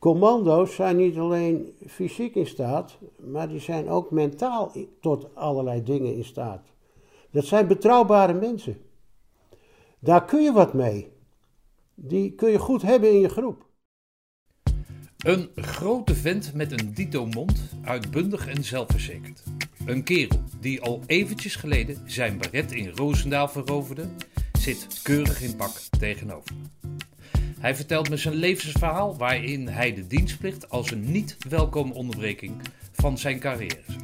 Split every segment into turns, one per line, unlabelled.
Commando's zijn niet alleen fysiek in staat, maar die zijn ook mentaal i- tot allerlei dingen in staat. Dat zijn betrouwbare mensen. Daar kun je wat mee. Die kun je goed hebben in je groep.
Een grote vent met een dito-mond, uitbundig en zelfverzekerd. Een kerel die al eventjes geleden zijn baret in Roosendaal veroverde, zit keurig in pak tegenover. Hij vertelt me zijn levensverhaal waarin hij de dienstplicht als een niet welkome onderbreking van zijn carrière zag.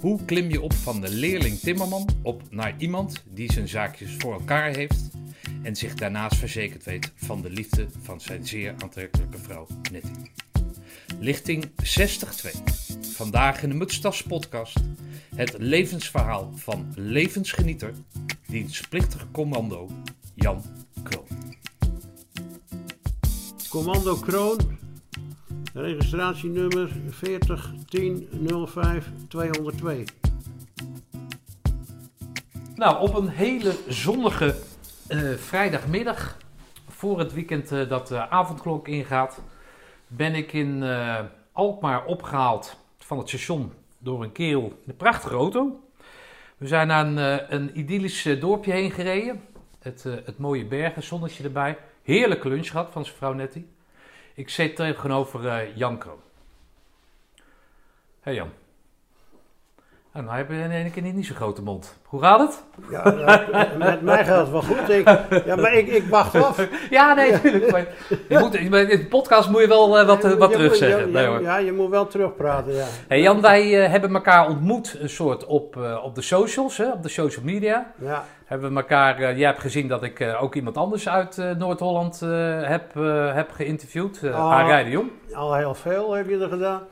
Hoe klim je op van de leerling timmerman op naar iemand die zijn zaakjes voor elkaar heeft en zich daarnaast verzekerd weet van de liefde van zijn zeer aantrekkelijke vrouw Nettie. Lichting 602. Vandaag in de Mutstas podcast het levensverhaal van levensgenieter, dienstplichtig commando Jan Kroon.
Commando Kroon, registratienummer 4010-05-202.
Nou, op een hele zonnige eh, vrijdagmiddag, voor het weekend eh, dat de avondklok ingaat, ben ik in eh, Alkmaar opgehaald van het station door een kerel met een prachtige auto. We zijn aan eh, een idyllisch eh, dorpje heen gereden. Het, eh, het mooie bergen, zonnetje erbij. Heerlijke lunch gehad van zijn vrouw Nettie. Ik zit tegenover eh, Jan Kroon. Hey Jan. Nou, nou heb je in één keer niet zo'n grote mond. Hoe gaat het?
Ja, dat- met mij gaat het wel goed. Ik, ja, maar ik, ik wacht af.
Ja, nee, natuurlijk. Maar je moet, in de podcast moet je wel eh, wat, eh,
Je
wat
moet-
terugzeggen.
je-
Nee,
je-
hoor.
ja, je moet wel terugpraten, ja.
Hey Jan, wij eh, hebben elkaar ontmoet een soort op, eh, op de socials, hè, op de social media.
Ja,
Hebben we elkaar, eh, jij hebt gezien dat ik eh, ook iemand anders uit eh, Noord-Holland eh, heb, eh, heb geïnterviewd. eh
Ah.
Arie de Jong.
al heel veel heb je er gedaan.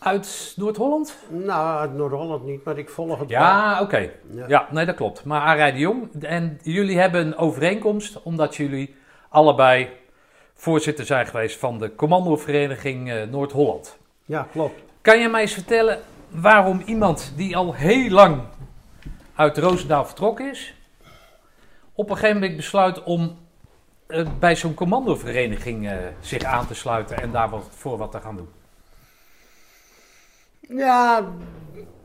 Uit Noord-Holland?
Nou, uit Noord-Holland niet, maar ik volg het
Ja, oké.
wel. Ja.
Ja. nee, dat klopt. Maar Arie de Jong, en jullie hebben een overeenkomst omdat jullie allebei voorzitter zijn geweest van de Commandovereniging eh, Noord-Holland.
Ja, klopt.
Kan je mij eens vertellen waarom iemand die al heel lang uit Roosendaal vertrokken is, op een gegeven moment besluit om eh, bij zo'n commandovereniging eh, zich aan te sluiten en daar wat, voor wat te gaan doen?
Ja,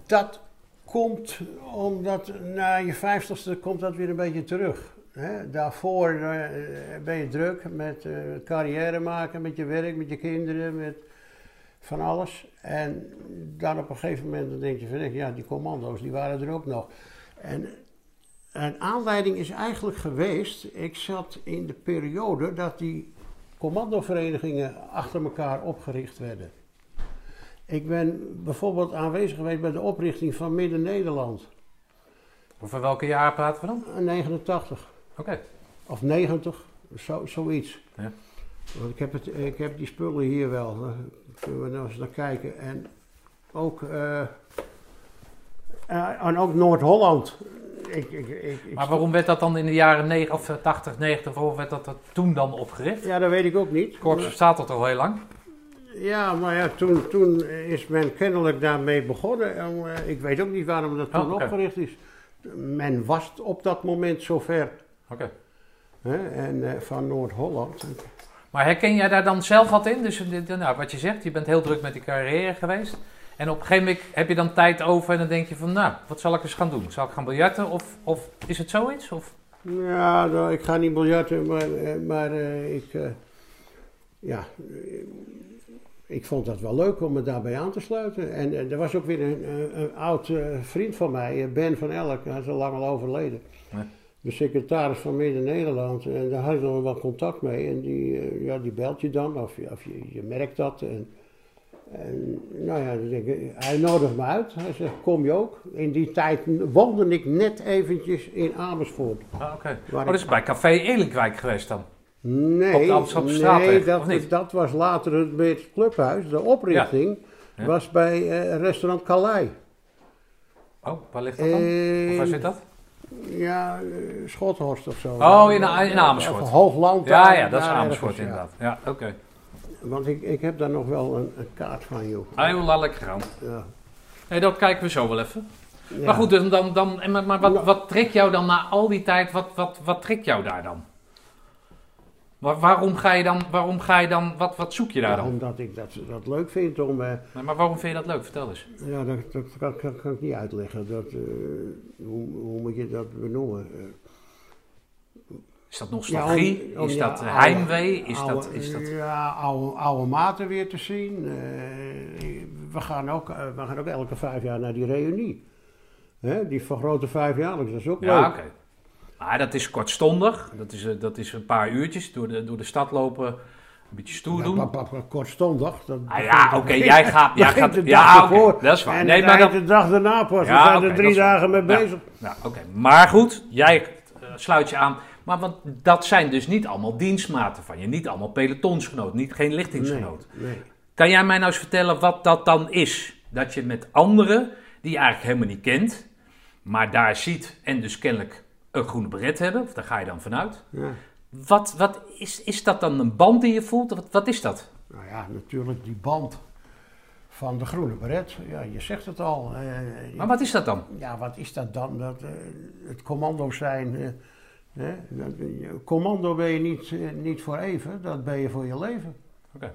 dat komt omdat na je vijftigste komt dat weer een beetje terug. Hè? Daarvoor eh, ben je druk met eh, carrière maken, met je werk, met je kinderen, met van alles. En dan op een gegeven moment dan denk je van, ja, die commando's, die waren er ook nog. En een aanleiding is eigenlijk geweest, ik zat in de periode dat die commandoverenigingen achter elkaar opgericht werden. Ik ben bijvoorbeeld aanwezig geweest bij de oprichting van Midden-Nederland
Over welke jaar praten we dan?
in 89
Oké.
of 90, zo, zoiets.
Ja.
Want ik heb, het, ik heb die spullen hier wel, daar kunnen we nou eens naar kijken. En ook, eh, eh, en ook Noord-Holland. Ik, ik, ik, ik-
Maar waarom werd dat dan in de jaren 9, of eh, 80, 90, waarom werd dat, dat toen dan opgericht?
Ja, dat weet ik ook niet.
Korps bestaat dat al heel lang.
Ja, maar ja, toen, toen is men kennelijk daarmee begonnen. En, eh, ik weet ook niet waarom dat toen
Oh, oké.
opgericht is. Men was op dat moment zover.
Oké.
Hè, en eh, van Noord-Holland.
Maar herken jij daar dan zelf wat in? Dus dit- nou, wat je zegt, je bent heel druk met die carrière geweest. En op een gegeven moment heb je dan tijd over en dan denk je van, nou, wat zal ik eens gaan doen? Zal ik gaan biljarten of, of is het zoiets? Of,
Ja, nou, ik ga niet biljarten, maar, eh, maar eh, ik, eh, ja, eh, ik vond dat wel leuk om me daarbij aan te sluiten. En eh, er was ook weer een, een, een oud eh, vriend van mij, eh, Ben van Elk, hij is al lang al overleden.
Ja.
De secretaris van Midden-Nederland, en daar had ik nog wel contact mee. En die, eh, ja, die belt je dan, of, je- of je, je merkt dat. En, en nou ja, dan denk ik, hij nodigt me uit. Hij zegt, kom je ook? In die tijd woonde ik net eventjes in Amersfoort.
Ah, oké.
Waar
Oh, dat
ik-
is bij Café Elinkwijk geweest dan.
Nee,
Op de Amsterdamstraatweg,
nee
of
dat,
niet?
dat was later het, bij het clubhuis. De oprichting
Ja.
was bij eh, restaurant Calais.
Oh, waar ligt dat dan? Of waar zit
Eh,
dat?
Ja, eh, Schothorst of zo.
Oh, in- in Amersfoort.
Of Hoogland.
Ja,
daar-
ja, dat is
daar
Amersfoort
ergens, ja.
inderdaad. Ja, oké.
Want ik, ik heb daar nog wel een, een kaart van, joh.
Ah, joh, laat lekker gaan.
Ja.
Nee, dat kijken we zo wel even.
Ja.
Maar goed, dus dan, dan, en maar, maar wat, wat trekt jou dan na al die tijd, wat, wat, wat trekt jou daar dan? Maar waarom ga je dan, waarom ga je dan wat, wat zoek je daar dan?
Omdat ik dat, dat leuk vind om... eh,
Nee, Maar waarom vind je dat leuk? Vertel eens.
Ja, dat, dat kan, kan, kan ik niet uitleggen. Dat, eh, hoe, hoe moet je dat benoemen? Eh,
Is dat nostalgie?
Ja, om- om
is
je
dat
oude-
heimwee? Is
oude-
dat, is dat...
Ja, oude, oude maten weer te zien. Eh, we, gaan ook, eh, we gaan ook elke vijf jaar naar die reunie. Hè, die vergrote vijfjaarlijks, dat is ook
Ja,
leuk.
oké. Maar dat is kortstondig. Dat is, eh, dat is een paar uurtjes door de, door de stad lopen. Een beetje stoer
Ja,
doen.
pa- pa- pa- kortstondig. Dat
Ah
begint-
ja, oké, jij gaat... Jij
begint
gaat
de dag
ja, oké,
ervoor
dat is waar.
En
Nee, maar
dan...
dan,
de dag daarna pas.
Ja,
we zijn
oké,
er
dat
drie
is waar.
dagen mee
Ja.
bezig.
Ja, Nou, oké. Maar goed, jij eh, sluit je aan. Maar want dat zijn dus niet allemaal dienstmaten van je. Niet allemaal pelotonsgenoot, niet, geen
Nee,
lichtingsgenoot.
nee.
Kan jij mij nou eens vertellen wat dat dan is? Dat je met anderen, die je eigenlijk helemaal niet kent, maar daar ziet en dus kennelijk een groene beret hebben, of daar ga je dan vanuit.
Ja.
Wat, wat is, is dat dan een band die je voelt? Wat, wat is dat?
Nou ja, natuurlijk die band van de groene beret. Ja, je zegt het al. eh,
Maar wat is dat dan?
ja, wat is dat dan? Dat, eh, het commando zijn. eh, hè? Dat- eh, commando ben je niet, eh, niet voor even, dat ben je voor je leven.
Oké.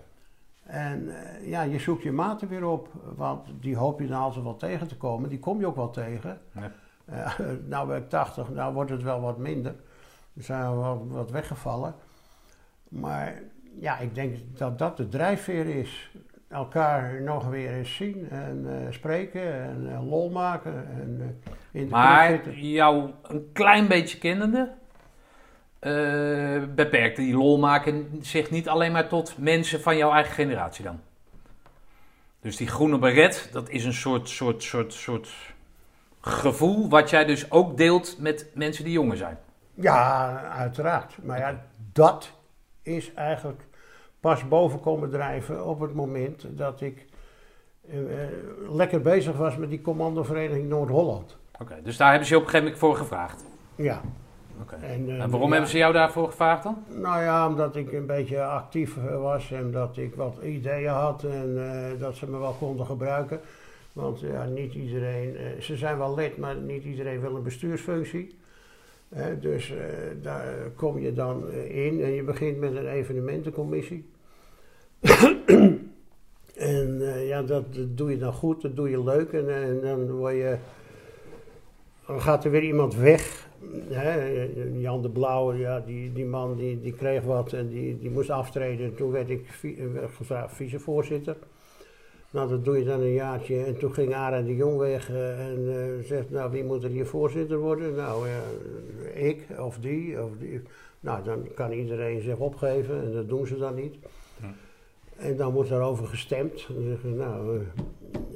En eh, ja, je zoekt je maten weer op, want die hoop je dan altijd wel tegen te komen. Die kom je ook wel tegen.
Ja.
Eh, nou ben ik 80, nou wordt het wel wat minder. Er zijn wel wat, wat weggevallen. Maar ja, ik denk dat dat de drijfveer is. Elkaar nog weer eens zien en eh, spreken en eh, lol maken en eh, in de club
Maar
zitten.
jou een klein beetje kennende, eh, beperkte die lol maken zich niet alleen maar tot mensen van jouw eigen generatie dan. Dus die groene beret, dat is een soort, soort, soort, soort gevoel wat jij dus ook deelt met mensen die jonger zijn.
Ja, uiteraard. Maar ja, dat is eigenlijk pas boven komen drijven op het moment dat ik eh, eh, lekker bezig was met die commandovereniging Noord-Holland.
Oké, dus daar hebben ze je op een gegeven moment voor gevraagd.
Ja.
Oké.
En, eh,
En waarom
ja.
hebben ze jou daarvoor gevraagd dan?
Nou ja, omdat ik een beetje actief eh, was en dat ik wat ideeën had en eh, dat ze me wel konden gebruiken. Want ja, niet iedereen, eh, ze zijn wel lid, maar niet iedereen wil een bestuursfunctie. Eh, dus eh, daar kom je dan eh, in en je begint met een evenementencommissie. en eh, ja, dat doe je dan goed, dat doe je leuk en, eh, en dan word je. Dan gaat er weer iemand weg. Hè? Jan de Blauwe, ja, die, die man die, die kreeg wat en die, die moest aftreden. Toen werd ik vi- eh, werd gevraagd vicevoorzitter. Nou, dat doe je dan een jaartje. En toen ging Ara de Jong weg eh, en eh, zegt, nou, wie moet er hier voorzitter worden? Nou, eh, ik of die, of die. Nou, dan kan iedereen zich opgeven en dat doen ze dan niet.
Hm.
En dan wordt daarover gestemd. Dan zeggen ze, nou,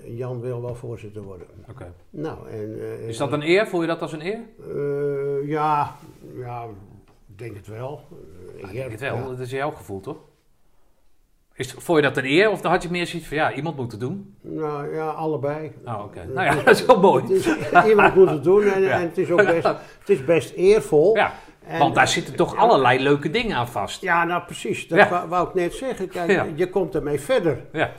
eh, Jan wil wel voorzitter worden.
Oké.
Nou, en... eh,
Is dat een eer? Voel je dat als een eer?
eh, ja, ja, ik denk het wel. Eh,
Ik denk Ah, het wel,
ja.
dat is jouw gevoel toch? Is, vond je dat een eer of had je meer zoiets van ja, iemand moet het doen?
Nou ja, allebei.
Nou, oké. Nou ja, dat is wel
Het
mooi.
is, iemand moet het doen en,
Ja.
en het is ook best, het is best eervol.
Ja,
En-
want daar zitten toch allerlei leuke dingen aan vast.
Ja, nou precies. Dat
Ja.
wou, wou ik net zeggen. Kijk,
Ja.
je komt ermee verder.
Ja,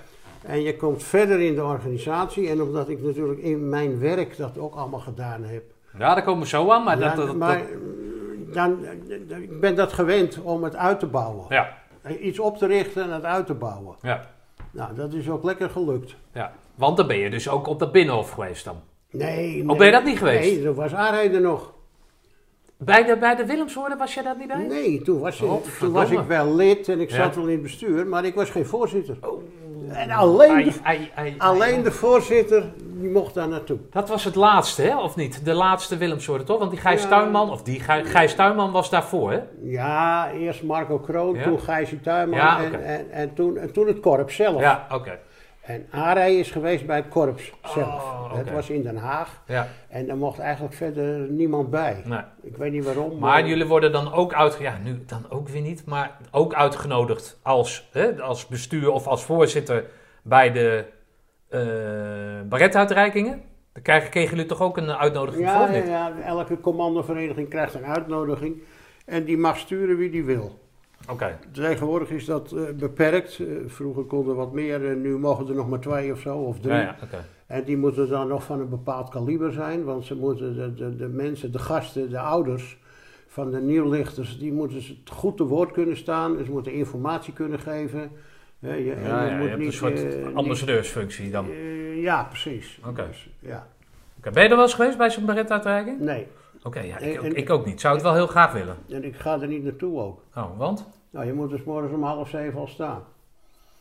En je komt verder in de organisatie. En omdat ik natuurlijk in mijn werk dat ook allemaal gedaan heb.
ja daar komen we zo aan, maar dat...
Ja,
dat, dat-
maar, eh, dan, eh, ik ben dat gewend om het uit te bouwen.
ja,
Iets op te richten en het uit te bouwen.
ja,
Nou, dat is ook lekker gelukt.
ja. Want dan ben je dus ook op dat binnenhof geweest dan.
Nee, nee.
Oh, ben je dat niet geweest?
Nee, toen was Aarheid er nog.
Bij de, bij de Willemshoorde was jij dat niet bij?
Nee, toen was,
Oh,
ik, toen
verdomme.
was ik wel lid en ik
Ja.
zat wel in het bestuur, maar ik was geen voorzitter. En alleen de,
Ai, ai, ai, ai.
alleen de voorzitter, die mocht daar naartoe.
Dat was het laatste, hè? Of niet? De laatste Willemshoorde, toch? Want die Gijs
Ja.
Tuinman, of die Gij- Gijs Tuinman was daarvoor, hè?
Ja, eerst Marco Kroon,
Ja.
toen Gijsje Tuinman
Ja,
en,
oké.
en, en, toen, en toen het korps zelf.
Ja, oké.
En Arij is geweest bij het korps zelf.
Oh, oké.
Het was in Den Haag
Ja.
en daar mocht eigenlijk verder niemand bij.
Nee.
Ik weet niet waarom.
Maar jullie worden dan ook uitgenodigd, ja, nu dan ook weer niet, maar ook uitgenodigd als, hè, als bestuur of als voorzitter bij de eh baretuitreikingen. Dan krijgen, kregen jullie toch ook een uitnodiging voor?
Ja,
of
ja,
niet?
ja, elke commandovereniging krijgt een uitnodiging en die mag sturen wie die wil.
Oké,
Tegenwoordig is dat eh, beperkt. Eh, vroeger konden wat meer, en nu mogen er nog maar twee of zo, of drie.
ja, ja, oké.
En die moeten dan nog van een bepaald kaliber zijn, want ze moeten de, de, de mensen, de gasten, de ouders, van de nieuwlichters, die moeten ze het goed te woord kunnen staan. Ze moeten informatie kunnen geven. Hè, je, en
Ja,
je
ja,
moet
je hebt een
niet,
soort
eh, niet-
ambassadeursfunctie dan.
eh, ja, precies.
Oké.
Dus, ja.
Oké, Ben je er wel eens geweest bij zo'n Beretta-uitreiking?
Nee,
Oké, ja, ik,
En-
ook-
en-
ik ook niet. Zou het wel heel graag willen.
en ik ga er niet naartoe ook.
Oh, want?
Nou, je moet dus morgens om half zeven al staan.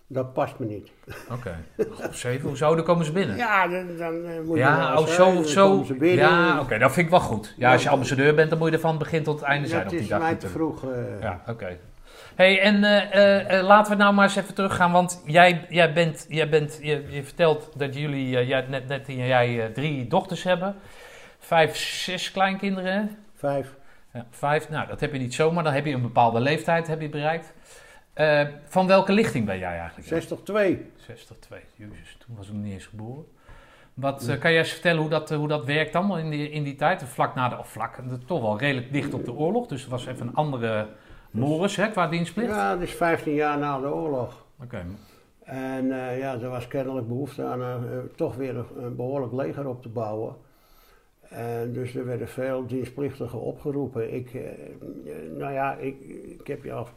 Dat past me niet.
Oké. Op zeven, hoe zouden komen ze binnen?
Ja, dan, dan eh, moet je
Ja,
wel
oh,
eens,
zo
hè,
of
dan
zo.
komen ze binnen.
Ja, oké, dat vind ik wel goed. Ja,
Ja.
als je ambassadeur bent, dan moet je er van begin tot het einde zijn
dat
op die
is
dag.
mij te
natuurlijk.
vroeg. eh,
Ja, oké. hey, en eh, eh, eh, laten we nou maar eens even teruggaan, want jij, jij bent, jij bent je, je vertelt dat jullie, eh, jij, net, net jij eh, drie dochters hebben. Vijf, zes kleinkinderen, hè?
Vijf.
Ja, vijf, nou dat heb je niet zomaar, dan heb je een bepaalde leeftijd heb je bereikt. Eh, van welke lichting ben jij eigenlijk?
62.
62, jezus, toen was ik nog niet eens geboren. Wat, eh, kan jij eens vertellen hoe dat, eh, hoe dat werkt dan in die, in die tijd? Vlak na de, of vlak, eh, toch wel redelijk dicht op de oorlog. Dus het was even een andere mores hè, qua dienstplicht.
Ja, dat is 15 jaar na de oorlog.
Oké,
En eh, ja, er was kennelijk behoefte aan eh, eh, toch weer een, een behoorlijk leger op te bouwen. En dus er werden veel dienstplichtigen opgeroepen. Ik, eh, eh, nou ja, ik, ik heb je al.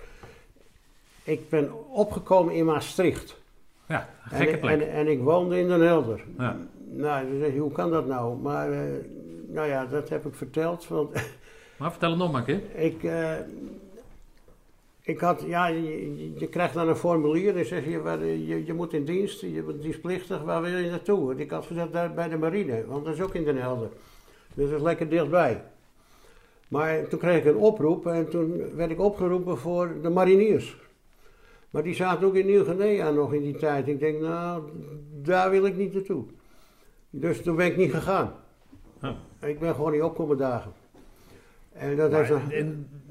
Ik ben opgekomen in Maastricht.
ja, gekke
En,
plek.
en, en ik woonde in Den Helder.
Ja.
Nou, dan zeg je, hoe kan dat nou? Maar, eh, nou ja, dat heb ik verteld. Want
Maar vertel het nog maar een keer.
ik, eh, ik had, ja, je, je krijgt dan een formulier en zeg je, waar- je, je moet in dienst, je bent dienstplichtig, waar wil je naartoe? Want ik had gezegd daar bij de marine, want dat is ook in Den Helder. Dus dat is lekker dichtbij. Maar toen kreeg ik een oproep en toen werd ik opgeroepen voor de mariniers. Maar die zaten ook in Nieuw-Guinea nog in die tijd. Ik denk, nou, daar wil ik niet naartoe. Dus toen ben ik niet gegaan.
Ja.
Ik ben gewoon niet opkomen dagen. En dat heeft
Maar,
een-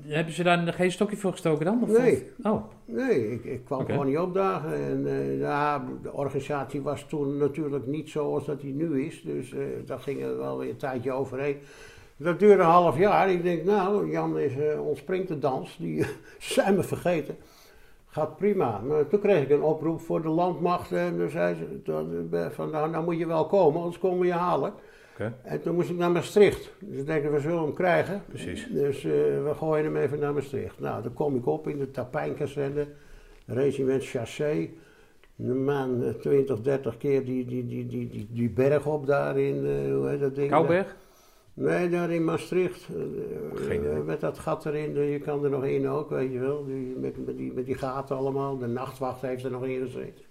en, hebben ze daar geen stokje voor gestoken dan? Of-
Nee.
Oh,
Nee, ik, ik kwam
Oké.
gewoon niet opdagen. En eh, ja, de organisatie was toen natuurlijk niet zoals dat die nu is. Dus eh daar ging er wel weer een tijdje overheen. Dat duurde een half jaar. Ik denk, nou, Jan is eh ontspringt de dans. Die zijn me vergeten. Gaat prima. Maar toen kreeg ik een oproep voor de landmacht. En toen zei ze toen, eh, van, nou, nou moet je wel komen, anders komen we je halen.
Oké.
En toen moest ik naar Maastricht. Dus ik denk, we zullen hem krijgen.
precies.
Dus eh, we gooien hem even naar Maastricht. Nou, dan kom ik op in de tapijnkazerne, regiment Chassé. Een man, eh, 20, 30 keer die, die, die, die, die, die berg op daar in, eh, hoe heet dat ding?
Kouberg?
Nee, daar in Maastricht. eh,
Geen idee.
eh, met dat gat erin, eh, je kan er nog in ook, weet je wel. Die, met, met, die, met die gaten allemaal. De nachtwacht heeft er nog in gezeten.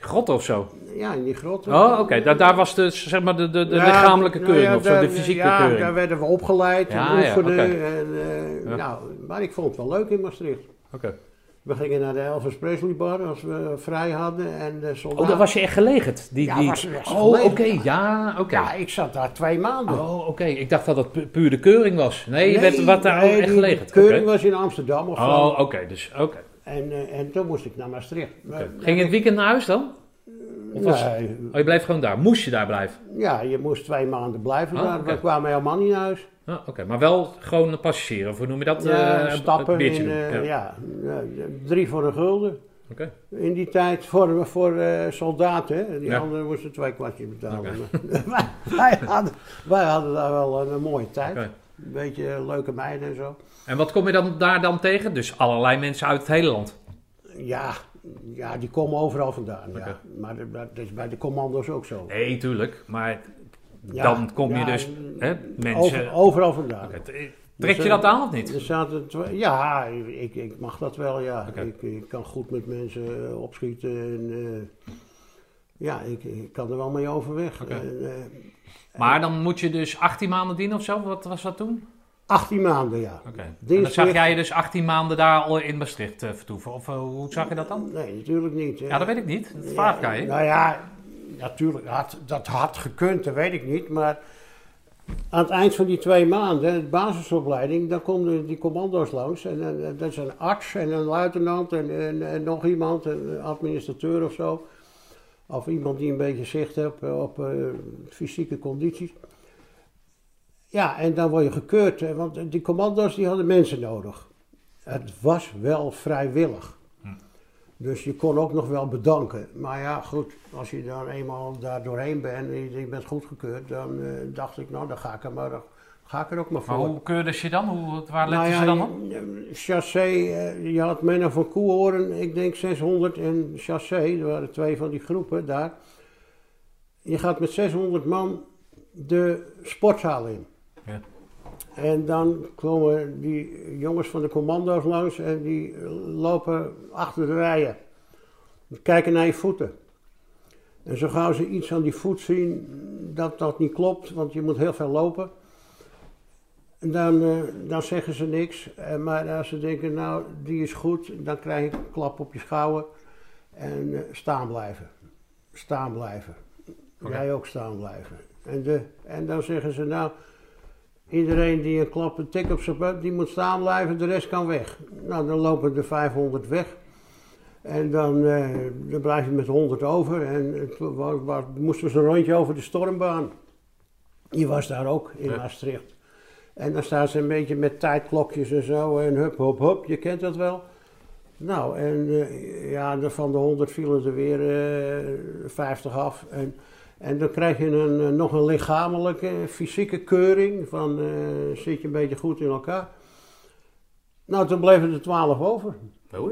Grot of zo?
Ja, in die grotten.
Oh, oké. Da- daar was de, zeg maar de, de, de
Ja,
lichamelijke
nou
keuring
ja,
of zo,
daar-
de fysieke
ja,
keuring.
daar werden we opgeleid
Ja,
en
ja,
oefenden.
oké.
en, eh,
Ja.
nou, maar ik vond het wel leuk in Maastricht.
Oké.
We gingen naar de Elvis Presley bar als we vrij hadden en de soldaat...
Oh, daar was je echt gelegerd? Die,
Ja,
die...
was- was
oh, oké.
gelegerd.
Ja, oké.
Ja, ik zat daar twee maanden.
Oh, oké. Ik dacht dat dat pu- puur de keuring was. Nee, je werd wat daar
nee,
echt
die
gelegerd.
Keuring
Oké.
was in Amsterdam of
Oh,
zo.
oké. Dus, oké.
En, eh, en toen moest ik naar Maastricht. Maar-
Oké. Ging je het weekend naar huis dan? Of was
Nee,
Oh, je blijft gewoon daar. Moest je daar blijven?
ja, je moest twee maanden blijven
Oh,
daar.
oké.
We kwamen helemaal niet naar huis.
Ah, oké. Maar wel gewoon passagieren. Of hoe noem je dat?
Ja,
Eh, een
stappen
biertje
in,
doen.
eh,
ja.
ja. ja, eh, drie voor een gulden.
Oké.
In die tijd voor, voor eh, soldaten, hè. die
Ja.
anderen moesten twee kwartjes betalen. Maar wij, hadden, wij hadden daar wel een, een mooie tijd.
Oké.
Een beetje leuke meiden en zo.
En wat kom je dan daar dan tegen? Dus allerlei mensen uit het hele land.
Ja, ja die komen overal vandaan.
Oké.
Ja. Maar dat- dat is bij de commando's ook zo.
Nee, tuurlijk. Maar
Ja,
dan kom je
ja, mm,
dus hè, mensen...
Over, overal vandaan.
Oké, t- Trek je
eh,
dat aan of niet?
Er zaten twee- ja, ik, ik mag dat wel, ja.
Oké.
Ik, ik kan goed met mensen eh, opschieten en eh, ja, ik, ik kan er wel mee overweg.
Oké.
En, eh,
Maar dan moet je dus 18 maanden dienen of zo? Wat was dat toen?
18 maanden, ja.
Oké. En dan
Dienstplicht.
zag jij je dus 18 maanden daar al in Maastricht eh, vertoeven. Of eh, hoe zag je dat dan?
Nee, natuurlijk niet.
Ja, dat weet ik niet. Dat vraag kan je.
Nou ja, natuurlijk, had, dat had gekund, dat weet ik niet. Maar aan het eind van die twee maanden, de basisopleiding, dan komen die commando's langs. En, dan- en dat is een arts en een luitenant en, en, en nog iemand, een administrateur of zo. Of iemand die een beetje zicht heeft op eh, fysieke condities. Ja, en dan word je gekeurd, hè, want die commando's die hadden mensen nodig. Het was wel vrijwillig.
Hm.
Dus je kon ook nog wel bedanken. Maar ja, goed, als je dan eenmaal daar doorheen bent en je je bent goedgekeurd, dan eh, dacht ik, nou, dan ga ik er maar Ga ik er ook maar
Maar
voor.
hoe keurde ze je dan? Hoe, waar
Nou
letten
ja,
ze dan op?
je- Chassé, eh, je had Menno van Koehoorn, ik denk 600 en Chassé, er waren twee van die groepen daar. Je gaat met 600 man de sportzaal in.
Ja.
En dan komen die jongens van de commando's langs en die lopen achter de rijen. Die Kijken naar je voeten. En zo gauw ze iets aan die voet zien dat dat niet klopt, want je moet heel veel lopen. En Dan, eh, dan zeggen ze niks. Eh, maar als ze denken, nou, die is goed, dan krijg je een klap op je schouder. En eh, staan blijven. Staan blijven.
Oké.
Jij ook staan blijven. En, de, en dan zeggen ze, nou, iedereen die een klap, een tik op zijn buik, die moet staan blijven, de rest kan weg. Nou, dan lopen de 500 weg. En dan, eh, dan blijf je met 100 over. En het wa- wa- moesten ze een rondje over de stormbaan. Je was daar ook in
Ja.
Maastricht. En dan staan ze een beetje met tijdklokjes en zo. En hup, hup, hup. Je kent dat wel. Nou, en eh, ja, de- van de 100 vielen er weer eh 50 af. En, en dan krijg je een, eh, nog een lichamelijke, fysieke keuring. Van eh, zit je een beetje goed in elkaar. Nou, toen bleven er 12 over.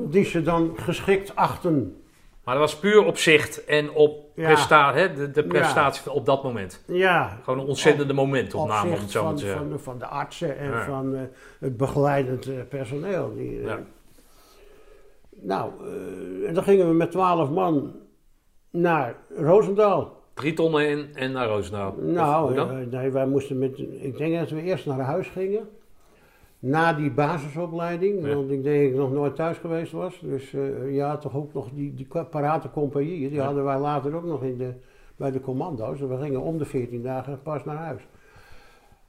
Die ze dan geschikt achten.
Maar dat was puur op zicht en op
Ja.
presta hè, de, de prestatie van op dat moment.
Ja.
Gewoon een ontzettende momentopname, om
opzicht
het zo maar
van,
te zeggen.
van, van de artsen en
Ja.
van eh, het begeleidend eh, personeel. Die, eh,
Ja.
Nou, eh, en dan gingen we met 12 man naar Roosendaal.
Drie tonnen in en naar Roosendaal. Of hoe
nou,
dan?
eh, nee, wij moesten met. Ik denk dat we eerst naar huis gingen. Na die basisopleiding,
Ja.
want ik denk dat ik nog nooit thuis geweest was. Dus eh, je had toch ook nog die, die kwa- parate compagnieën. Die
Ja.
hadden wij later ook nog in de, bij de commando's. En we gingen om de 14 dagen pas naar huis.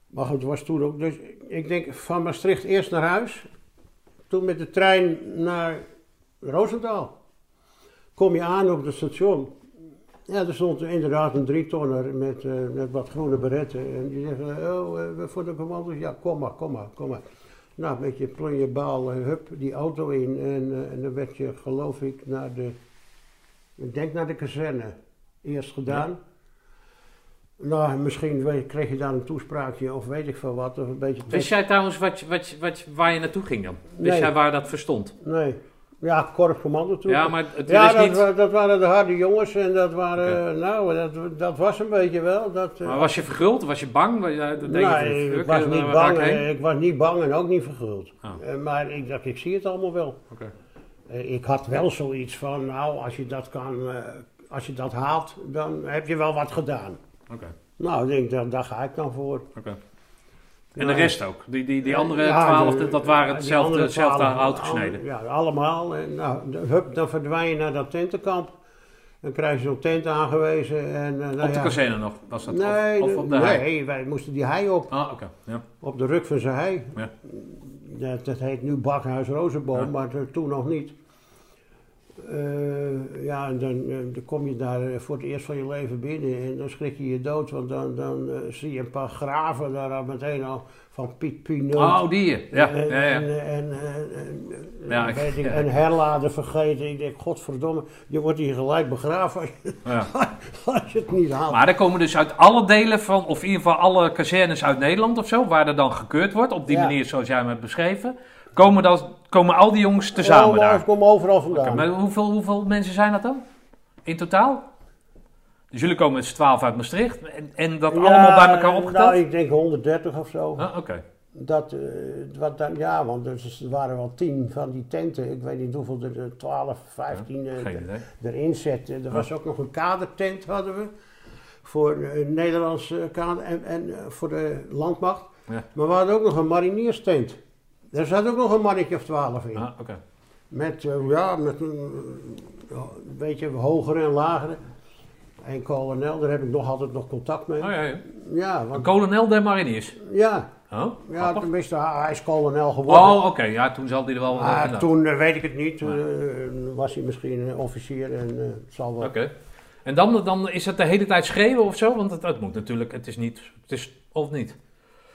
Maar goed, het was toen ook. Dus ik denk van Maastricht eerst naar huis. Toen met de trein naar Roosendaal. Kom je aan op het station. Ja, er stond inderdaad een drietonner met, eh, met wat groene beretten. En die zeggen, oh, eh, voor de commando's, ja, kom maar, kom maar, kom maar. Nou, met je plonjebaal, eh, hup, die auto in. En, eh, en dan werd je, geloof ik, naar de, ik denk naar de kazerne eerst gedaan. Nou, misschien weet- kreeg je daar een toespraakje of weet ik veel wat, of een beetje...
Wist jij trouwens wat, je- wat, je- wat, je- waar je naartoe ging dan? Wist
Nee.
jij waar dat verstond?
Nee, ja, korps commando toen.
Ja, maar het
Ja,
is
dat,
niet...
wa- dat waren de harde jongens en dat waren, nou, dat, dat was een beetje wel. Dat, eh,
Maar was je verguld? Was je bang? Was je- Oh, dat denk je van,
nee,
fuck,
ik was
eh,
niet
waar ga
bang,
ik heen?
eh, ik was niet bang en ook niet verguld.
Ah.
Eh, maar ik dacht, ik zie het allemaal wel.
Oké.
Eh, ik had wel zoiets van, nou, als je dat kan, eh, als je dat haalt, dan heb je wel wat gedaan.
Oké,
Nou, ik denk, daar, daar ga ik dan voor.
oké. En
Nou,
de rest ook? Die, die, die andere
Ja,
twaalf,
de-
dat
ja,
waren
die
hetzelfde,
andere
hetzelfde
twaalf,
hout
al-
gesneden?
Ja, allemaal. En nou, de- hup, dan verdwijn je naar dat tentenkamp. Dan krijg je zo'n tent aangewezen. En, eh, nou
op de
ja.
kazerne nog, was dat? Of-
Nee,
of,
de-
op de hei?
nee wij moesten die hei op.
Ah, oké. Ja.
Op de ruk van zijn hei.
Ja.
Dat, dat heet nu Bakhuis Rozenboom,
Ja.
maar to- toen nog niet. Eh, ja, en dan, eh, dan kom je daar eh, voor het eerst van je leven binnen en dan schrik je je dood, want dan, dan eh, zie je een paar graven daar al meteen al van Piet Pinot.
Oh, die hier. Ja,
en,
ja, ja.
En, en, en- en- eh,
Ja, ik-
weet ik,
ja.
en herladen vergeten. Ik denk, godverdomme, je wordt hier gelijk begraven als je,
ja.
als je het niet haalt.
Maar er komen dus uit alle delen van, of in ieder geval alle kazernes uit Nederland of zo, waar er dan gekeurd wordt, op die
Ja.
manier zoals jij me hebt beschreven, komen, dan, komen al die jongens tezamen
Kom-
daar.
Oh, Kom overal vandaan.
Maar hoeveel, hoeveel mensen zijn dat dan? In totaal? Dus jullie komen met z'n twaalf uit Maastricht en, en dat allemaal bij elkaar opgeteld?
Nou, ik denk 130 of zo.
Ah, Oké.
Dat, eh, wat dan, ja, want er is- er waren wel tien van die tenten. Ik weet niet hoeveel er eh, 12, 15 eh,
Geen
er-
idee.
erin zetten. Er was ook nog een kadertent hadden we. Voor eh, een Nederlandse kader en, en eh, voor de landmacht.
Ja.
Maar we hadden ook nog een marinierstent. Daar zat ook nog een mannetje of 12 in.
Ah, oké.
Met, eh, ja, met een, eh, een beetje hogere en lagere. En kolonel, daar heb ik nog altijd nog contact mee.
Oh, ja, ja.
Ja,
Een
want,
kolonel der mariniers.
ja,
Oh,
ja
grappig.
tenminste, hij hij is kolonel geworden.
Oh, oké. Ja, toen zal die er
Ah,
wel... inderdaad. Oké.
toen eh, weet ik het niet. Toen eh, was hij misschien een officier en eh, het zal wel.
En dan, dan is het de hele tijd schreeuwen of zo? Want het, het moet natuurlijk, het is niet... Het is, of niet?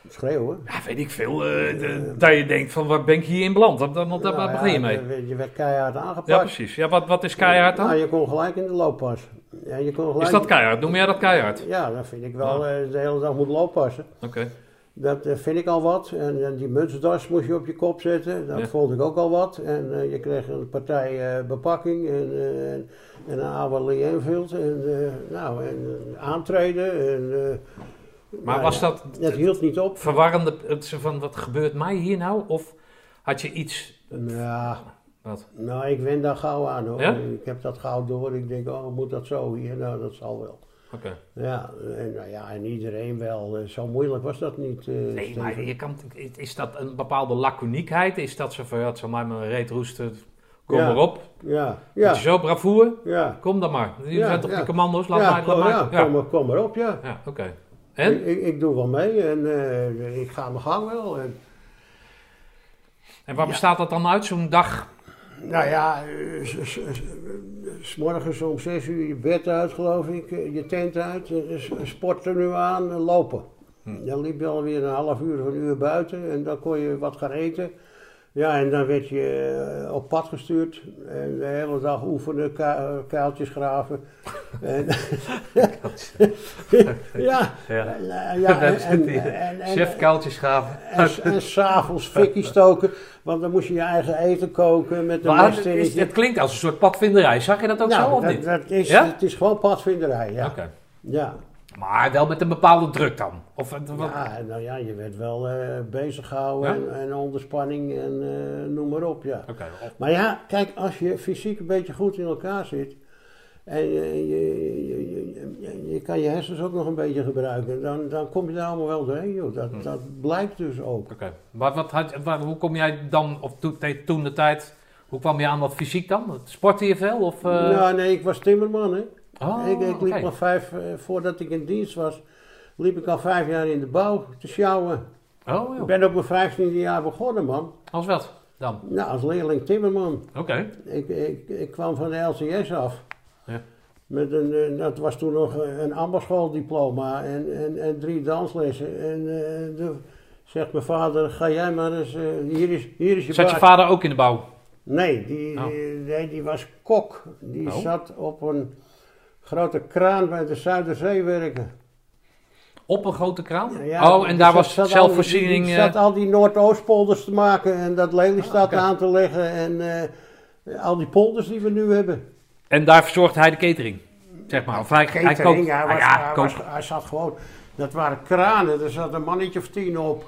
Schreeuwen.
Ja, weet ik veel. eh, de- dat je denkt van, waar ben ik hier in beland? Want dan, want daar-
Nou
waar
ja,
begin je mee?
Je, je werd keihard
Ja,
aangepakt.
precies. Ja, wat, wat is keihard dan?
Nou, je kon gelijk in de looppas. Ja, je kon gelijk...
Is dat keihard? Noem jij dat keihard?
Ja, dat vind ik wel. eh, de hele dag moet looppassen.
Oké.
Dat eh, vind ik al wat. En, eh, die mutsdas moest je op je kop zetten. Dat
Ja.
vond ik ook al wat. En eh, je kreeg een partij eh, bepakking en, eh, en een Awa Lee Enfield. En, eh, nou, en eh, aantreden. En, eh,
Maar
nou
was
ja,
dat
Het hield niet op.
verwarrende, het zo van wat gebeurt mij hier nou? Of had je iets,
Ja.
Wat?
Nou, ik wen daar gauw aan hoor.
Ja?
Ik heb dat gauw door. Ik denk, oh, moet dat zo hier? Nou, dat zal wel.
oké.
Ja, en, nou ja, en iedereen wel. Eh, Zo moeilijk was dat niet. eh,
Nee,
Steven.
maar je kan, is dat een bepaalde laconiekheid? Is dat zo van, ja, het zal mij maar een reet roesten, kom
Ja.
maar op.
Ja,
Ja.
ja,
Zo bravoer,
ja.
kom dan maar. Jullie
Ja,
zijn toch
ja.
die commando's, laat
ja,
maar.
kom,
laat
ja,
maar. Ja,
Kom, maar- kom maar op, ja.
ja oké. En?
Ik, ik, ik doe wel mee en eh, ik ga mijn gang wel. En,
En waar bestaat dat dan uit, zo'n dag?
nou ja, eh, s- s- s- s morgens om zes uur je bed uit, geloof ik, eh, je tent uit, eh, s- sporttenue aan en lopen. Dan liep je alweer een half uur of een uur buiten en dan kon je wat gaan eten. Ja, en dan werd je eh, op pad gestuurd en de hele dag oefenen, ka- kuiltjes graven. en, ja,
Ja.
eh, ja,
Daar
en-
zit
en-
hij.
en- en-
Chef kuiltjes graven.
En, s- en s'avonds fikkie stoken, want dan moest je je eigen eten koken met een
Maar het, is,
mestinnetje.
het klinkt als een soort padvinderij, zag je dat ook zo of
Nou, dat,
niet?
dat is,
Ja?
Het is gewoon padvinderij, ja.
Oké.
Ja.
Maar wel met een bepaalde druk dan? Of, het- wat-
ja, nou ja, je werd wel eh bezig gehouden
Ja.
en, en onder spanning en eh, noem maar op, ja.
Oké, of-
Maar ja, kijk, als je fysiek een beetje goed in elkaar zit en eh, je, je, je, je- je- je kan je hersens ook nog een beetje gebruiken, dan, dan kom je daar allemaal wel doorheen, joh. Dat,
Hm.
dat blijkt dus ook.
oké. Maar wat had, waar- hoe kom jij dan, of to- te- toen de tijd, hoe kwam je aan dat fysiek dan? Sportte je veel? Of, eh,
Nou, nee, ik was timmerman, hè.
oh,
ik, ik liep
oké.
al vijf, eh, voordat ik in dienst was, liep ik al vijf jaar in de bouw te sjouwen.
Oh,
Ik
joh.
ben op mijn vijftiende jaar begonnen, man.
Als wat dan?
Nou, als leerling timmerman.
Oké.
Ik, ik, ik kwam van de LCS af.
Ja.
Met een, eh, dat was toen nog eh, een ambachtschooldiploma en, en, en drie danslessen. En eh, de- zegt mijn vader, ga jij maar eens, eh, hier, is, hier is je
Zat je
baas.
vader ook in de bouw?
Nee, die,
Oh.
die- nee, die was kok. Die
Oh.
zat op een grote kraan bij de Zuiderzee werken.
Op een grote kraan?
Nou Ja,
oh, en
die
daar
zat-
was
zat al die-
zelfvoorziening...
Die,
eh,
die zat al die Noordoostpolders te maken en dat Lelystad
Ah, oké.
aan te leggen en eh, al die polders die we nu hebben.
en daar verzorgde hij de catering, zeg maar. Of hij, hij
Catering,
kookt.
hij,
Ah
was-
ja,
hij,
kookt.
was- hij zat gewoon, dat waren kranen, er zat een mannetje of tien op.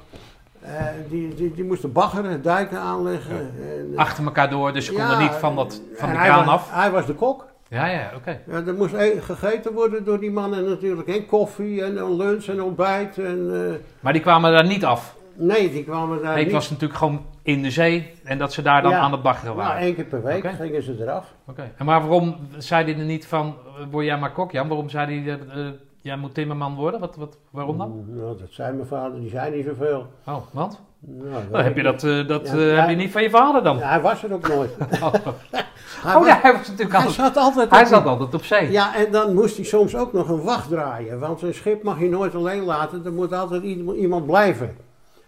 Eh, die, die, die moesten baggeren, dijken aanleggen. En, eh,
Achter elkaar door, dus je kon er
ja,
niet van, dat, van
en
de
hij
kraan
was-
af.
Hij was de kok.
Ja, ja, oké.
Ja, er moest e- gegeten worden door die mannen natuurlijk. En koffie en een lunch en ontbijt. En, eh,
Maar die kwamen daar niet af.
nee, die kwamen daar
nee, het
niet.
was natuurlijk gewoon in de zee en dat ze daar dan
Ja.
aan het baggeren
Nou,
waren.
één keer per week
Oké.
gingen ze eraf.
Oké. En maar waarom zei hij er niet van, eh, word jij maar kok, Jan? Waarom zei hij, eh, eh, jij moet timmerman worden? Wat, wat, waarom dan?
Mm, Nou, dat zei mijn vader, die zei niet zoveel.
Oh, want?
Nou, dat
Dan heb
weet
je
ik
dat, eh, dat
Ja,
eh,
ja.
heb je niet van je vader dan.
niet. Ja, hij was er ook nooit.
Oh,
Hij,
oh
was-
ja, hij was natuurlijk
hij
altijd...
zat altijd
Hij
op-
zat altijd op zee.
Ja, en dan moest hij soms ook nog een wacht draaien. Want een schip mag je nooit alleen laten. Er moet altijd iemand iemand blijven.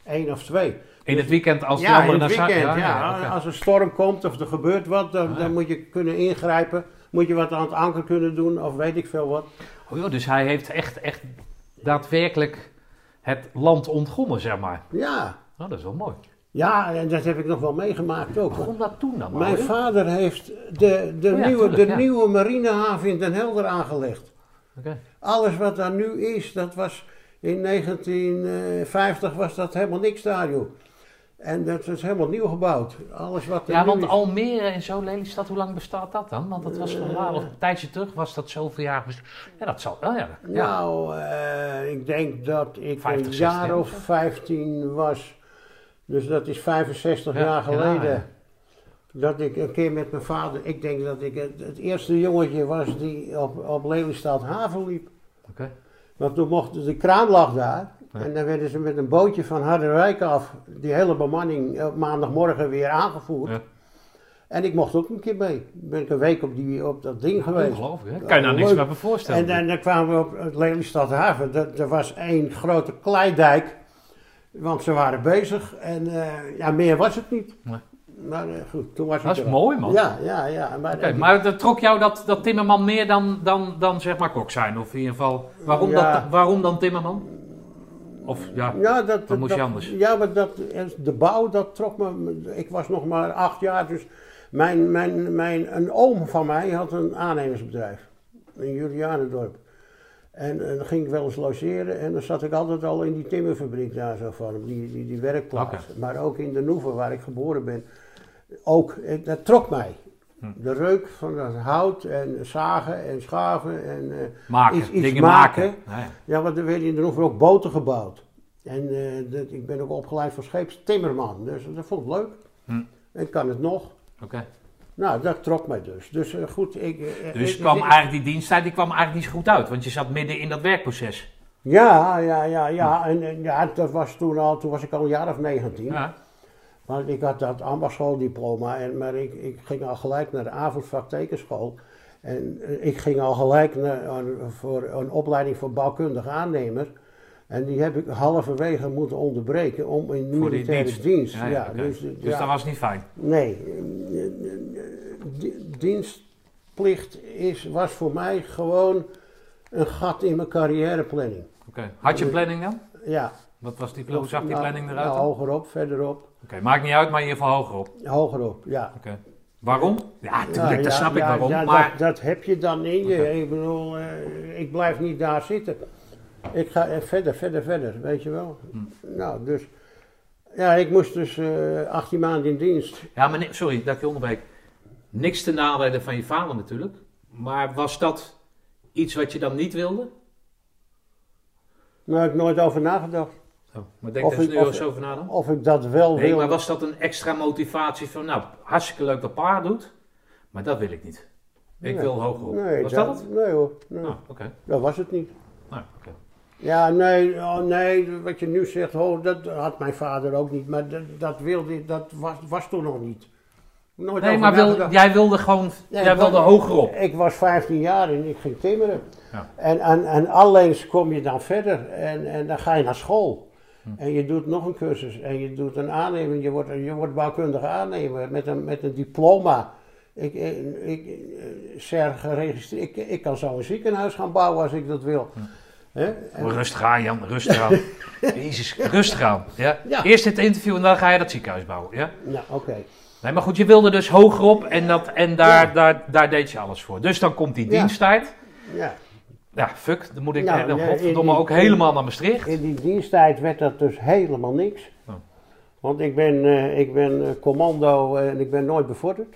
Eén of twee.
In het weekend als de
ja, in
anderen
het
naar
weekend.
zaken.
ja,
oké.
Als er storm komt of er gebeurt wat, dan,
Ah.
dan moet je kunnen ingrijpen. Moet je wat aan het anker kunnen doen of weet ik veel wat.
Oh, joh, dus hij heeft echt, echt daadwerkelijk het land ontgonnen, zeg maar.
Ja,
Oh, dat is wel mooi.
ja en dat heb ik nog wel meegemaakt ook.
Begon dat toen dan?
Mijn
hoor?
vader heeft de, de,
Oh ja,
nieuwe,
tuurlijk,
de
ja.
nieuwe marinehaven in Den Helder aangelegd.
Oké.
Alles wat daar nu is, dat was in 1950 was dat helemaal niks daar, joh. En dat is helemaal nieuw gebouwd. Alles wat er
Ja,
nu
want
is.
Almere en zo, Lelystad, hoe lang bestaat dat dan? Want dat was
Eh.
van waar, of een tijdje terug was dat zoveel jaar. best- Ja, dat zal. Oh ja, ja.
Nou, eh, ik denk dat ik
50,
een
60,
jaar of 15 was. Dus dat is 65
Ja,
jaar
ja,
geleden.
ja.
Dat ik een keer met mijn vader, ik denk dat ik het, het eerste jongetje was die op, op Lelystad haven liep.
Oké.
Want toen mocht, de kraan lag daar.
Ja.
En dan werden ze met een bootje van Harderwijk af, die hele bemanning, op maandagmorgen weer aangevoerd.
Ja.
En ik mocht ook een keer mee. Ben ik een week op, die, op dat ding geweest.
Ongelooflijk, hè?
Ja,
Kan je nou niks
leuk.
meer bij voorstellen?
En, en dan kwamen we op het Lelystadhaven. Er, er was één grote kleidijk. Want ze waren bezig. En eh, ja, meer was het niet.
Nee.
Maar eh, goed, toen was
dat
het
is
er
mooi,
wel.
man.
Ja, ja, ja. Maar,
Oké, maar dat trok jou dat, dat Timmerman meer dan, dan, dan zeg maar kok zijn? Of in ieder geval, waarom,
Ja.
dat, waarom dan Timmerman? Of ja,
Ja, dat,
Dan moest je
dat-
anders.
Ja, maar dat, de bouw, dat trok me. Ik was nog maar acht jaar, dus mijn, mijn, mijn, een oom van mij had een aannemersbedrijf in Julianendorp. En, eh, dan ging ik wel eens logeren en dan zat ik altijd al in die timmerfabriek daar zo van, op die, die, die werkplaats. Maar ook in de Noever, waar ik geboren ben. Ook, eh, dat trok mij.
Hm.
De reuk van dat hout en zagen en schaven en eh,
maken.
iets- iets
dingen
maken.
maken. Nou ja.
ja, want er werden in de Roever ook boten gebouwd. En eh, dat, ik ben ook opgeleid voor scheepstimmerman, dus dat vond ik leuk.
Hm.
En kan het nog.
Oké.
Nou, dat trok mij dus. Dus eh, goed, ik... eh,
Dus
ik-
kwam
ik-
eigenlijk die diensttijd die kwam eigenlijk niet zo goed uit, want je zat midden in dat werkproces.
Ja, ja, ja, ja. En, en ja, dat was toen al, toen was ik al een jaar of 19.
Ja.
Want ik had dat ambachtschooldiploma, en, maar ik, ik ging al gelijk naar de avondvak tekenschool. En eh, ik ging al gelijk naar, aan- voor een opleiding voor bouwkundig aannemer. En die heb ik halverwege moeten onderbreken om in
die
militaire
dienst.
dienst.
Ja,
Ja,
ja, oké.
dus,
Dus
ja,
dat was niet fijn.
Nee, eh, eh, di- dienstplicht is, was voor mij gewoon een gat in mijn carrièreplanning.
Oké. Had je een planning dan?
Ja.
Wat was die, hoe zag die planning eruit?
Nou,
dan? Oké,
hogerop, verderop.
maakt niet uit, maar in ieder geval hoger op. Oké.
Hogerop, ja.
Waarom? Ja, tuurlijk,
Ja,
dat
Ah, ja,
snap ik
ja,
waarom.
ja,
maar
dat, dat heb je dan in je.
Oké.
Ik bedoel, eh, ik blijf niet daar zitten. Ik ga eh, verder, verder, verder, weet je wel.
Hm.
Nou, dus. Ja, ik moest dus eh 18 maanden in dienst.
Ja, maar ni- sorry dat ik je onderbreek. Niks ten nadele van je vader natuurlijk. Maar was dat iets wat je dan niet wilde?
Daar heb ik nooit over nagedacht.
Oh, maar denk
Of
daar eens
ik-
nu
of-
wel eens over na dan.
Of ik dat wel
Nee,
wilde.
maar was dat een extra motivatie van, nou, hartstikke leuk dat pa doet, maar dat wil ik niet. Ik
Nee.
wil hoger op.
nee,
was dat, het?
Nee hoor, nee.
Ah, oké.
dat was het niet.
Nou, oké.
Ja, nee, oh, nee, wat je nu zegt, oh, dat had mijn vader ook niet. Maar dat, dat wilde ik, dat was, was toen nog niet. Nooit
Nee,
over
maar wil-
nagedacht.
jij wilde gewoon,
Ja,
jij
ik
wilde
was-
hoger op.
Ik was 15 jaar en ik ging timmeren.
Ja.
En, en, en allengs kom je dan verder en, en dan ga je naar school.
Hm.
En je doet nog een cursus en je doet een aannemer, je wordt, je wordt bouwkundige aannemer met een, met een diploma. Ik, ik, ik, eh, ser geregistreerd. Ik, ik kan zo een ziekenhuis gaan bouwen als ik dat wil.
Hm.
Hè? En-
Rustig aan, Jan, rustig aan. Jezus, rustig aan. Ja?
Ja.
Eerst het interview en dan ga je dat ziekenhuis bouwen. Ja?
nou, oké.
Nee, maar goed, je wilde dus hoger op en, dat, en daar,
Ja.
daar, daar deed je alles voor. Dus dan komt die
Ja.
diensttijd.
Ja.
Ja, fuck, dan moet ik
Nou,
eh, dan
ja,
godverdomme
in-
ook helemaal naar Maastricht.
In die diensttijd werd dat dus helemaal niks.
Oh.
Want ik ben, eh, ik ben eh, commando en ik ben nooit bevorderd.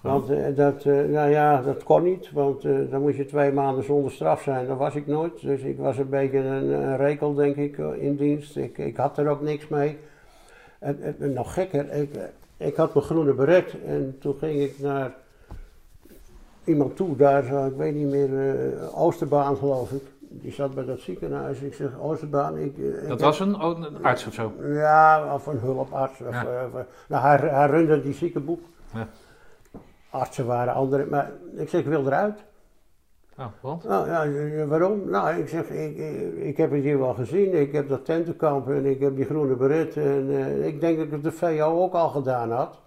Want eh, dat, eh, nou ja, dat kon niet, want eh, dan moest je twee maanden zonder straf zijn. Dat was ik nooit. Dus ik was een beetje een, een rekel, denk ik, eh, in dienst. Ik, ik had er ook niks mee. En, en- en nog gekker, ik, eh, ik had mijn groene beret en toen ging ik naar iemand toe, daar, eh, ik weet niet meer, eh, Oosterbaan geloof ik. Die zat bij dat ziekenhuis. Ik zeg, Oosterbaan, ik... eh, ik
Dat
heb-
was een, oh, een arts of zo.
ja, of een hulparts. Of,
Ja.
eh, of- nou, hij, hij runde die ziekenboek.
Ja.
Artsen waren anderen, maar ik zeg, ik wil eruit.
Oh, want?
Nou, ja, eh, waarom? Nou, ik zeg, ik, ik, ik heb het hier wel gezien. Ik heb dat tentenkamp en ik heb die groene beret. En eh, ik denk dat ik het de VO ook al gedaan had.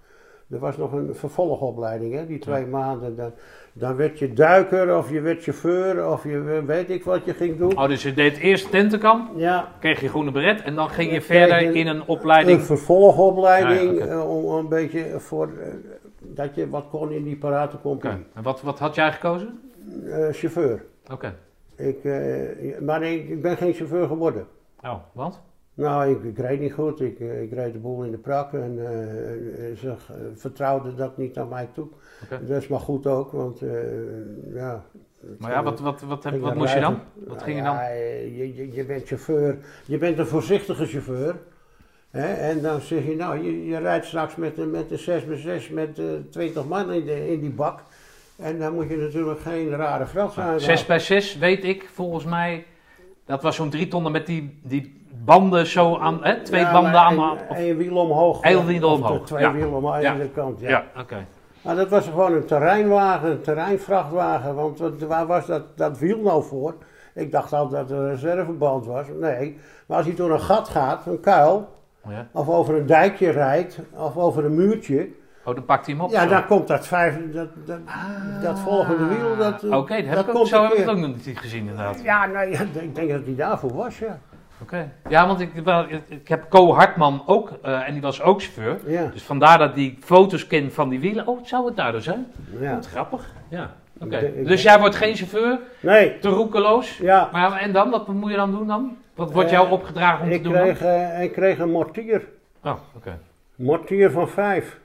Er was nog een vervolgopleiding, hè, die twee maanden. Dan, dan werd je duiker of je werd chauffeur of je we- weet ik wat je ging doen.
Oh, dus je deed eerst tentenkamp,
Ja,
kreeg je groene beret en dan ging je
Ja,
verder
kijk,
in een
een
opleiding.
vervolgopleiding
Ah, ja,
eh, om om een beetje voor eh, dat je wat kon in die
Oké,
paratencompagnie.
en wat, wat had jij gekozen?
Eh, chauffeur.
Oké.
Ik, eh, maar ik, ik ben geen chauffeur geworden.
Oh, want?
Nou, ik, ik reed niet goed. Ik, eh, ik reed de boel in de prak en eh, eh, ze eh, vertrouwden dat niet aan mij toe.
Oké.
Dat is maar goed ook, want eh, ja.
Maar ja, wat, wat, wat, heb-
Ik
wat
ben
moest je dan?
rijder.
Wat
Nou
ging je
ja,
dan?
eh, Je, je, je bent chauffeur, je bent een voorzichtige chauffeur. Hè? En dan zeg je, nou, je, je rijdt straks met een, met een 6x6 met eh 20 man in, de, in die bak. En dan moet je natuurlijk geen rare Nou, frans aan.
6 bij 6 weet ik, volgens mij, dat was zo'n drie tonnen met die, die banden zo aan, hè, twee banden aan.
Eén
of-
één wiel omhoog.
Eén wiel
Of de
omhoog,
Twee
ja.
wielen omhoog
Ja.
aan de kant. Ja.
ja, oké.
Maar dat was gewoon een terreinwagen, een terreinvrachtwagen. Want wat- waar was dat, dat wiel nou voor? Ik dacht altijd dat het een reserveband was. Nee, maar als hij door een gat gaat, een kuil,
Oh, ja.
of over een dijkje rijdt, of over een muurtje,
oh, dan pakt hij hem op.
ja,
zo.
dan komt dat, vijf, dat, dat, dat volgende wiel. Dat, eh,
Ah. Oké, dat heb ik ook,
komt
zo
een
heb ik het
keer. nou
ook nog niet gezien inderdaad.
Ja, nee, ik denk dat hij daarvoor was, ja.
Ja, want ik, wel, ik- ik heb Co Hartman ook, eh, en die was ook chauffeur.
Ja,
Dus vandaar dat die foto's ken van die wielen. Oh, zou het daardoor zijn?
ja.
Wat grappig. Ja, oké.
Ik- ik-
Dus jij wordt geen chauffeur,
Nee,
te roekeloos.
ja.
Maar en dan? Wat moet je dan doen dan? Wat wordt
Eh,
jou opgedragen om te
Ik
doen
kreeg, eh, ik kreeg een mortier.
dan? Oh, oké.
Mortier van vijf.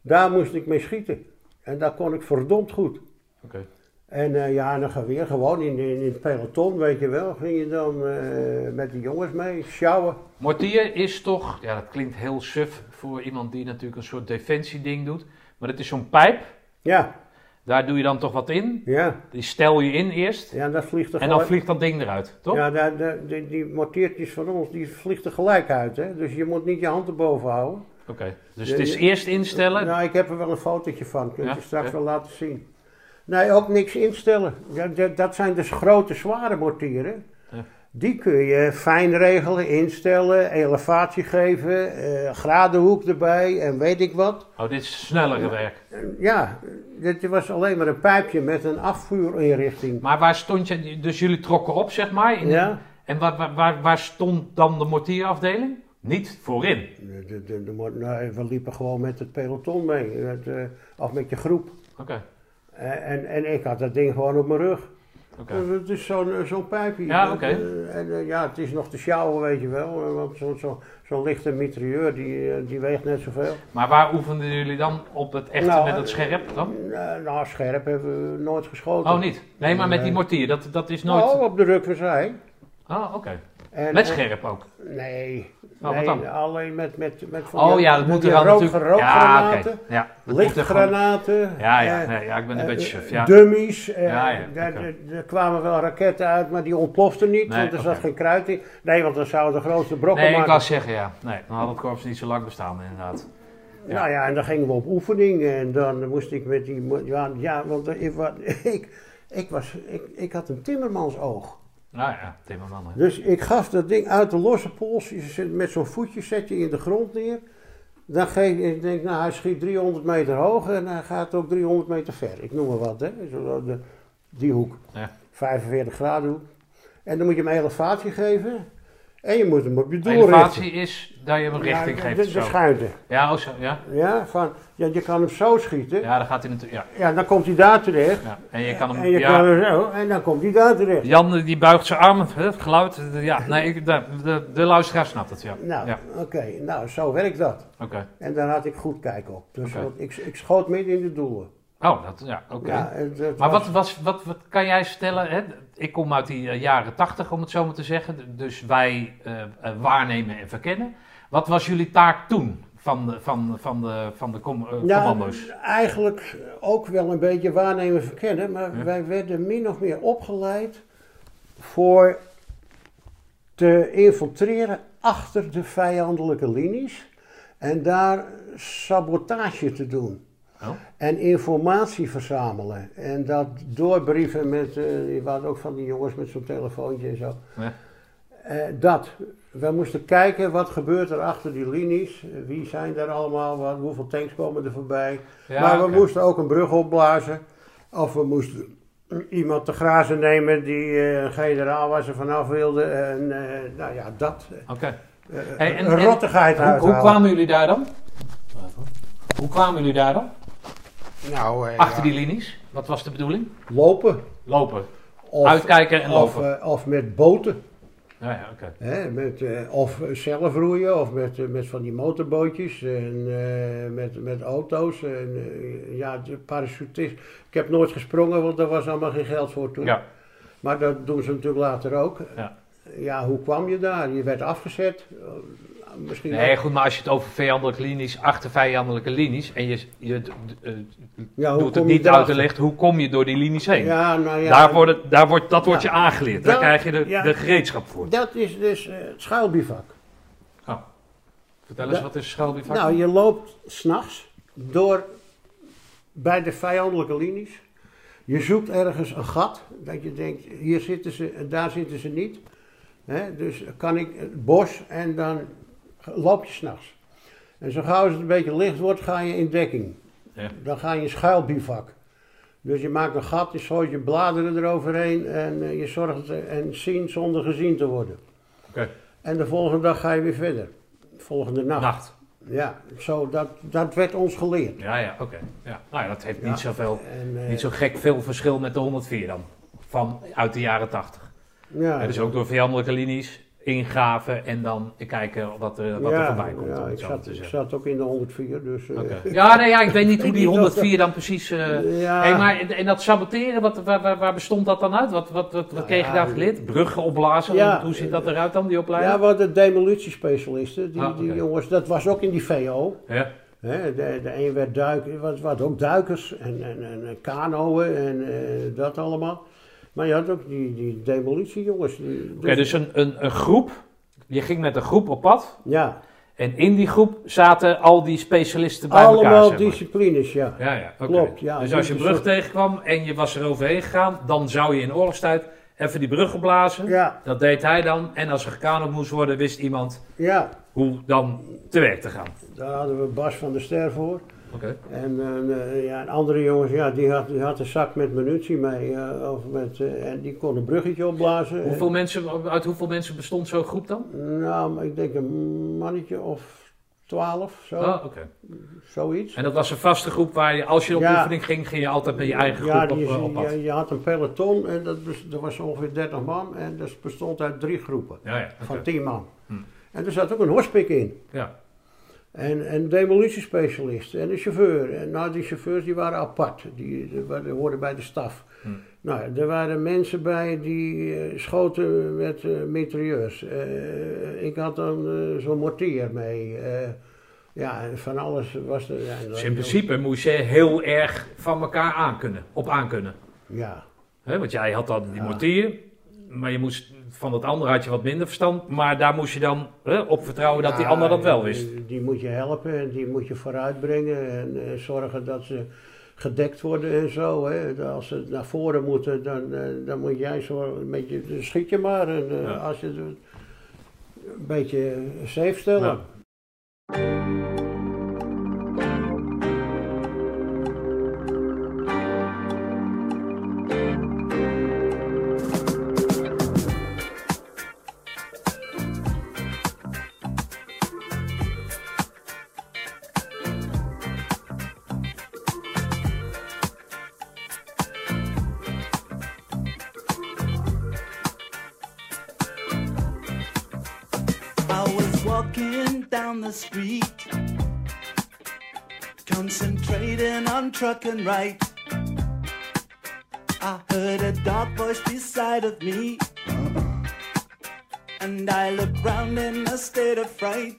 Daar moest ik mee schieten. En daar kon ik verdomd goed.
Oké.
En eh, ja, dan ga weer gewoon in, in, in het peloton, weet je wel. Ging je dan eh, met de jongens mee, sjouwen.
Mortier is toch, ja dat klinkt heel suf voor iemand die natuurlijk een soort defensieding doet. Maar het is zo'n pijp,
Ja,
daar doe je dan toch wat in.
ja.
Die stel je in eerst
Ja, dat vliegt er
en dan
gelijk-
vliegt dat ding eruit, toch?
Ja, daar- daar- die, die mortiertjes van ons, die vliegt er gelijk uit, hè. Dus je moet niet je hand erboven houden.
Oké, dus het is eerst instellen.
Nou, ik heb er wel een fotootje van. Kun je
Ja,
straks
oké.
wel laten zien. Nee, ook niks instellen. Dat, dat, dat zijn dus grote, zware mortieren.
Ja.
Die kun je fijn regelen, instellen, elevatie geven, eh gradenhoek erbij en weet ik wat.
Oh, dit is snellere werk.
Ja, dit was alleen maar een pijpje met een afvuurinrichting.
Maar waar stond je, dus jullie trokken op zeg maar. in de-
Ja,
En waar, waar, waar, waar stond dan de mortierafdeling? Niet voorin.
de, de, de, mor- nee, we liepen gewoon met het peloton mee, met, eh, of met je groep.
Oké,
En, en, en ik had dat ding gewoon op mijn rug.
oké.
Dus Het is zo'n zo'n pijpje.
Ja,
Dat,
oké.
eh, En eh, ja, het is nog te sjouwen, weet je wel. eh, Want zo'n zo, zo'n lichte mitrailleur, die, eh, die weegt net zoveel.
Maar waar oefenden jullie dan op het echte
Nou,
met het
eh,
scherp dan?
Eh, nou, scherp hebben we nooit geschoten.
Oh, niet? Nee, maar met die
Nee.
mortier, dat, dat is nooit...
Nou, op de ruk we zijn.
Oh, oké.
En,
Met
eh,
scherp ook.
Nee,
wat
nee
dan?
alleen met, met, met van
Oh
die-
ja, dat
met
moet
die
er wel
rook-
natuurlijk... Ja,
rookgranaten,
oké. Ja, dat moet er gewoon-
lichtgranaten.
Ja, ja,
eh,
nee, ja, ik ben een
eh,
beetje suf. Ja.
Dummies, eh,
Ja, ja,
daar,
oké.
daar- daar kwamen wel raketten uit, maar die ontploften niet,
Nee,
want er zat
oké.
geen kruid in. Nee, want dan zouden de grootste brokken
Nee, ik
maken.
wou zeggen, ja. Nee, dan had het korps niet zo lang bestaan, inderdaad. Ja.
Nou ja, en dan gingen we op oefening en dan moest ik met die... mo- Ja, ja want ik, wa- ik, ik, was, ik, ik had een timmermansoog.
Nou ja, Timmerman. hè.
Dus ik gaf dat ding uit de losse pols, je zet- met zo'n voetje zet je in de grond neer. Dan geef je, ik denk, nou hij schiet 300 meter hoog en hij gaat ook 300 meter ver. Ik noem maar wat, hè. Zo, de, die hoek,
Ja.
45 graden hoek. En dan moet je hem elevatie geven en je moet hem op je doel
Elevatie is dat je hem een
richten.
richting
Ja,
geeft.
de-
of
de
zo.
schuinte.
Ja, oh, zo, ja.
Ja, van, ja, je kan hem zo schieten.
ja, dan gaat hij natuurlijk. Ja,
Ja, dan komt hij daar terecht.
ja. En je kan hem.
En, je
ja.
kan er zo, en dan komt hij daar terecht.
Jan eh, die buigt zijn arm, hè, het geluid. eh, Ja, nee, ik, de, de, de luisteraar snapt het, ja.
Nou,
Ja,
oké, nou, zo werkt dat.
oké.
En daar had ik goed kijk op. Dus
Oké.
want ik, ik schoot midden in de doelen.
Oh, dat, ja, oké.
Ja, en dat
Maar
was-
wat, was, wat, wat kan jij vertellen? Hè? Ik kom uit die eh, jaren tachtig, om het zo maar te zeggen. Dus wij eh, eh, waarnemen en verkennen. Wat was jullie taak toen van de, van, van de, van de com- eh,
Ja,
commando's?
Nou, Eigenlijk ook wel een beetje waarnemen verkennen, maar
Ja.
wij werden min of meer opgeleid voor te infiltreren achter de vijandelijke linies en daar sabotage te doen.
Oh.
En informatie verzamelen. En dat doorbrieven met, eh je had ook van die jongens met zo'n telefoontje en zo.
Ja.
Eh, dat. We moesten kijken wat gebeurt er achter die linies. Eh, Wie zijn daar allemaal? Wat, hoeveel tanks komen er voorbij?
Ja,
maar Nou, we
oké.
moesten ook een brug opblazen. Of we moesten iemand te grazen nemen die eh, een generaal waar ze vanaf wilde. En eh, nou ja, dat.
Oké.
eh,
Hey, en-
een
en-
rottigheid
Hoe, hoe
uithalen.
kwamen jullie daar dan? Hoe kwamen jullie daar dan?
Nou, eh,
Achter
ja,
die linies? Wat was de bedoeling?
Lopen.
Lopen.
Of,
Uitkijken en
of,
lopen.
eh, of met boten.
Ja, Nou ja, oké.
Hè, met, eh, of zelf roeien, of met, eh, met van die motorbootjes en eh, met, met auto's. En, eh, ja, de parachutist. Ik heb nooit gesprongen, want daar was allemaal geen geld voor toen.
Ja.
Maar dat doen ze natuurlijk later ook.
Ja.
Ja, hoe kwam je daar? Je werd afgezet. Eh, Misschien
Nee, goed, maar als je het over vijandelijke linies, achter vijandelijke linies, en je, je d- d- eh,
ja,
doet het
kom je
niet uit
erachter?
de licht, hoe kom je door die linies heen?
Ja, nou ja.
daar wordt het- daar wordt, dat wordt
Ja.
je aangeleerd. Daar
Dat-
krijg je de,
ja.
de gereedschap voor. Oh.
Dat is dus eh, het schuilbivak.
Vertel eens,
Ja.
wat is schuilbivak?
Nou, je loopt s'nachts door bij de vijandelijke linies. Je zoekt ergens een gat, dat je denkt, hier zitten ze en daar zitten ze niet. Hè, dus kan ik het bos en dan loop je s'nachts. En zo gauw als het een beetje licht wordt, ga je in dekking.
Ja.
Dan ga je in schuilbivak. Dus je maakt een gat, je gooit je bladeren eroverheen en eh, je zorgt eh, en zien zonder gezien te worden.
Oké.
En de volgende dag ga je weer verder. Volgende nacht.
Nacht.
Ja, zo, dat, dat werd ons geleerd.
Ja, ja, oké. Ja. Nou ja, dat heeft
Ja.
niet, zoveel,
En, eh,
niet zo gek veel verschil met de 104 dan. Van uit de jaren 80.
ja,
dus ook door vijandelijke linies ingraven en dan kijken wat er, wat er
ja,
voorbij komt.
Ja,
om het
ik
zo maar
zat,
te
ik
zeggen.
zat ook in de 104, dus... eh,
Oké. Ja, nee, ja, ik weet niet hoe die
Ik weet niet of
104 dan precies. eh
ja,
hey, maar, en dat saboteren, wat, waar, waar, waar bestond dat dan uit? Wat, wat, wat, wat
Nou
kreeg je
ja,
daarvoor geleerd? Bruggen opblazen?
Ja.
hoe- hoe ziet dat eruit dan, die
ja,
opleiding?
want de demolutiespecialisten, die,
Ah,
die
oké.
jongens, dat was ook in die VO.
Ja.
Hè, de, de een werd duik, wat, wat ook duikers en, en, en eh, kanoën en eh, dat allemaal. Maar je had ook die, die demolutiejongens. die-
Oké, dus een, een, een groep. Je ging met een groep op pad.
Ja,
En in die groep zaten al die specialisten bij elkaar.
allemaal
zeg maar.
disciplines, ja.
Ja, ja, oké.
Klopt, ja.
Dus als je een brug tegenkwam en je was er overheen gegaan, dan zou je in oorlogstijd even die brug opblazen.
Ja,
Dat deed hij dan. En als er gekanoed moest worden, wist iemand
ja.
hoe dan te werk te gaan.
Daar hadden we Bas van der Ster voor.
Oké.
En eh, eh, ja, een andere jongens, ja, die had, die had een zak met munitie mee. eh, of met, eh, en die kon een bruggetje opblazen.
Hoeveel mensen, uit hoeveel mensen bestond zo'n groep dan?
En, nou, maar ik denk een mannetje of twaalf, zo,
Ah, oké.
zoiets.
En dat was een vaste groep waar je, als je op
Ja.
oefening ging, ging je altijd met je eigen
Ja,
groep
die- eh,
op, op pad.
je, je had een peloton en dat, bes- er was ongeveer 30 man en dat bestond uit drie groepen
Ja, ja. oké.
van 10 man.
Hm.
En er zat ook een horspik in.
ja.
En, en een demolutiespecialist en een chauffeur. En nou, die chauffeurs die waren apart. Die, die, waren- die hoorden bij de staf.
Hm.
Nou, er waren mensen bij die eh, schoten met eh mitrailleurs. Eh, ik had dan eh, zo'n mortier mee. Eh, ja, en van alles was er. ja, en dat-
Dus in principe moest je heel erg van elkaar aankunnen, op aankunnen.
Ja.
Hè, want jij had dan die
Ja.
mortier, maar je moest, van dat andere had je wat minder verstand. Maar daar moest je dan hè, op vertrouwen dat die
Ja,
ander dat wel wist.
Die, die moet je helpen en die moet je vooruitbrengen en eh, zorgen dat ze gedekt worden en zo. Hè. Als ze naar voren moeten, dan, eh, dan moet jij zo een beetje, dan schiet je maar en eh,
Ja.
als je het doet, een beetje safe stellen.
Ja.
I was walking down the street, concentrating on trucking right. I heard a dark voice beside of me, and I looked round in a state of fright.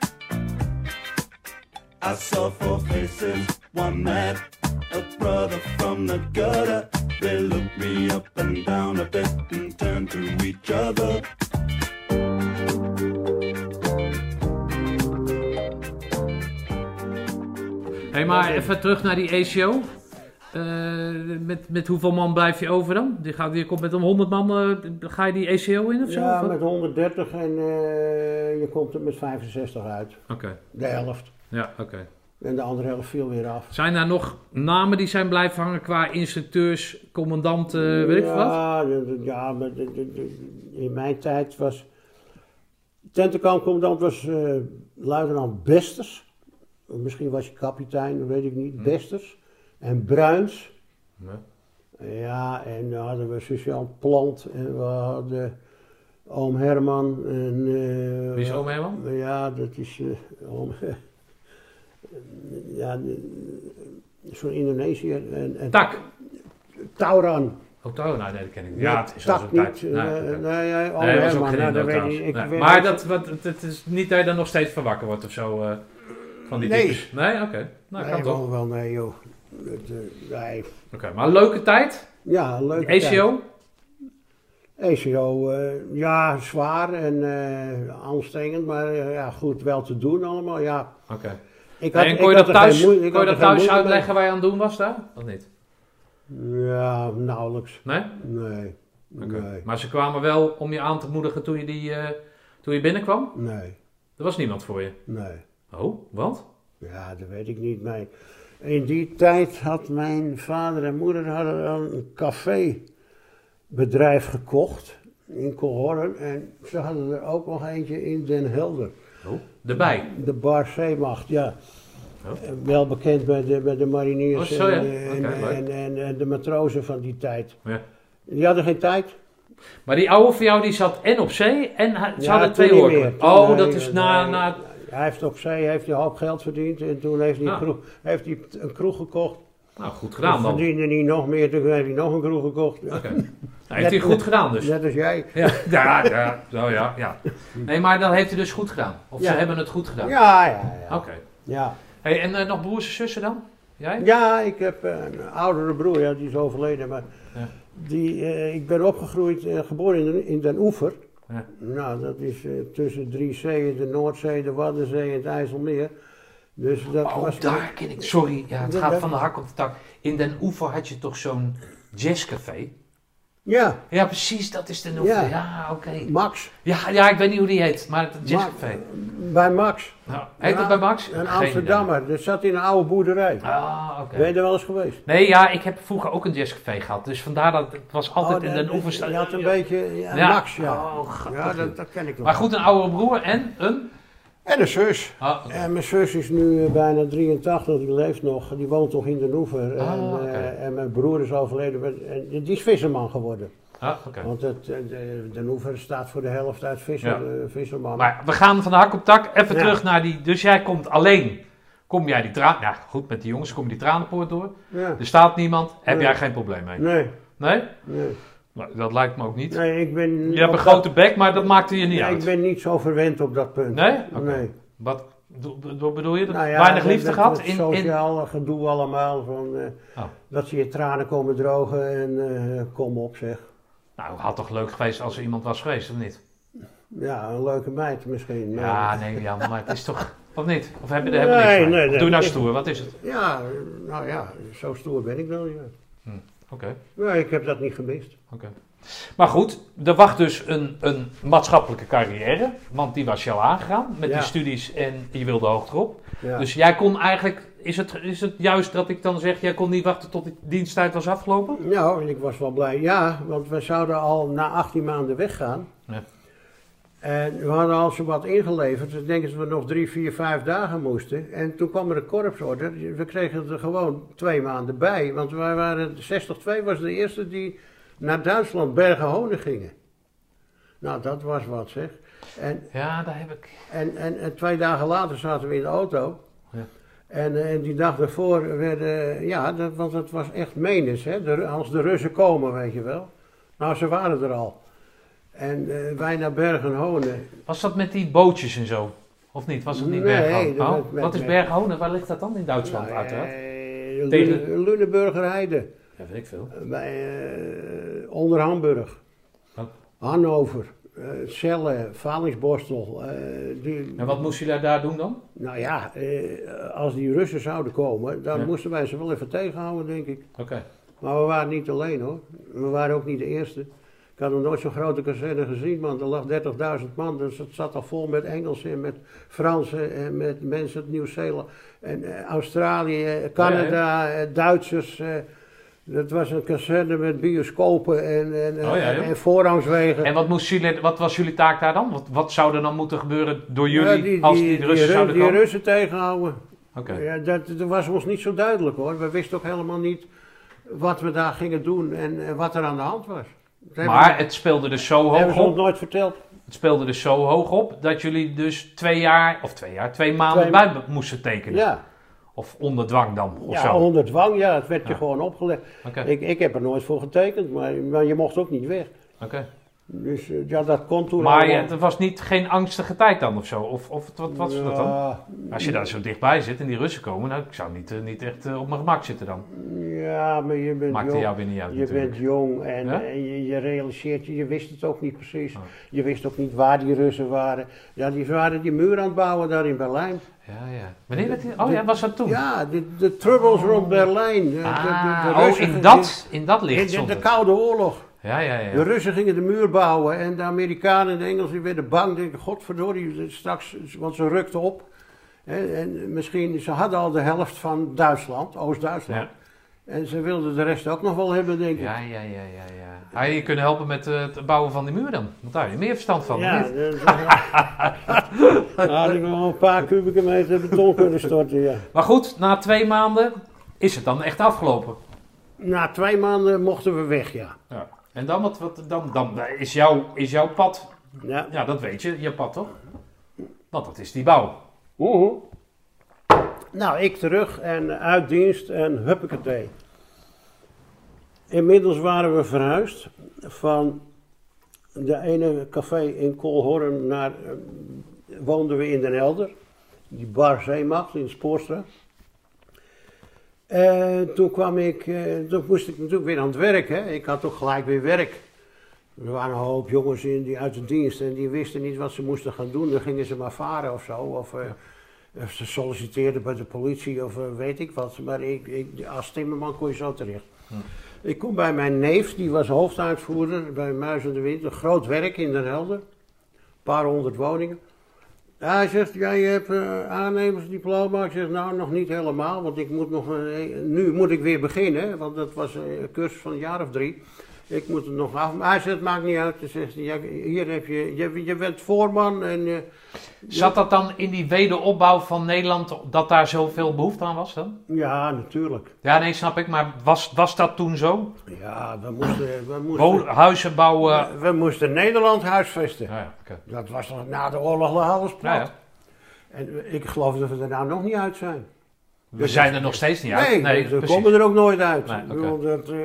I saw four faces, one mad, a brother from the gutter. They looked me up and down a bit and turned to each other.
hey, maar even terug naar die ACO. Eh, met, met hoeveel man blijf je over dan? Die, gaat, die komt met een 100 man, eh, ga je die ACO in of zo?
Ja,
Of wat?
met 130 en eh, je komt er met 65 uit.
Oké,
De helft.
ja, oké.
En de andere helft viel weer af.
Zijn daar nog namen die zijn blijven hangen qua instructeurs, commandanten, Eh, weet ik veel wat?
ja, d- d- ja, maar d- d- d- in mijn tijd was. Tentenkampcommandant was eh, luitenant Besters. Misschien was hij kapitein, dat weet ik niet.
Hm.
Besters. En Bruins.
Ja.
Ja, en dan hadden we Sociaal Plant. En we hadden oom Herman. En, eh,
Wie is oom Herman?
Ja, dat is eh, oom. ja, eh, zo'n Indonesiër. En, en
Tak!
Tauran.
Oh, Tauw, nou, nee, dat ken ik niet. Ja, het is al
dat
zo'n
niet.
tijd.
Nee,
Nee,
nee,
oké.
nee, oh,
Nee, dat was ook
Herman,
geen
nou,
Indo
dat weet
trouwens.
ik- ik
Nee.
weet
Maar
niet.
dat, wat, het, het is niet dat je dan nog steeds van wakker wordt of zo. eh, van die
Nee.
types. Nee, oké. Nou,
Nee,
kan toch.
wel, wel, nee, joh. Het, eh, nee.
Oké, maar leuke tijd.
Ja, leuk.
ACO.
ECO, eh, ja, zwaar en eh aanstrengend, maar eh, ja, goed, wel te doen allemaal, ja.
Oké.
Ik
En
ik
kon je dat
er geen
thuis,
moe- ik
kon
had
je
er
dat
geen
thuis
moeite mee.
uitleggen waar je aan het doen was daar? Of niet?
Ja, nauwelijks.
Nee?
Nee,
Oké.
nee,
Maar ze kwamen wel om je aan te moedigen toen je, die, eh, toen je binnenkwam?
nee,
Er was niemand voor je.
nee.
Oh, wat?
Ja, dat weet ik niet. Maar in die tijd had mijn vader en moeder hadden al een cafébedrijf gekocht. in Colhorn. En ze hadden er ook nog eentje in Den Helder.
Oh, erbij.
De Bar Zeemacht, ja.
Oh.
Eh, Wel bekend bij de, bij de mariniers
Oh, zo, ja.
en, eh, en,
Oké, leuk.
en, en- en de matrozen van die tijd.
Ja.
Die hadden geen tijd.
Maar die oude van jou die zat en op zee en hij- ze
Ja,
hadden
toen
twee
niet
horen.
meer. Toen, eh,
Oh,
nee,
dat is na,
nee.
na...
Hij heeft op zee heeft hij een hoop geld verdiend en toen heeft hij, een
Ah.
kroeg, heeft hij een kroeg gekocht.
Nou, goed gedaan
Toen
dan.
verdiende hij nog meer, toen heeft hij nog een kroeg gekocht.
Oké. Nou, heeft hij goed gedaan dus.
Net als jij.
Ja, ja, ja, nou ja, ja. Nee, maar dan heeft hij dus goed gedaan. Of
Ja.
ze hebben het goed gedaan.
Ja, ja, ja.
Oké.
Ja,
Hey, en eh, nog broers en zussen dan? Jij?
ja ik heb eh, een oudere broer, ja, die is overleden. Maar
Ja.
die, eh, ik ben opgegroeid, eh, geboren in, Den- in Den Oever.
Ja.
Nou, dat is eh, tussen drie zeeën, de Noordzee, de Waddenzee en het IJsselmeer. Dus dat was...
Oh, daar ken ik. Sorry, ja, het
Ja,
gaat
daar-
van de hak op de tak. In Den Oever had je toch zo'n jazzcafé?
Ja,
Ja, precies, dat is Den Oever. Ja,
Ja.
oké.
Max.
Ja, ja, ik weet niet hoe die heet, maar het
Ma-
jazzcafé.
bij Max.
Nou, heet
Ja,
dat bij Max?
Een
Geen
Amsterdammer. Dat zat in een oude boerderij.
idee. Ah, oké.
Ben je er wel eens geweest?
Nee, ja, ik heb vroeger ook een jazzcafé gehad. Dus vandaar dat het was altijd
Oh,
in
dat-
Den Oever.
Je had een beetje... Ja,
Ja.
Max, ja.
Oh, grappig,
ja,
joh.
dat, dat ken ik nog.
Maar goed, een oudere broer en een...
En een zus.
Ah,
En Eh, mijn zus is nu eh, bijna 83, die leeft nog. Die woont nog in de Noever.
Ah,
en, eh,
oké.
en mijn broer is overleden. met- En die is visserman geworden.
ah, oké.
Want het, eh, de, de Noever staat voor de helft uit visser, eh, visserman.
Maar we gaan van de hak op tak even
Ja.
terug naar die... Dus jij komt alleen. Kom jij die traan... Ja, goed, met die jongens kom je die tranenpoort door.
Ja.
Er staat niemand. Heb
Nee.
jij geen probleem mee?
Nee,
Nee?
nee,
Nou, Dat lijkt me ook niet.
nee, ik ben...
Je hebt een
op
grote bek, maar dat maakte je
dat-
niet
nee,
uit.
ik ben niet zo verwend op dat punt.
Nee? Oké.
Nee.
Wat do- do- wat bedoel je? Dat
Nou ja,
Weinig
dat-
liefde
dat-
gehad?
dat
In, in...
Sociaal gedoe allemaal. Van, eh,
Oh.
Dat ze je tranen komen drogen en eh, kom op zeg.
Nou, had toch leuk geweest als er iemand was geweest, of niet?
Ja, een leuke meid misschien. maar-
Ja, nee, ja, maar het is toch... Of niet? Of hebben we er
Nee,
helemaal niks mee?
nee,
Of
nee.
Doe nou stoer, wat is het?
Ja, nou ja, zo stoer ben ik wel, ja.
Oké,
Nou, ik heb dat niet gemist.
oké. Maar goed, er wacht dus een, een maatschappelijke carrière. Want die was jou aangegaan met
Ja.
die studies en je wilde hoog erop.
Ja.
Dus jij kon eigenlijk... Is het, is het juist dat ik dan zeg, jij kon niet wachten tot die diensttijd was afgelopen?
Nou, en ik was wel blij. Ja, want we zouden al na 18 maanden weggaan.
Ja.
En we hadden al zo wat ingeleverd. Dus denken ze dat we nog drie, vier, vijf dagen moesten. En toen kwam er een korpsorder. We kregen er gewoon twee maanden bij. Want wij waren, 62 was de eerste die naar Duitsland bergen honen gingen. Nou, dat was wat zeg. En
Ja, daar heb ik...
En, en, en twee dagen later zaten we in de auto.
Ja.
En, eh, en die dag daarvoor werden, eh, ja, dat, want het was echt menens, hè? De, Ru- als de Russen komen, weet je wel. Nou, ze waren er al. En eh, wij naar Bergen-Honen.
Was dat met die bootjes en zo? Of niet? Was het niet
Nee,
Berghonen?
dat
Oh,
werd- werd-
wat is
werd-
Berghonen? Waar ligt dat dan in Duitsland,
Nou,
uiteraard?
eh,
Tegen-
Lune- Luneburger Heide,
Ja, weet ik veel.
bij, eh, onder Hamburg.
Oh.
Hannover, eh, Celle, Valingsborstel. eh, die,
En wat moest jullie daar doen dan?
Nou ja, eh, als die Russen zouden komen, dan
Ja.
moesten wij ze wel even tegenhouden, denk ik.
Oké.
Maar we waren niet alleen hoor. We waren ook niet de eerste. Ik had nog nooit zo'n grote kazerne gezien, man. Er lag 30.000 man. Dus het zat al vol met Engelsen en met Fransen en met mensen uit Nieuw-Zeeland. En eh, Australië, eh, Canada, eh, Duitsers. eh. dat was een kazerne met bioscopen en, en,
Oh, ja,
en,
joh.
en voorrangswegen.
En wat, moest jullie, wat was jullie taak daar dan? Wat, wat zou er dan moeten gebeuren door jullie
Ja,
als die, Russen
Ru-
zouden
die
komen?
Russen tegenhouden.
Oké.
Ja, dat, dat was ons niet zo duidelijk hoor. We wisten ook helemaal niet wat we daar gingen doen en, eh, wat er aan de hand was. Dat hebben
Maar het speelde dus zo
we- hebben
hoog
ze ons
op.
nooit verteld.
Het speelde dus zo hoog op dat jullie dus twee jaar, of twee jaar, twee maanden
Twee
bij moesten tekenen.
Ja,
Of onder dwang dan, of
ja
zo.
onder dwang, ja, het werd
Ja.
je gewoon opgelegd.
Oké,
Ik, ik heb er nooit voor getekend, maar, maar je mocht ook niet weg.
oké.
Dus eh, ja, dat kon toen
Maar je-
allemaal.
het was niet, geen angstige tijd dan of zo? Of, of wat was dat dan?
Ja,
Als je daar zo dichtbij zit en die Russen komen, nou, ik zou niet, eh, niet echt eh, op mijn gemak zitten dan.
Ja, maar je bent
Maakte
jong.
jou weer niet uit
Je
natuurlijk.
bent jong en,
Ja?
en je, je realiseert je, je wist het ook niet precies.
Oh.
Je wist ook niet waar die Russen waren. Ja, die waren die muur aan het bouwen daar in Berlijn.
Ja, ja. Wanneer werd die? Oh ja, was dat toen?
Ja, de, de troubles rond Berlijn. eh, De, de- de- de
Ah, oh,
Russen
in
gingen-
dat, in dat
in
licht
de,
stond
de
het.
Koude Oorlog.
Ja, ja, ja.
De Russen gingen de muur bouwen en de Amerikanen en de Engelsen die werden bang. Denken, godverdorie, straks, want ze rukten op. Hè, En misschien, ze hadden al de helft van Duitsland, Oost-Duitsland.
Ja.
En ze wilden de rest ook nog wel hebben, denk ik.
Ja, ja, ja, ja. ja. Hij je kunt helpen met eh, het bouwen van die muur dan. Want daar heb je meer verstand van.
Ja,
of niet?
dat- dat- daar had ik nog wel een paar kubieke meter beton kunnen storten, ja.
Maar goed, na twee maanden is het dan echt afgelopen.
Na twee maanden mochten we weg, ja.
Ja. En dan, wat, wat, dan, dan is, jouw, is jouw pad,
Ja.
ja dat weet je, je pad toch? Want dat is die bouw.
Mhm. Nou, ik terug en uit dienst en huppakee. Inmiddels waren we verhuisd van de ene café in Kolhorn naar, eh, woonden we in Den Helder. Die bar Zeemacht in Spoorstra. En toen kwam ik, eh, toen moest ik natuurlijk weer aan het werk. Hè. Ik had toch gelijk weer werk. Er waren een hoop jongens in die uit de dienst en die wisten niet wat ze moesten gaan doen. Dan gingen ze maar varen of zo. Of, eh, of ze solliciteerden bij de politie of eh, weet ik wat. Maar ik, ik, als timmerman kon je zo terecht. Ik kom bij mijn neef, die was hoofduitvoerder bij Muis en de Wind. Een groot werk in Den Helder. Een paar honderd woningen. Ja, hij zegt, jij hebt eh aannemersdiploma. Ik zeg, nou nog niet helemaal, want ik moet nog, eh, nu moet ik weer beginnen. hè, Want dat was eh, een cursus van een jaar of drie. Ik moet het nog af. Maar hij zegt, maakt niet uit. Hij zegt, ja, hier heb je, je, je bent voorman en... eh,
Zat dat dan in die wederopbouw van Nederland, dat daar zoveel behoefte aan was dan?
ja, natuurlijk.
Ja, nee, snap ik, maar was, was dat toen zo?
Ja, we moesten, we moesten,
Woon, huizen bouwen.
we- we moesten Nederland huisvesten.
Ja, ja, oké.
Dat was nog na de oorlog lag alles plat.
Ja, ja.
En ik geloof dat we er nou nog niet uit zijn.
We zijn er nog steeds niet uit.
Dus nee,
nee,
we
precies.
komen er ook nooit uit.
Nee,
Ik
oké.
bedoel, dat, eh,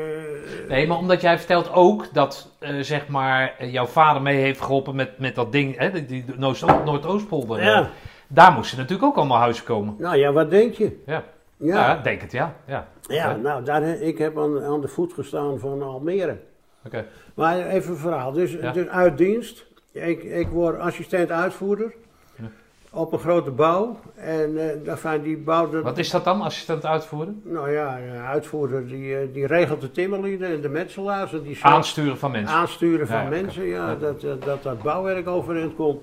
Nee, maar omdat jij vertelt ook dat eh, zeg maar, eh, jouw vader mee heeft geholpen met, met dat ding, hè, die, die Noord- Noordoostpolder.
Ja.
eh, Daar moesten natuurlijk ook allemaal huizen komen.
Nou ja, wat denk je?
Ja, ja.
Ja,
denk het, ja. ja.
ja, nou, daar, ik heb aan, aan de voet gestaan van Almere.
Oké.
Maar even een verhaal. Dus,
Ja.
dus uit dienst. Ik, ik word assistent uitvoerder. Op een grote bouw. En eh enfin, die bouw... dat-
Wat is dat dan, assistent uitvoeren?
Nou ja, een uitvoerder die, eh, die regelt de timmerlieden en de metselaars. En die zorgt-
Aansturen van mensen.
aansturen van
Ja, ja, oké.
mensen. Ja, dat, dat, dat dat bouwwerk overeind komt.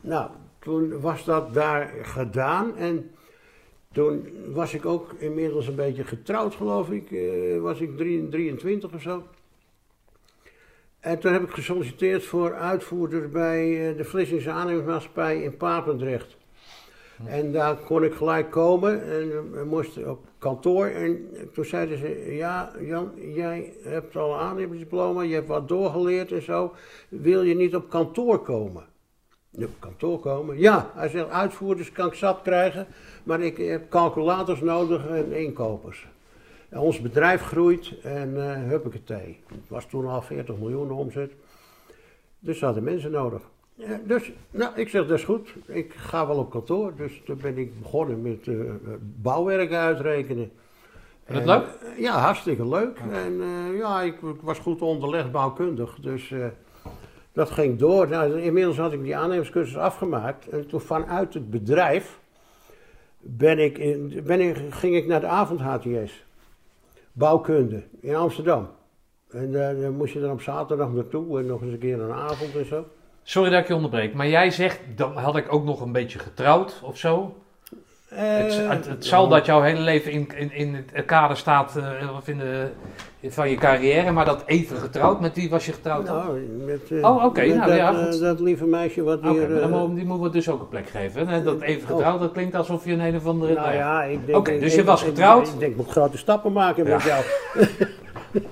Nou, toen was dat daar gedaan. En toen was ik ook inmiddels een beetje getrouwd, geloof ik. Eh, was ik drie- 23 of zo. En toen heb ik gesolliciteerd voor uitvoerder bij eh, de Vlissingse aannemersmaatschappij in Papendrecht. En daar kon ik gelijk komen en eh, moest op kantoor. En toen zeiden ze, ja Jan, jij hebt al een aannemersdiploma, je hebt wat doorgeleerd en zo. Wil je niet op kantoor komen? Ja, Op kantoor komen? Ja, hij zegt uitvoerders kan ik zat krijgen, maar ik heb calculators nodig en inkopers. En ons bedrijf groeit en eh huppakee. Het was toen al 40 miljoen omzet. Dus ze hadden mensen nodig. Ja, dus, nou, ik zeg, dat is goed. Ik ga wel op kantoor. Dus toen ben ik begonnen met eh bouwwerken uitrekenen.
Vond je
En,
dat leuk?
eh, Ja, hartstikke leuk. En eh, ja, ik, ik was goed onderlegd bouwkundig. Dus eh, dat ging door. Nou, inmiddels had ik die aannemerscursus afgemaakt. En toen vanuit het bedrijf ben ik in, ben ik, ging ik naar de avond-HTS. Bouwkunde in Amsterdam. En eh, dan moest je er op zaterdag naartoe en nog eens een keer een avond en zo.
Sorry dat ik je onderbreek, maar jij zegt, dan had ik ook nog een beetje getrouwd of zo. het,
Eh,
het, het zal dat jouw hele leven in, in, in het kader staat eh, of in de, van je carrière, maar dat even getrouwd, met wie was je getrouwd dan?
Nou, met, eh,
Oh, oké,
met
nou
dat,
ja,
eh,
goed.
dat lieve meisje wat
Oké,
hier...
maar dan
eh,
mogen- die moeten we dus ook een plek geven. Hè? Dat even
Oh.
getrouwd, dat klinkt alsof je een een of andere...
nou ja, ik denk...
Oké,
ik-
dus je
ik-
was
ik-
getrouwd?
Ik, denk, ik moet grote stappen maken met jou.
we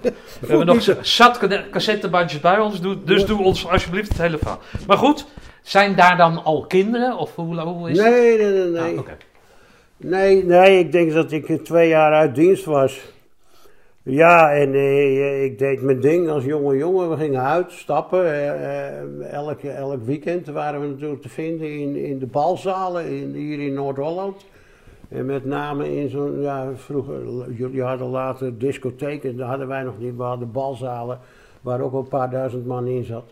hebben nog zat cade- cassettebandjes bij ons, doe- dus doe ons alsjeblieft het hele verhaal. Maar goed, zijn daar dan al kinderen? Of hoe, hoe is het?
Nee, nee, nee, nee.
Ah, oké.
Nee, nee, ik denk dat ik twee jaar uit dienst was. Ja, en eh, ik deed mijn ding als jonge jongen. We gingen uit, stappen. eh, eh, elk, elk weekend waren we natuurlijk te vinden in, in de balzalen in, hier in Noord-Holland. En met name in zo'n, ja, vroeger, jullie hadden later discotheken, dat hadden wij nog niet. We hadden balzalen waar ook wel een paar duizend man in zat.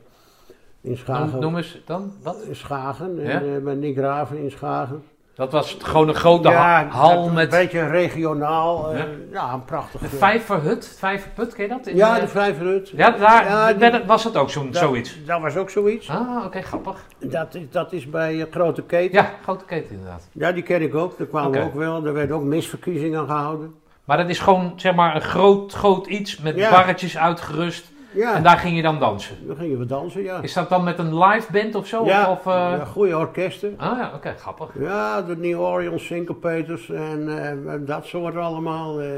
In
Noem,
Schagen.
noem eens dan, wat?
Schagen, en,
Ja?
eh, bij Nick Raven in Schagen
Dat was gewoon een grote ha- hal
dat-
met
Een beetje regionaal. eh,
Ja.
Ja, een prachtig.
de vijverhut, vijverput, ken je dat? In,
Ja,
eh,
de Vijverhut.
ja, daar
Ja, die-
werd- was het ook zo'n
Dat-
zoiets.
Dat was ook zoiets.
Ah, oké, grappig.
Dat, is- dat is bij eh, Grote Keten.
Ja, grote keten inderdaad.
Ja, die ken ik ook. Daar kwamen
Oké.
we ook wel. Er werden ook misverkiezingen gehouden.
Maar dat is gewoon zeg maar een groot, groot iets met
Ja.
barretjes uitgerust.
Ja,
En daar ging je dan dansen.
dan gingen we dansen, ja.
Is dat dan met een live band of zo?
Ah. ja,
Of, of, eh,
ja, goede orkesten.
Ah ja, oké, grappig.
Ja, de New Orleans Syncopators en eh, en dat soort allemaal. eh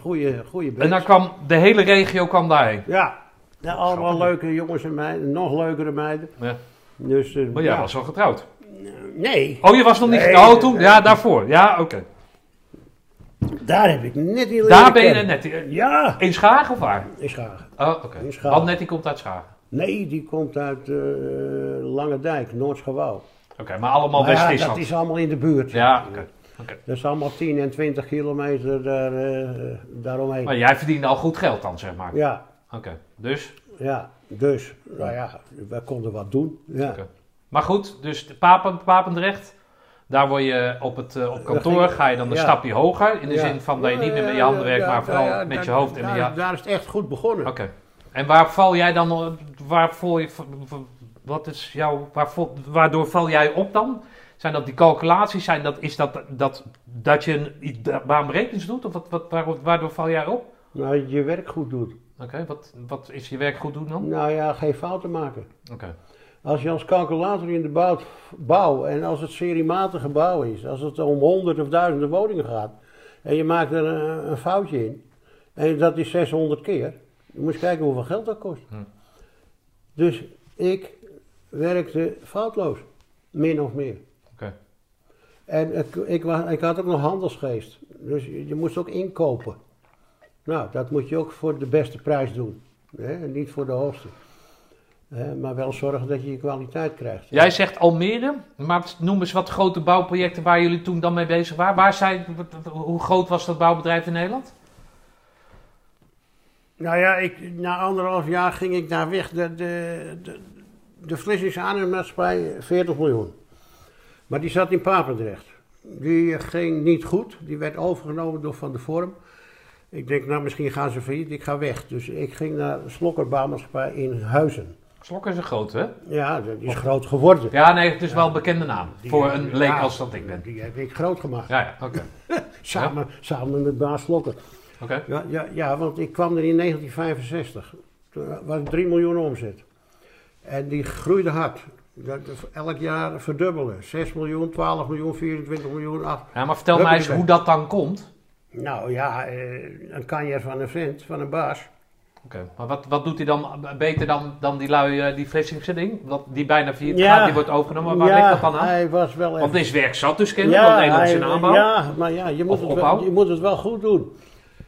goede, goede bands.
En dan kwam de hele regio kwam daarheen.
Ja, ja, allemaal
Grappig.
leuke jongens en meiden, nog leukere meiden.
Ja.
Dus, eh,
Maar jij
ja.
was al getrouwd.
Nee,
Oh, je was nog niet
Nee,
getrouwd toen?
nee.
Ja, daarvoor. Ja, oké.
daar heb ik net niet leren
Daar ben je
kennen.
net. eh,
Ja,
In Schagen of waar?
in Schagen.
Oh, oké.
In Schagen.
Want net die komt uit Schagen.
Nee, die komt uit eh Lange Dijk, Noordsgewouw.
Oké, maar allemaal
Maar Nou ja, dat
West-Friesland.
is allemaal in de buurt.
Ja, oké.
Dat is allemaal 10 en 20 kilometer daar, eh, daaromheen.
Maar jij verdiende al goed geld dan, zeg maar.
Ja,
Oké, dus.
ja, dus, nou ja, we konden wat doen. Ja.
Oké. Maar goed, dus de Papen, Papendrecht. Daar word je op, het, eh, op kantoor,
ging-
ga je dan een
ja.
stapje hoger. In de
Ja.
zin van dat je
Ja,
niet meer
ja,
met je
ja,
handen werkt,
ja,
maar
ja,
vooral
ja,
met
daar-
je hoofd en met
daar,
je
daar is het echt goed begonnen.
Oké. En waar val jij dan, waar val je, wat is jouw, waar val- waardoor val jij op dan? Zijn dat die calculaties? Zijn dat, is dat, dat, dat je een iets da- baanbrekends doet? Of wat, wat, waar- waardoor val jij op?
Nou, dat je werk goed doet.
Oké, wat, wat is je werk goed doen dan?
Nou ja, geen fouten maken.
Oké.
Als je als calculator in de bouw, bouw en als het seriematige bouw is, als het om honderd of duizenden woningen gaat, en je maakt er een, een foutje in, en dat is 600 keer, je moet eens kijken hoeveel geld dat kost. Dus ik werkte foutloos, min of meer.
Oké.
En ik, ik, wa- ik had ook nog handelsgeest, dus je, je moest ook inkopen. Nou, dat moet je ook voor de beste prijs doen, hè? en niet voor de hoogste. Hè, maar wel zorgen dat je je kwaliteit krijgt.
Jij zegt Almere, maar noem eens wat grote bouwprojecten waar jullie toen dan mee bezig waren. Waar zijn, hoe groot was dat bouwbedrijf in Nederland?
Nou ja, ik, na anderhalf jaar ging ik daar weg. De, de, de, de Vlissingse aannemaatschappij 40 miljoen. Maar die zat in Papendrecht. Die eh, ging niet goed. Die werd overgenomen door Van de Vorm. Ik denk, nou misschien gaan ze failliet. Ik ga weg. Dus ik ging naar Slokkerbouwmaatschappij in Huizen.
Slokker is een groot, hè?
Ja, dat is groot geworden.
Ja, nee, het is wel een bekende naam.
Die-
voor een leek
ja,
als dat ik ben.
Die heb ik groot gemaakt.
Ja, ja, oké.
Samen, samen met baas Slokker.
Oké.
Ja, ja, ja, want ik kwam er in 1965. Toen was het 3 miljoen omzet. En die groeide hard. Dat, elk jaar verdubbelen. 6 miljoen, 12 miljoen, 24 miljoen, 8.
Ja, maar vertel
Daar
mij
ben
eens
ik
hoe dat dan komt.
Nou ja, eh, een kanjer van een vent, van een baas.
Oké, maar wat, wat doet hij dan beter dan, dan die lui, eh, die Flessingse ding? Dat, die bijna vier
Ja.
gaat, die wordt overgenomen. Waar ligt dat dan aan?
hij was wel
Want
even-
deze werk zat dus kennelijk, want Nederlandse
hij-
aanbouw.
Ja, maar ja, je moet,
Of
het wel,
opbouw.
je moet het wel goed doen.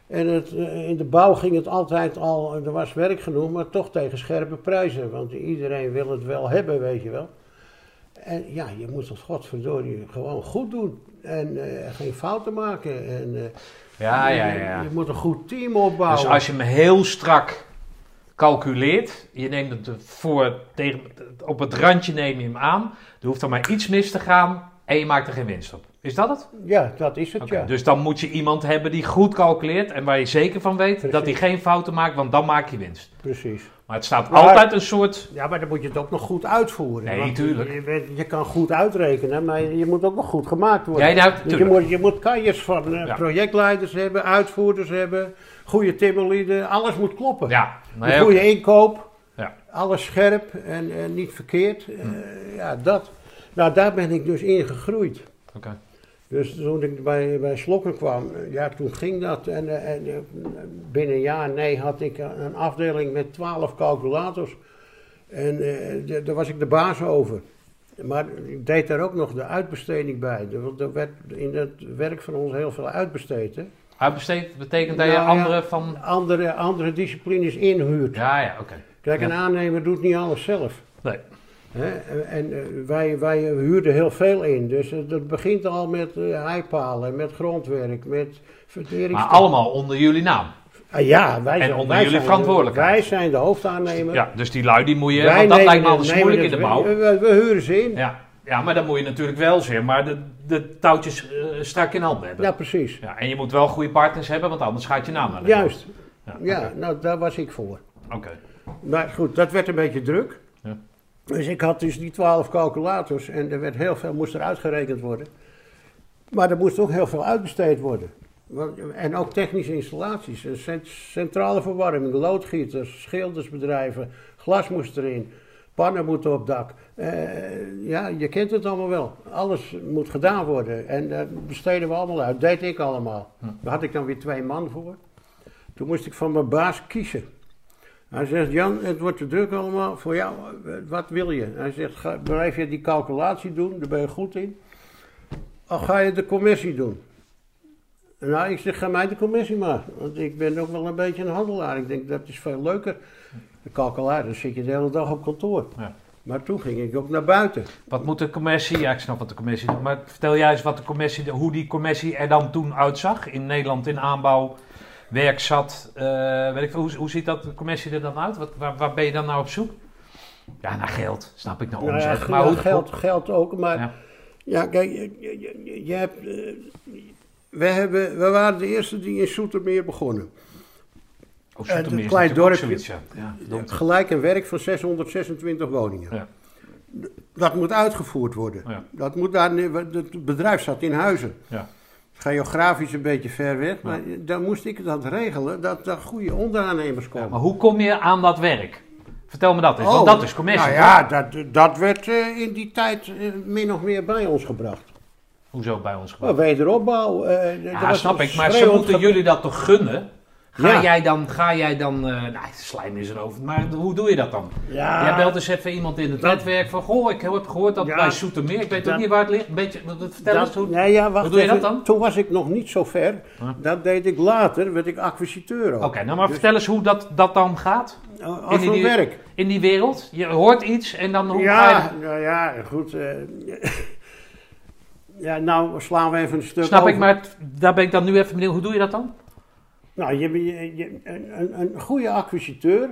En het, eh, in de bouw ging het altijd al, er was werk genoeg, maar toch tegen scherpe prijzen. Want iedereen wil het wel hebben, weet je wel. En ja, je moet het godverdorie gewoon goed doen. En eh, geen fouten maken. En, eh,
Ja, ja,
je-
ja.
Je, moet een goed team opbouwen.
Dus als je hem heel strak calculeert, je neemt het voor, tegen, op het randje neem je hem aan. Er hoeft dan maar iets mis te gaan en je maakt er geen winst op. Is dat het?
Ja, dat is het,
Oké,
ja.
Dus dan moet je iemand hebben die goed calculeert en waar je zeker van weet dat hij
Precies.
geen fouten maakt, want dan maak je winst.
Precies.
Maar het staat
Maar-
altijd een soort
Ja, maar dan moet je het ook nog goed uitvoeren.
Nee,
Want
tuurlijk.
Je, weet- je kan goed uitrekenen, maar je moet ook nog goed gemaakt worden.
Ja, nou,
Dus je,
tuurlijk.
moet, je moet kanjers van eh,
Ja.
projectleiders hebben, uitvoerders hebben, goede timmerlieden. Alles moet kloppen.
Ja,
Een
nee,
goede inkoop,
Ja. Hm.
alles scherp en, en niet verkeerd. Eh, ja, dat. Nou, daar ben ik dus in gegroeid.
oké. Oké.
Dus toen ik bij, bij Slokker kwam, eh, ja, toen ging dat. En, eh, en eh, binnen een jaar, nee, had ik een een afdeling met twaalf calculators. En eh, d- daar was ik de baas over. Maar ik deed daar ook nog de uitbesteding bij. Er- Want er werd in het werk van ons heel veel uitbesteed. Hè?
Uitbesteed betekent dat je
Nou, ja.
andere van...
Andere, andere disciplines inhuurt.
Ja, ja, oké.
Kijk, een
Ja.
aannemer doet niet alles zelf.
Nee.
Hè? En, en, eh, wij, wij huurden heel veel in. Dus eh, dat begint al met eh, heipalen, met grondwerk, met vertering.
Maar allemaal onder jullie naam.
Ah, ja, wij
En
zijn,
onder
wij
jullie
zijn de-
verantwoordelijkheid.
wij zijn de hoofdaannemer.
Ja, dus die lui die moet je...
Wij
want dat
nemen
lijkt me
de-
alles
nemen
moeilijk in
het-
de bouw.
We, we- we huren ze in. Ja,
Ja. ja, maar dan moet je natuurlijk wel zeg maar de, de touwtjes eh, strak in handen hebben. Ja.
precies.
en je moet wel goede partners hebben, want anders gaat je naam naar de
Juist.
Ja,
Ja, nou daar was ik voor.
Oké.
Maar goed, dat werd een beetje druk.
Ja.
Dus ik had dus die twaalf calculators en er werd heel veel moest er uitgerekend worden. Maar er moest ook heel veel uitbesteed worden. Want- En ook technische installaties. eh, cent- Centrale verwarming, loodgieters, schildersbedrijven, glas moest erin, pannen moeten op dak. Eh, ja, je kent het allemaal wel. Alles moet gedaan worden. En dat besteden we allemaal uit. Deed ik allemaal. Daar had ik dan weer twee man voor. Toen moest ik van mijn baas kiezen. Hij zegt, Jan, het wordt te druk allemaal voor jou. eh, Wat wil je? Hij zegt, ga, blijf je die calculatie doen, daar ben je goed in. Of ga je de commissie doen? Nou, ik zeg, ga mij de commissie maar. Want ik ben ook wel een beetje een handelaar. Ik denk, dat is veel leuker. De calculaar, dan zit je de hele dag op kantoor.
Ja.
Maar toen ging ik ook naar buiten.
Wat moet de commissie, ja ik snap wat de commissie doet, maar vertel jij eens wat de commissie, hoe die commissie er dan toen uitzag in Nederland in aanbouw, werk zat, eh, weet ik veel, hoe, hoe ziet dat de commissie er dan uit? Wat, waar, waar ben je dan nou op zoek? Ja, naar geld, snap ik, naar
Nou ja,
omzet.
ja,
maar hoe,
geld, geld ook, maar...
Ja.
Ja, kijk, je, je- je- je hebt... eh, we, hebben, we waren de eerste die in Soetermeer begonnen.
hoe,
eh,
Soetermeer
een
is
klein
Oh, natuurlijk ook
dorpje.
zoiets, ja. Ja,
Gelijk een werk van 626 woningen.
Ja.
D- Dat moet uitgevoerd worden.
Ja.
Dat moet daar, het bedrijf zat in Huizen.
Ja.
Geografisch een beetje ver weg, maar dan moest ik dat regelen dat er goede onderaannemers komen.
Maar hoe kom je aan dat werk? Vertel me dat eens, want
Oh,
dat is commissie.
Nou ja, dat, dat werd eh, in die tijd eh, min of meer bij ons gebracht.
Hoezo bij ons
Maar
gewoon?
wederopbouw. eh, d- er
Ja,
was
snap
een
ik, maar ze
schreeuwend
moeten
ge-
jullie dat toch gunnen? Ga
Ja.
jij dan, ga jij dan, eh nou, slijm is erover, maar hoe doe je dat dan?
Ja,
Jij belt eens even iemand in het
Ah. Dat-
netwerk van, goh, ik heb gehoord dat
Ja.
bij Soetermeer, ik weet
Dat-
ook niet waar het ligt, een beetje, wat- wat- vertel eens
dat,
hoe...
nee, ja, wacht
Hoe doe je dat
even.
dan?
Toen was ik nog niet zo ver. Dat deed ik later, werd ik acquisiteur ook. Dus
Oké, nou maar vertel eens hoe dat, dat dan gaat
Als
in die-
een Oh, werk.
in die wereld. Je hoort iets en dan hoe ga
Ja,
je...
nou ja, goed. eh, ja, nou slaan we even een stuk
Snap
over.
ik, maar het- daar ben ik dan nu even benieuwd, hoe doe je dat dan?
Nou, je, je- je- een, een, een goede acquisiteur,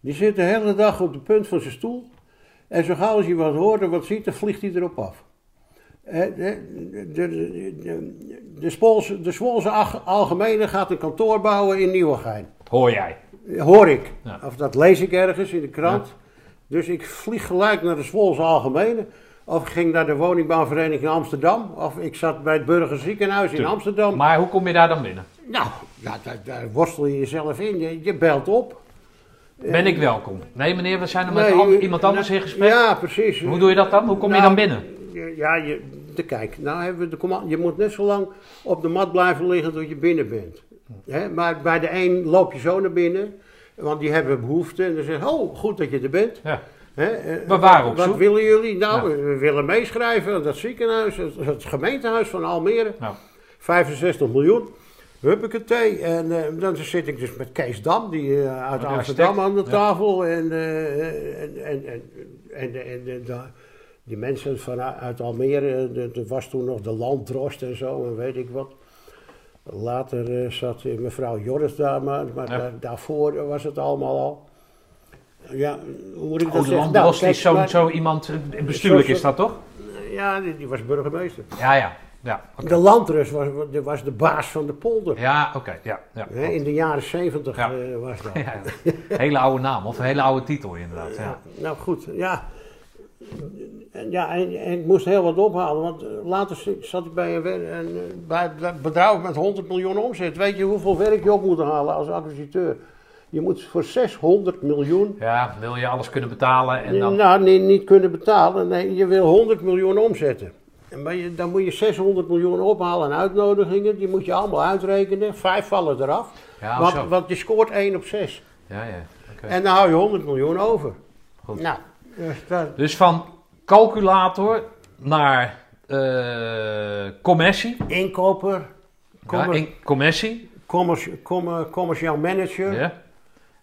die zit de hele dag op de punt van zijn stoel. En zo gauw als hij wat hoort en wat ziet, dan vliegt hij erop af. Eh, De, de, de, de, de Spoolse, de Zwolse Ag- Algemene gaat een kantoor bouwen in Nieuwegein.
Hoor jij.
Hoor ik.
Ja.
Of dat lees ik ergens in de krant. Dus ik vlieg gelijk naar de Zwolse Algemene. Of ik ging naar de woningbouwvereniging Amsterdam. Of ik zat bij het burgerziekenhuis in
Tuurlijk.
Amsterdam.
Maar hoe kom je daar dan binnen?
Nou, ja, daar, daar worstel je jezelf in. Je, je belt op.
Ben ik welkom? Nee meneer, we zijn er met
Eh, Nee,
al-
je-
iemand anders
nou,
in gesprek.
Ja, precies.
Hoe doe je dat dan? Hoe kom je
Nou,
dan binnen?
je- Ja, je, de, kijk, nou hebben we de command. Je moet net zo lang op de mat blijven liggen tot je binnen bent. Hè, maar bij de een loop je zo naar binnen, want die hebben behoefte. En dan zeggen ze, oh, goed dat je er bent.
Ja.
Hè, eh,
Maar waar op
Wat
zoek?
willen jullie? Nou,
Ja.
we willen meeschrijven aan dat ziekenhuis, het, het gemeentehuis van Almere.
Nou.
65 miljoen. Huppakee. En eh, dan zit ik dus met Kees Dam, die eh, uit
Ja,
Amsterdam
Oh, architect.
aan de
Ja.
tafel. En, eh, en, en, en, en, en, en de- die mensen van, eh, uit Almere, eh, er was toen nog de landdrost en zo, en weet ik wat. Later eh, zat eh, mevrouw Joris daar, maar, maar
Ja.
daar- daarvoor was het allemaal al. Ja, hoe moet ik dat
Oh,
zeggen?
de
Nou,
landdrost
kijk,
is zo,
maar-
zo iemand, eh, bestuurlijk
Zo-
is dat toch?
Ja, die, die was burgemeester.
Ja, ja. Ja, oké.
De landdrost was, was de baas van de polder.
ja, oké, ja, ja.
Hè, in de jaren zeventig eh,
Ja.
was dat.
Ja, ja. hele oude naam of een hele oude titel inderdaad. Ja.
Nou goed, ja. En, ja, en, en ik moest heel wat ophalen, want eh, later zi- zat ik bij een, wer- een, eh, bij het bedrijf met 100 miljoen omzet. Weet je hoeveel werk je op moet halen als acquisiteur? Je moet voor 600 miljoen,
ja, wil je alles kunnen betalen en dan...
nou nee, niet kunnen betalen, nee, je wil 100 miljoen omzetten. En maar je, dan moet je 600 miljoen ophalen aan uitnodigingen, die moet je allemaal uitrekenen. Vijf vallen eraf,
Ja,
want,
zo.
want je scoort 1 op 6.
Ja, ja. oké.
En dan hou je 100 miljoen over.
Goed.
Nou, dus dat,
Dus van calculator naar eh commissie.
inkoper,
Ja,
commer-
in- commissie.
commerci- commer- commercieel manager.
Ja.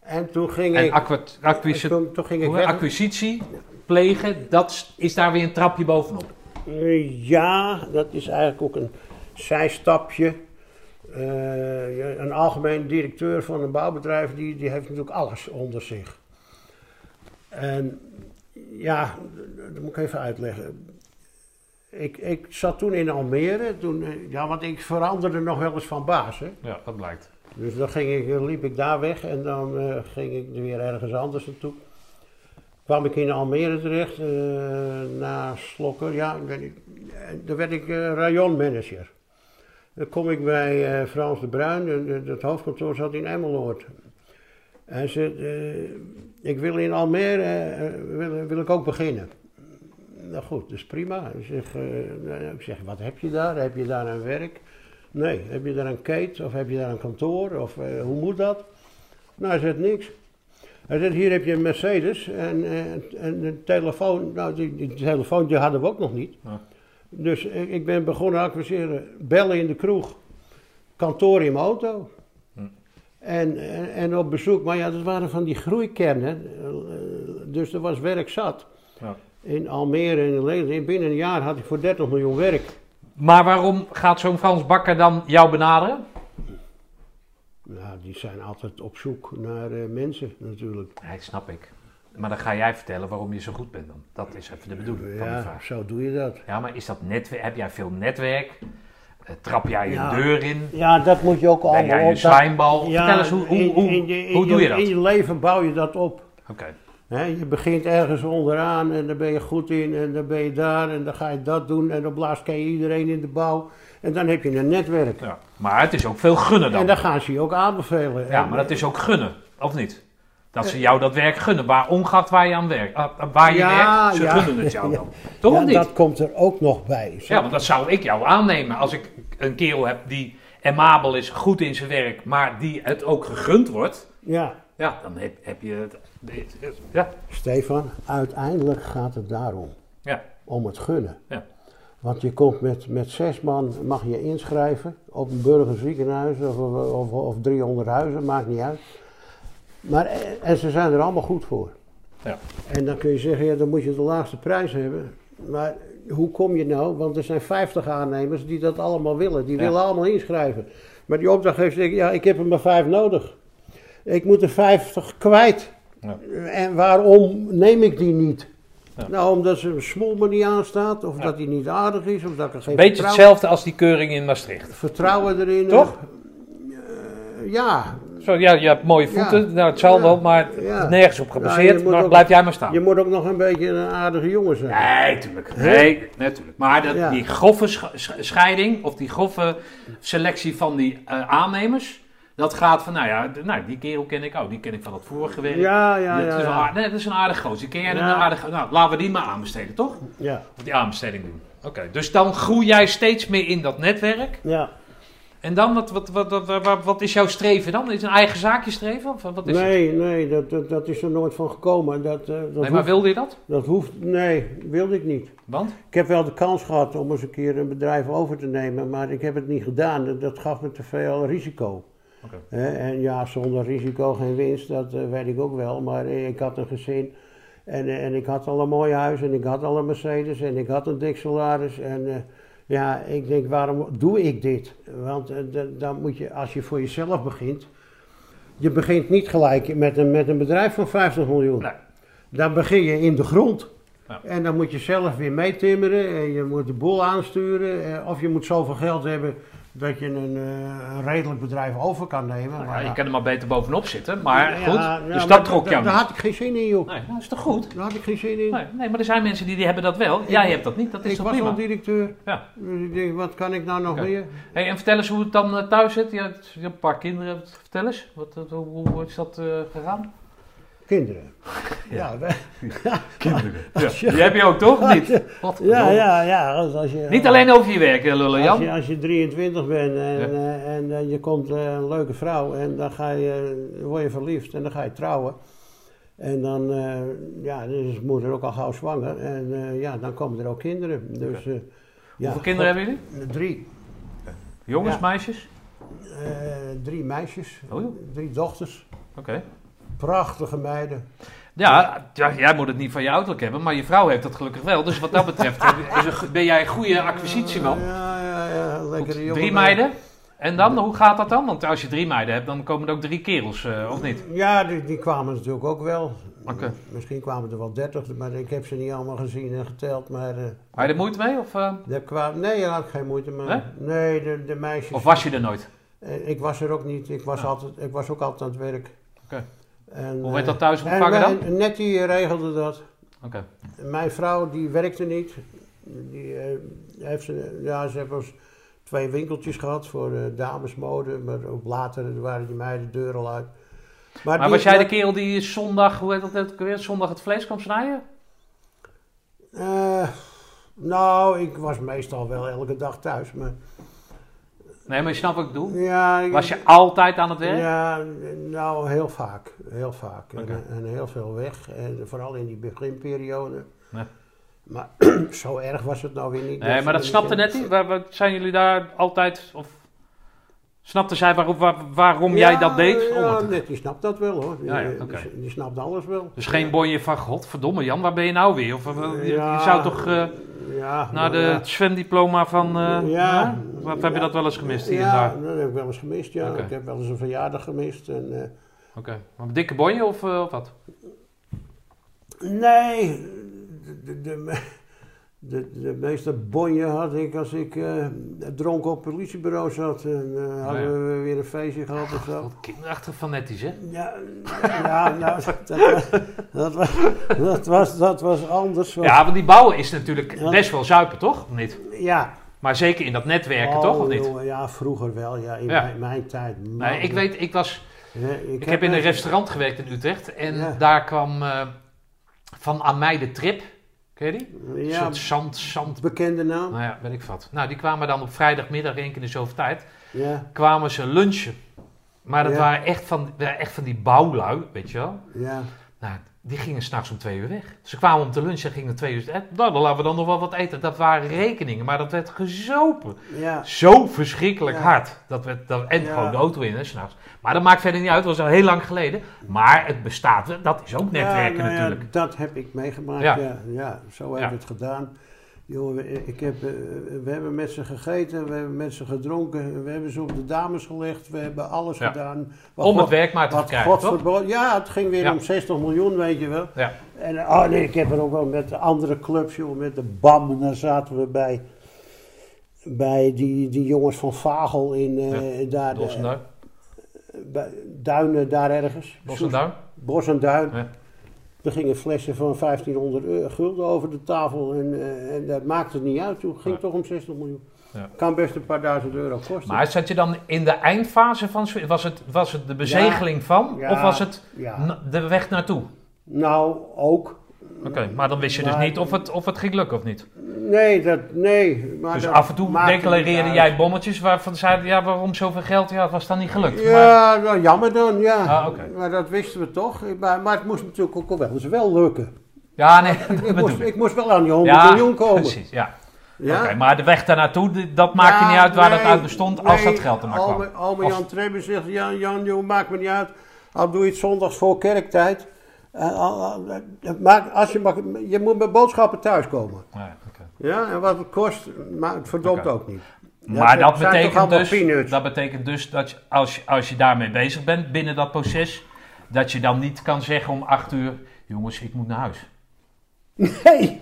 En toen ging
En
ik,
acqua- acquisi-
toen, toen ging ik
hoe-
weg.
acquisitie plegen, dat is- is daar weer een trapje bovenop.
Eh, Ja, dat is eigenlijk ook een zijstapje. Eh, ja, een algemeen directeur van een bouwbedrijf, die, die heeft natuurlijk alles onder zich. En ja, dat moet ik even uitleggen. Ik, ik zat toen in Almere, toen, eh, ja, want ik veranderde nog wel eens van baas. Hè.
Ja, dat blijkt.
Dus dan ging ik, liep ik daar weg en dan eh, ging ik weer ergens anders naartoe. Kwam ik in Almere terecht, eh na Slokker, ja, ik weet niet. En dan werd ik eh rayon manager. eh, Dan kom ik bij eh, Frans de Bruin, en, eh, dat hoofdkantoor zat in Emmeloord. Hij zegt, eh, ik wil in Almere, eh, wil, wil ik ook beginnen. Nou goed, dat is prima. Ik zeg, eh, nou, ik zeg, wat heb je daar? Heb je daar een werk? Nee, heb je daar een keet of heb je daar een kantoor? Of eh, hoe moet dat? Nou, hij zegt niks. Hij zegt, hier heb je een Mercedes en, eh, en een telefoon. Nou, die, die telefoon die hadden we ook nog niet.
Ja.
Dus ik, ik ben begonnen acquiseren. Bellen in de kroeg. Kantoor in mijn auto. En, en, en op bezoek. Maar ja, dat waren van die groeikernen. eh, Dus er was werk zat.
Ja.
In Almere en in Leeuwarden. Binnen een jaar had ik voor 30 miljoen werk.
Maar waarom gaat zo'n Frans Bakker dan jou benaderen?
Nou, die zijn altijd op zoek naar eh, mensen natuurlijk.
Nee, snap ik. Maar dan ga jij vertellen waarom je zo goed bent dan. Dat is even de bedoeling van die
Ja,
vraag.
zo doe je dat.
Ja, maar is dat netwerk? Heb jij veel netwerk? Eh, Trap jij
Ja.
een deur in?
Ja, dat moet je ook allemaal...
Ben jij een
op- dat-
schijnbal?
Ja,
Vertel eens, hoe, hoe,
in-
hoe,
in je- in
hoe doe je dat?
In je leven bouw je dat op.
Oké.
Hè, je begint ergens onderaan en daar ben je goed in en dan ben je daar en dan ga je dat doen en dan blaast ken je iedereen in de bouw. En dan heb je een netwerk.
Ja. Maar het is ook veel gunnen dan.
En dan gaan ze je ook aanbevelen.
Ja,
En-
maar dat is ook gunnen, of niet? Dat ze jou dat werk gunnen, waar ongeacht waar je aan werkt. ah, ah, Waar je
Ja,
werkt, ze
ja.
gunnen het jou
Ja.
dan. Toch
Ja,
of niet?
dat komt er ook nog bij. Zo.
Ja, want dat zou ik jou aannemen als ik een kerel heb die amabel is, goed in zijn werk, maar die het ook gegund wordt.
ja.
Ja, dan heb, heb je het. dit- dit- Ja,
Stefan, uiteindelijk gaat het daarom.
ja,
om het gunnen.
Ja.
Want je komt met, met zes man, mag je inschrijven op een burgerziekenhuis of, of, of 300 huizen, maakt niet uit. Maar, eh, en ze zijn er allemaal goed voor.
Ja.
En dan kun je zeggen, ja, dan moet je de laagste prijs hebben. Maar hoe kom je nou? Want er zijn 50 aannemers die dat allemaal willen. Die willen allemaal inschrijven. Maar die opdrachtgever zegt, ja, ik heb er maar vijf nodig. Ik moet er 50 kwijt.
Ja.
En waarom neem ik die niet? Nou, omdat ze een smoel me niet aanstaat, of dat die niet aardig is, of dat ik er geen
beetje
vertrouwen,
hetzelfde als die keuring in Maastricht.
vertrouwen erin heb.
Toch?
Eh, ja.
Zo, ja, je hebt mooie voeten,
Ja.
nou het zal
Ja.
wel, maar het
Ja.
is nergens op
Ja,
gebaseerd.
je moet
maar
ook-
blijf jij maar staan.
Je moet ook nog een beetje een aardige jongen zijn.
Nee, tuurlijk. Nee, natuurlijk. Maar dat,
Ja.
die grove sch- sch- scheiding of die grove selectie van die eh, aannemers, dat gaat van, nou ja, d- nou, die kerel ken ik ook. Die ken ik van het vorige werk.
Ja, ja,
Dat
ja.
is wel
ja.
aard- nee, dat is een aardig gozer. Die Ken jij
Ja.
een aardig Nou, laten we die maar aanbesteden, toch?
ja.
Of die aanbesteding doen. Oké, dus dan groei jij steeds meer in dat netwerk.
ja.
En dan, wat, wat, wat, wat, wat, wat is jouw streven dan? Is het een eigen zaakje streven? Of wat is het?
Nee, nee, dat, dat, dat is er nooit van gekomen. Dat, eh, dat,
Dus- Nee, maar
hoeft,
wilde je dat?
dat hoeft, nee, wilde ik niet.
Want?
Ik heb wel de kans gehad om eens een keer een bedrijf over te nemen, maar ik heb het niet gedaan. Dat- Dat gaf me te veel risico.
Oké.
Hè, en ja, zonder risico geen winst, dat eh, weet ik ook wel. Maar eh, ik had een gezin en, eh, en ik had al een mooi huis en ik had al een Mercedes en ik had een dik salaris. En eh, ja, ik denk, waarom doe ik dit? Want eh, dan- dan moet je, als je voor jezelf begint, je begint niet gelijk met een, met een bedrijf van 50 miljoen.
Nee.
Dan begin je in de grond.
Ja.
En dan moet je zelf weer meetimmeren en je moet de boel aansturen. eh, Of je moet zoveel geld hebben dat je een, eh, een redelijk bedrijf over kan nemen.
Nou,
Maar
ja, je
ja.
kan er maar beter bovenop zitten, maar
Ja,
goed.
ja,
dus
maar
dat trok
da-
jou
Daar
niet.
had ik geen zin in, joh.
Nee, dat is toch goed?
Daar had ik geen zin in.
Nee, nee, maar er zijn mensen die, die hebben dat wel. Jij
Ik-
hebt dat niet, dat is
ik
toch
was
prima?
al directeur.
Ja.
Dus ik denk, wat kan ik nou nog
Oké.
meer?
Hey, en vertel eens hoe het dan eh, thuis zit. Je hebt, je hebt een paar kinderen. Vertel eens, wat, wat- hoe, hoe is dat eh, gegaan?
Kinderen. Ja, ja,
Kinderen, Die heb je ook toch, of niet? Wat
ja,
verdomme.
ja, ja, als, als je,
Niet alleen over je werk, eh, lullen
als je,
Jan.
als je 23 bent en,
Ja.
eh, en eh, je komt eh, een leuke vrouw en dan ga je, eh, word je verliefd en dan ga je trouwen. En dan, eh, ja, dan is moeder ook al gauw zwanger. En eh, ja, dan komen er ook kinderen. Dus, eh, ja,
Hoeveel kinderen hebben jullie?
hebben Drie.
Jongens,
Ja.
meisjes?
Eh, drie meisjes,
Oh joh.
drie dochters,
Oké.
prachtige meiden.
Ja, ja, jij moet het niet van je uiterlijk hebben, maar je vrouw heeft dat gelukkig wel. Dus wat dat betreft heb je- is een- ben jij een goede acquisitie, man.
Ja, ja, ja,
Goed,
lekkere jongen.
drie meiden. En dan, hoe gaat dat dan? Want als je drie meiden hebt, dan komen er ook drie kerels, eh, of niet?
Ja, die, die kwamen natuurlijk ook wel.
Oké.
Misschien kwamen er wel dertig, maar ik heb ze niet allemaal gezien en geteld. Maar eh
Had je er moeite mee? Of, eh,
daar kwamen, nee, daar had ik geen moeite mee.
Nee?
Nee, de, de meisjes.
of was je er nooit?
Eh, ik was er ook niet, ik was, altijd, ik was ook altijd aan het werk.
Oké.
En,
Hoe werd
eh,
dat thuis
en
ontvangen
wij-
dan?
Net die eh, regelde dat.
Oké.
Mijn vrouw die werkte niet. Die eh, heeft ze, ja, ze heeft ons twee winkeltjes gehad voor eh, damesmode, maar ook later waren die meiden de deur al uit.
Maar
die-
was jij de kerel die zondag, hoe heet dat ook weer, zondag het vlees kwam snijden?
Eh, nou, ik was meestal wel elke dag thuis, maar...
Nee, maar je snapt wat ik bedoel.
Ja, ik-
Was je altijd aan het werk?
Ja, nou, heel vaak. Heel vaak. En- eh,
Oké.
En, heel veel weg. En vooral in die beginperiode.
Ja.
Maar zo erg was het nou weer niet.
Nee, maar dat snapte net niet. Waar, waar- zijn jullie daar altijd, of snapte zij waarom, waar- waarom jij dat deed? Om
Ja,
het-
net, die snapt dat wel hoor. Die,
Ja, ja,
eh,
oké.
die, die snapt alles wel.
Dus geen bonje van, godverdomme Jan, waar ben je nou weer? Of, eh, je- je,
Ja,
zou toch eh,
ja,
naar de,
ja.
het zwemdiploma van... eh,
Ja.
hè? Of heb je
Ja.
dat wel eens gemist hier en
Ja,
daar?
dat heb ik wel eens gemist. Ja.
Oké.
Ik heb wel eens een verjaardag gemist. En, eh,
Oké, maar een dikke bonje of, eh, of wat?
Nee, de, de, de, de, de meeste bonje had ik als ik eh, dronken op het politiebureau zat. En eh, hadden we weer een feestje gehad of zo.
Wat kinderachtig van netties, hè?
Ja, ja nou, dat, was- dat, was, dat, was, dat was anders. want-
Ja, want die bouwen is natuurlijk
Ja.
best wel zuipen, toch? Of niet?
ja.
Maar zeker in dat netwerken,
Oh,
toch? Of niet?
jongen, ja, vroeger wel. Ja, in
Ja.
Mijn, mijn tijd. man.
Nee, ik weet, ik was...
Ja, ik,
Ik heb in een
echt-
restaurant gewerkt in Utrecht. En
Ja.
daar kwam eh, van aan mij de trip. Ken je die? Een
Ja,
soort zand, zand...
bekende naam.
Nou ja, weet ik wat. Nou, die kwamen dan op vrijdagmiddag één keer in de zoveel tijd.
Ja,
kwamen ze lunchen. Maar dat
Ja.
waren echt van, waren echt van die bouwlui, weet je wel.
ja.
Nou, die gingen s'nachts om twee uur weg. Ze kwamen om te lunchen en gingen twee uur... eh, Nou, dan laten we dan nog wel wat eten. Dat waren rekeningen, maar dat werd gezopen.
ja.
Zo verschrikkelijk
Ja.
hard. Dat werd, dat, en
Ja.
gewoon de auto in, hè, s'nachts. Maar dat maakt verder niet uit, dat was al heel lang geleden. Maar het bestaat, wel. dat is ook netwerken
Ja, nou ja,
natuurlijk.
Dat heb ik meegemaakt,
Ja.
ja. ja, zo hebben
Ja.
we het gedaan. Jongen, we- ik heb, eh, we hebben met ze gegeten, we hebben met ze gedronken, we hebben ze op de dames gelegd, we hebben alles
Ja.
gedaan. Wat
Om het
God-
werk maar te
wat
verkrijgen,
God
toch?
verbood- Ja, het ging weer
Ja.
om 60 miljoen, weet je wel.
Ja.
En eh, oh nee, ik heb er ook wel met de andere clubs, joh, met de BAM, en daar zaten we bij, bij die, die jongens van Vagel in eh, daar, de-
Los en duim.
bij Duinen, daar ergens.
Los en duim.
Bos en Duin.
Ja.
Er gingen flessen van 1500 eu- gulden over de tafel en, eh, en dat maakte het niet uit. Toen ging
Ja.
toch om 60 miljoen.
Ja.
Kan best een paar duizend euro kosten.
Maar zat je dan in de eindfase van... zoiets? Was het, was het de bezegeling van?
Ja.
Of was het
ja.
na- de weg naartoe?
nou, ook.
Oké, maar dan wist je dus
Maar-
niet of het, of het ging lukken of niet.
Nee, dat, nee. Maar
dus
dat
af en toe
maakte
declareerde
niet
jij
uit.
bommetjes waarvan zeiden, ja, waarom zoveel geld? Ja, het was dan niet gelukt. Maar,
Ja, nou, jammer dan, ja.
Ah, oké.
Maar dat wisten we toch. Maar, maar het moest natuurlijk ook wel eens wel lukken.
ja nee, dat
Ik
bedoel
moest,
ik.
ik moest wel aan die 100
Ja,
miljoen komen.
precies, ja.
Ja?
Oké, maar de weg daarnaartoe, die- dat maakte
Ja,
niet uit waar dat
nee,
uit bestond, als
nee,
dat geld er maar
Alme-
kwam.
Alme
Of-
Jan Trebbe zegt, Jan, Jan, joh, maakt me niet uit. Al doe je het zondags voor kerktijd. Eh, al- al- eh, maak, als je, mag, je moet met boodschappen thuiskomen.
Nee, oké.
Ja, en wat het kost, maar het verdompt
Oké.
ook niet. Ja,
maar
het
dat
zijn toch
betekent,
allemaal
dus,
peanuts.
dat betekent dus dat je, als, je- als je daarmee bezig bent binnen dat proces, dat je dan niet kan zeggen om acht uur, jongens, ik moet naar huis.
Nee,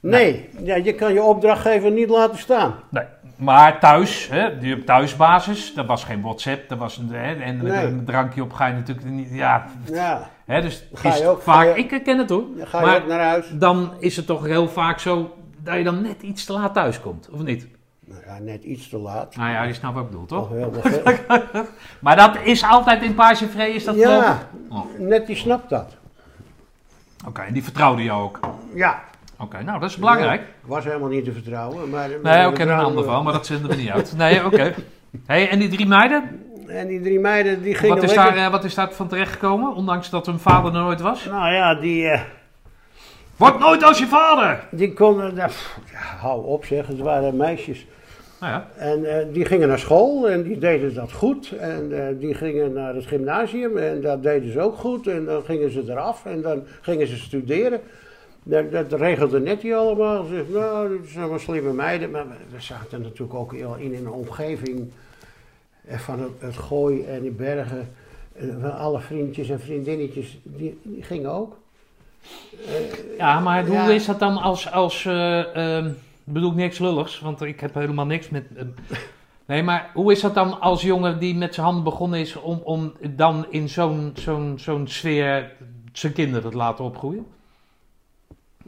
nee. Ja, je kan je opdrachtgever niet laten staan.
Nee, maar thuis, hè, die op thuisbasis, dat was geen WhatsApp, dat was een, hè, en met
Nee.
een drankje op ga je natuurlijk niet, ja,
Ja,
hè, dus
Ga je
is
ook-
vaak,
ga je-
ik herken het hoor,
dan ga je
maar
ook naar huis.
dan is het toch heel vaak zo dat je dan net iets te laat thuis komt, of niet?
Nou ja, net iets te laat.
Nou ja, je snapt wat ik bedoel, toch?
Nog wel nog wel.
Maar dat is altijd in Page Vrij, is dat eh,
Ja,
Oh.
net die snapt dat.
Oké, en die vertrouwde jou ook. Oké,
Ja.
nou dat is belangrijk.
Was helemaal niet te vertrouwen. Maar,
Nee,
maar
ook een ander van, maar dat zenden we niet uit. Nee, oké. Hey, en die drie meiden,
En die drie meiden die gingen
wat is,
lekker-
daar, eh, wat is daar van terechtgekomen, ondanks dat hun vader er nooit was?
Nou ja, die, eh,
Word nooit als je vader!
die konden... daar- pff, ja, hou op zeg, het waren meisjes.
Nou ja,
En eh, die gingen naar school en die deden dat goed. En eh, die gingen naar het gymnasium en dat deden ze ook goed. En dan gingen ze eraf en dan gingen ze studeren. Dat, dat regelde net die allemaal. Ze zegt, nou, dat zijn wel slimme meiden. Maar we, we zaten natuurlijk ook heel in een omgeving eh, van het, het gooi en de bergen. Eh, van alle vriendjes en vriendinnetjes, die, die gingen ook.
Ja, maar hoe
Ja.
is dat dan als. als eh, ehm, ik bedoel niks lulligs, want ik heb helemaal niks met. ehm, nee, maar hoe is dat dan als jongen die met zijn handen begonnen is om, om dan in zo'n zo'n zo'n sfeer zijn kinderen te laten opgroeien?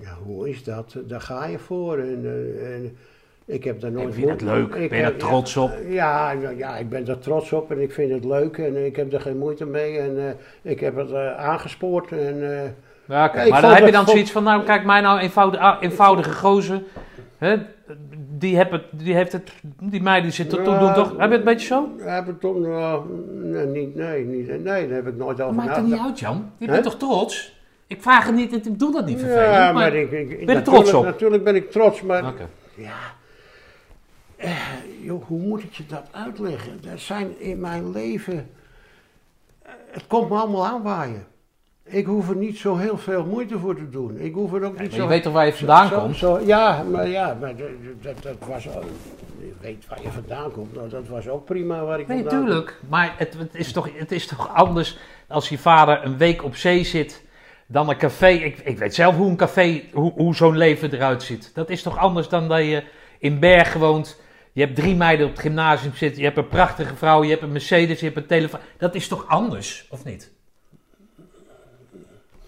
Ja, hoe is dat? Daar ga je voor. En, eh, en Ik heb daar nooit
Ik vind het
moeite-
leuk.
Ik
ben je
heb-
er trots op?
Ja, ja, ja, ik ben er trots op en ik vind het leuk en ik heb er geen moeite mee en eh, ik heb het eh, aangespoord. En, eh,
Ja, oké,
Ja, ik vond
maar dan heb je
het-
dan
vond-
zoiets van, nou kijk mij nou eenvoudige, ah, eenvoudige gozer. Hè? Die, heb het, die heeft het, die meid die zit er toch,
Ja.
doet toch, heb je het een beetje zo?
heb ik toen, eh, nee, niet, nee, niet, nee, daar heb ik nooit over
maakt het niet
nagedacht.
uit Jan, je
Hè?
bent toch trots? Ik vraag het niet, ik doe dat niet vervelend.
Ja,
maar-
maar ik, ik,
je er trots
natuurlijk-
op?
Natuurlijk ben ik trots, maar
Oké.
Joh, hoe moet ik je dat uitleggen? Er zijn in mijn leven. eh, Het komt me allemaal aanwaaien. Ik hoef er niet zo heel veel moeite voor te doen. Ik hoef er ook niet
Maar
zo.
je weet toch waar je vandaan
zo-
komt?
zo- ja, maar, ja, maar dat, dat- dat was. ook- Je weet waar je vandaan komt. Nou, dat was ook prima waar ik
Nee,
vandaan kom.
tuurlijk. Maar het, het, is toch, het is toch anders als je vader een week op zee zit dan een café. Ik, ik weet zelf hoe een café, hoe, hoe zo'n leven eruit ziet. Dat is toch anders dan dat je in Bergen woont. Je hebt drie meiden op het gymnasium zitten. Je hebt een prachtige vrouw. Je hebt een Mercedes. Je hebt een telefoon. Dat is toch anders, of niet?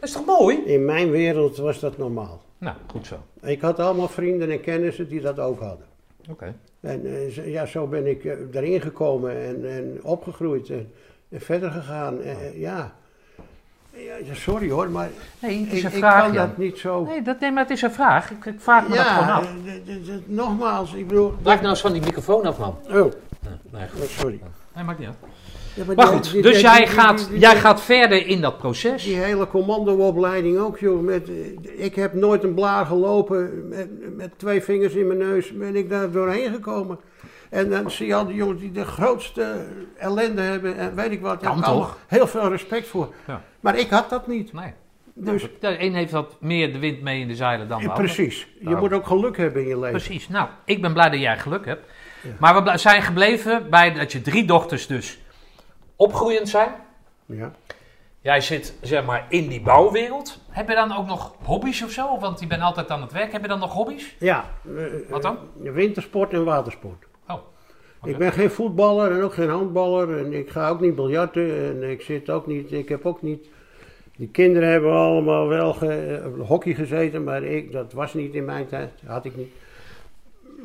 Dat is toch mooi?
In mijn wereld was dat normaal.
Nou, goed zo.
Ik had allemaal vrienden en kennissen die dat ook hadden.
Oké.
En eh, zo- ja, zo ben ik eh, erin gekomen en, en opgegroeid en, en verder gegaan. Eh, eh, ja. Ja, ja, sorry hoor, maar
Nee, het is
ik,
een
ik
vraag,
kan
Jan.
dat niet zo...
Nee, dat, nee, maar het is een vraag. Ik, ik vraag me dat gewoon
ja,
af.
eh, d- d- d- nogmaals, ik bedoel...
Blijf nou eens van die microfoon af, man.
Oh,
Nee,
oh, sorry.
nee maakt niet uit.
Ja, maar
Maar
die-
goed,
die-
dus
die-
jij
die- die-
gaat,
die-
jij
die-
gaat verder in dat proces.
Die hele commandoopleiding ook, joh. Met, eh, ik heb nooit een blaar gelopen. Met, met twee vingers in mijn neus ben ik daar doorheen gekomen. En eh, dan zie je al die jongens die de grootste ellende hebben en weet ik wat. Daar heb
Kan
ik
toch?
allemaal Heel veel respect voor.
Ja.
Maar ik had dat niet.
Nee.
Dus
De een heeft wat meer de wind mee in de zeilen dan de
eh,
ander.
precies. Je moet ook geluk hebben in je leven.
Precies. Nou, ik ben blij dat jij geluk hebt. Maar we ble- zijn gebleven bij dat je drie dochters dus opgroeiend zijn.
Ja.
Jij zit zeg maar in die bouwwereld. Heb je dan ook nog hobby's of zo? Want je bent altijd aan het werk. Heb je dan nog hobby's?
ja eh, eh,
Wat dan?
Wintersport en watersport.
Oh,
Ik ben geen voetballer en ook geen handballer. En ik ga ook niet biljarten. En ik zit ook niet. Ik heb ook niet. Die kinderen hebben allemaal wel ge- op hockey gezeten, maar ik, dat was niet in mijn tijd. Had ik niet.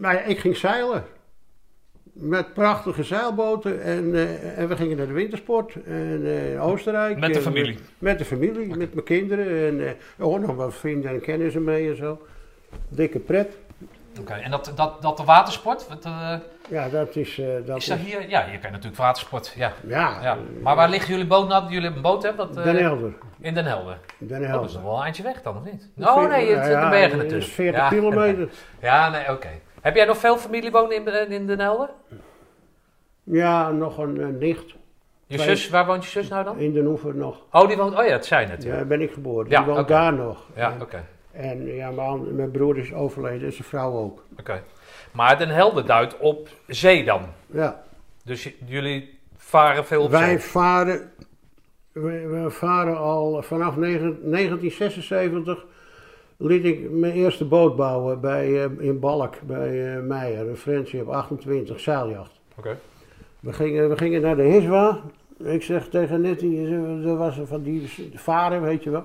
Maar ja, ik ging zeilen. Met prachtige zeilboten. En, eh, en we gingen naar de wintersport. En eh, Oostenrijk.
Met de
En
familie?
Met, met de familie, met mijn kinderen. En eh, oh, nog wat vrienden en kennissen mee en zo. Dikke pret.
oké. En dat, dat, dat de watersport? Wat, eh,
Ja, dat is. eh, dat
is dat
is-
hier? Ja, hier kan je natuurlijk watersport. Ja.
Ja,
ja. Maar waar liggen jullie boot? Nou, jullie hebben een boot, hè? Wat, eh,
Den Helder.
In Den Helder.
Den
Oh, dat is
Helder.
nog wel een eindje weg dan, of niet? Oh nee, het zit de bergen natuurlijk.
40
ja.
kilometer.
Ja, nee, oké. Heb jij nog veel familie wonen in, eh, in Den Helder?
Ja, nog een eh, nicht.
Je
Twee.
zus, waar woont je zus nou dan?
In de Hoever nog.
Oh, die woont, oh ja, dat zei je net. Ja,
Daar ben ik geboren.
Ja,
Die woont
oké.
daar nog.
ja
En-
oké.
En ja, mijn, mijn broer is overleden en zijn vrouw ook.
oké. Maar Den Helder duidt op zee dan.
Ja.
Dus j- jullie varen veel op
Wij
zee.
varen, we, we varen al vanaf negen- 1976 liet ik mijn eerste boot bouwen bij, eh, in Balk bij eh, Meijer. Een Friendship 28, zeiljacht.
Oké.
We gingen, we gingen naar de Hiswa. Ik zeg tegen Nettie, er was een van die varen, weet je wel.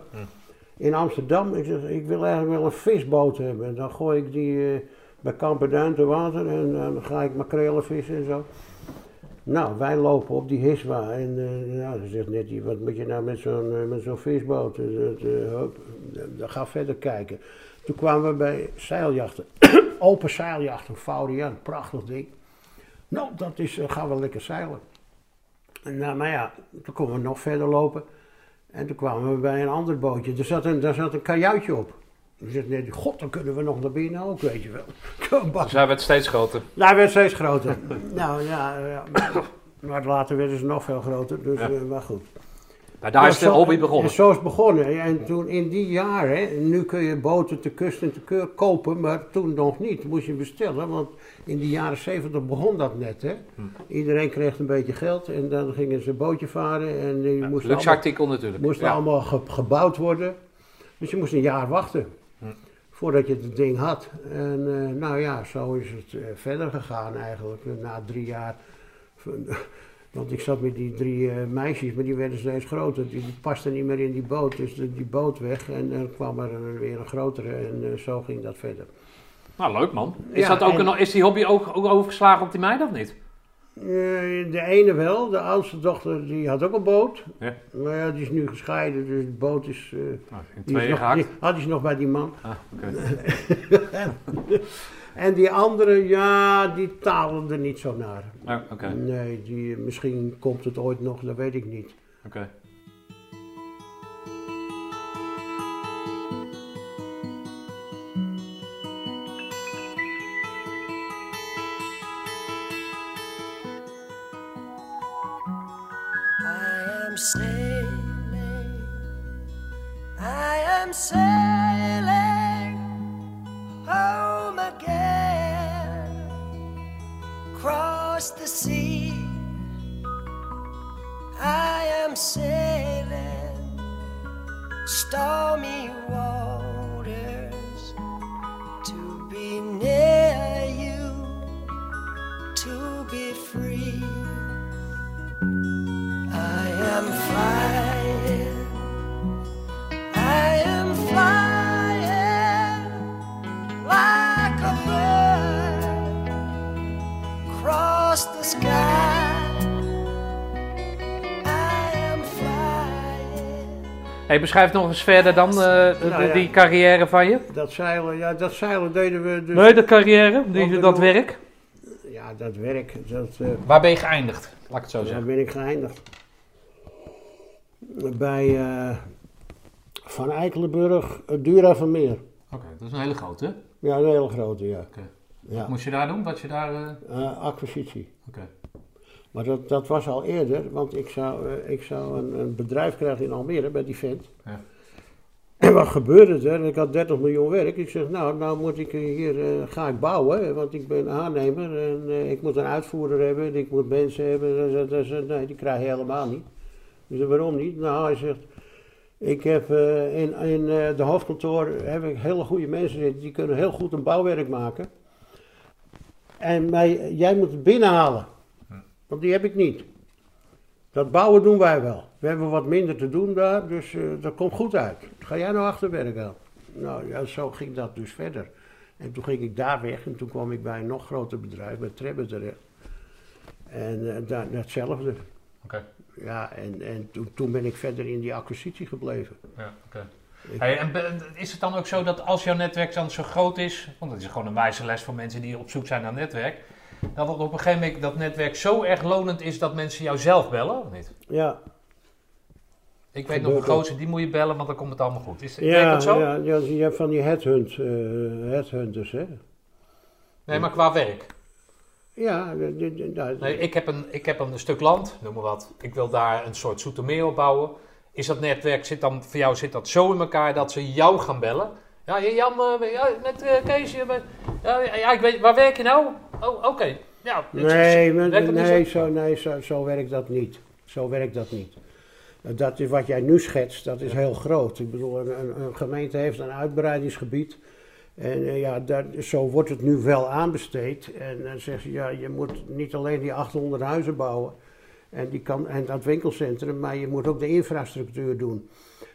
In Amsterdam. Ik zeg, ik wil eigenlijk wel een visboot hebben. En dan gooi ik die eh, bij Kamperduin te water en dan ga ik makrelen vissen en zo. Nou, wij lopen op die Hiswa. En eh, nou, dan zegt Nettie, wat moet je nou met zo'n eh, met zo'n visboot? Dus, dat, eh, hup, dan ga verder kijken. Toen kwamen we bij zeiljachten. Open zeiljachten, Vaurian, prachtig ding. Nou, dat is, eh, gaan we lekker zeilen. En, nou, maar ja, toen konden we nog verder lopen. En toen kwamen we bij een ander bootje. Er zat een, daar zat een kajuitje op. Dus ik net, god, dan kunnen we nog naar binnen ook, weet je wel. Kom, bak.
hij werd steeds groter.
Nou, hij werd steeds groter. nou ja, ja, maar, maar later werden ze nog veel groter, dus eh, maar goed.
Maar daar
Ja,
is de
zo-
hobby begonnen.
en Zo is het begonnen. En toen in die jaren, nu kun je boten te kust en te keur kopen, maar toen nog niet. Moest je bestellen, want in de jaren zeventig begon dat net. Hè?
Hm.
Iedereen kreeg een beetje geld en dan gingen ze een bootje varen en die moesten
Luxe
allemaal,
artikel natuurlijk.
moesten
Ja.
allemaal ge- gebouwd worden. Dus je moest een jaar wachten
Hm.
voordat je het ding had. En eh, nou ja, zo is het eh, verder gegaan eigenlijk, na drie jaar. Van- Want ik zat met die drie eh, meisjes, maar die werden steeds groter. Die, die pasten niet meer in die boot, dus de- die boot weg. En er kwam er weer een grotere en eh, zo ging dat verder.
Nou, leuk man. Is,
Ja,
dat ook
en-
een, is die hobby ook, ook overgeslagen op die meid of niet?
Eh, De ene wel, de oudste dochter die had ook een boot.
Ja.
Maar ja, die is nu gescheiden, dus de boot is. eh,
Nou, in
die is
tweeën
nog,
gehakt.
die- had die is nog bij die man.
Ah, oké.
En die andere, ja, die talen er niet zo naar.
Nou, Oké,
Nee, die, misschien komt het ooit nog, dat weet ik niet.
oké.
I am sailing. I am sailing home again. Cross the sea. I am sailing stormy waters to be near you, to be free. I am flying. I am flying like a bird across the sky. I am flying.
Hey, beschrijf nog eens verder dan eh, de-
Nou ja.
die carrière van je.
Dat zeilen, ja, dat zeilen deden we dus.
Nee, de carrière,
Wat
die,
bedoel-
dat werk.
Ja, dat werk, dat, eh,
Waar ben je geëindigd? Laat ik het zo
daar
zeggen.
ben ik geëindigd. Bij eh, Van Eikelenburg, eh, Dura van Meer.
Oké, dat is een hele grote. hè?
Ja, een hele grote, ja.
Oké.
ja.
Moest je daar doen? Wat je daar. eh,
eh, acquisitie.
Oké.
Maar dat, dat was al eerder, want ik zou, eh, ik zou een, een bedrijf krijgen in Almere bij die vent.
Ja.
En wat gebeurde er? Ik had 30 miljoen werk. Ik zeg, nou, nou moet ik eh, hier, eh, ga ik bouwen, want ik ben aannemer en eh, ik moet een uitvoerder hebben en ik moet mensen hebben. En dat- dat- dat- nee, die krijg je helemaal niet. Ik zeg, waarom niet? Nou, hij zegt, ik heb eh, in, in eh, de hoofdkantoor heb ik hele goede mensen zitten, die kunnen heel goed een bouwwerk maken. En mij, jij moet het binnenhalen. Want die heb ik niet. Dat bouwen doen wij wel. We hebben wat minder te doen daar, dus eh, dat komt goed uit. Ga jij nou achterwerk aan? Nou ja, zo ging dat dus verder. En toen ging ik daar weg en toen kwam ik bij een nog groter bedrijf, bij Trebbe terecht. En eh, daar, hetzelfde.
Oké.
Ja, en, en toen, toen ben ik verder in die acquisitie gebleven.
Ja, oké.
Ik-
Hey, en be- is het dan ook zo dat als jouw netwerk dan zo groot is, want dat is gewoon een wijze les voor mensen die op zoek zijn naar netwerk, dat het op een gegeven moment dat netwerk zo erg lonend is dat mensen jou zelf bellen of niet?
Ja,
Ik weet nog
Gebeurt
een gozer, die moet je bellen, want dan komt het allemaal goed. Is werkt
ja,
dat zo?
ja, ja, je hebt van die headhunt, eh, headhunters, hè?
Nee, maar qua werk.
Ja, de- de- de- nou,
Nee, ik heb, een, ik heb een stuk land, noem maar wat. Ik wil daar een soort zoetermeer op bouwen. Is dat netwerk, zit dan, voor jou zit dat zo in elkaar dat ze jou gaan bellen? Ja, hey, Jan, eh, ja, met eh, Kees, je bent- ja, ja, ik weet, waar werk je nou? Oh, oké. Ja, het-
Nee, maar-
werkt dat niet
nee,
zo?
zo, nee zo, zo werkt dat niet. Zo werkt dat niet. Eh, Dat is wat jij nu schetst, dat is heel groot. Ik bedoel, een, een- een gemeente heeft een uitbreidingsgebied. En eh, ja, daar, zo wordt het nu wel aanbesteed. En dan zeggen ze, ja, je moet niet alleen die 800 huizen bouwen en, die kan, en dat winkelcentrum, maar je moet ook de infrastructuur doen.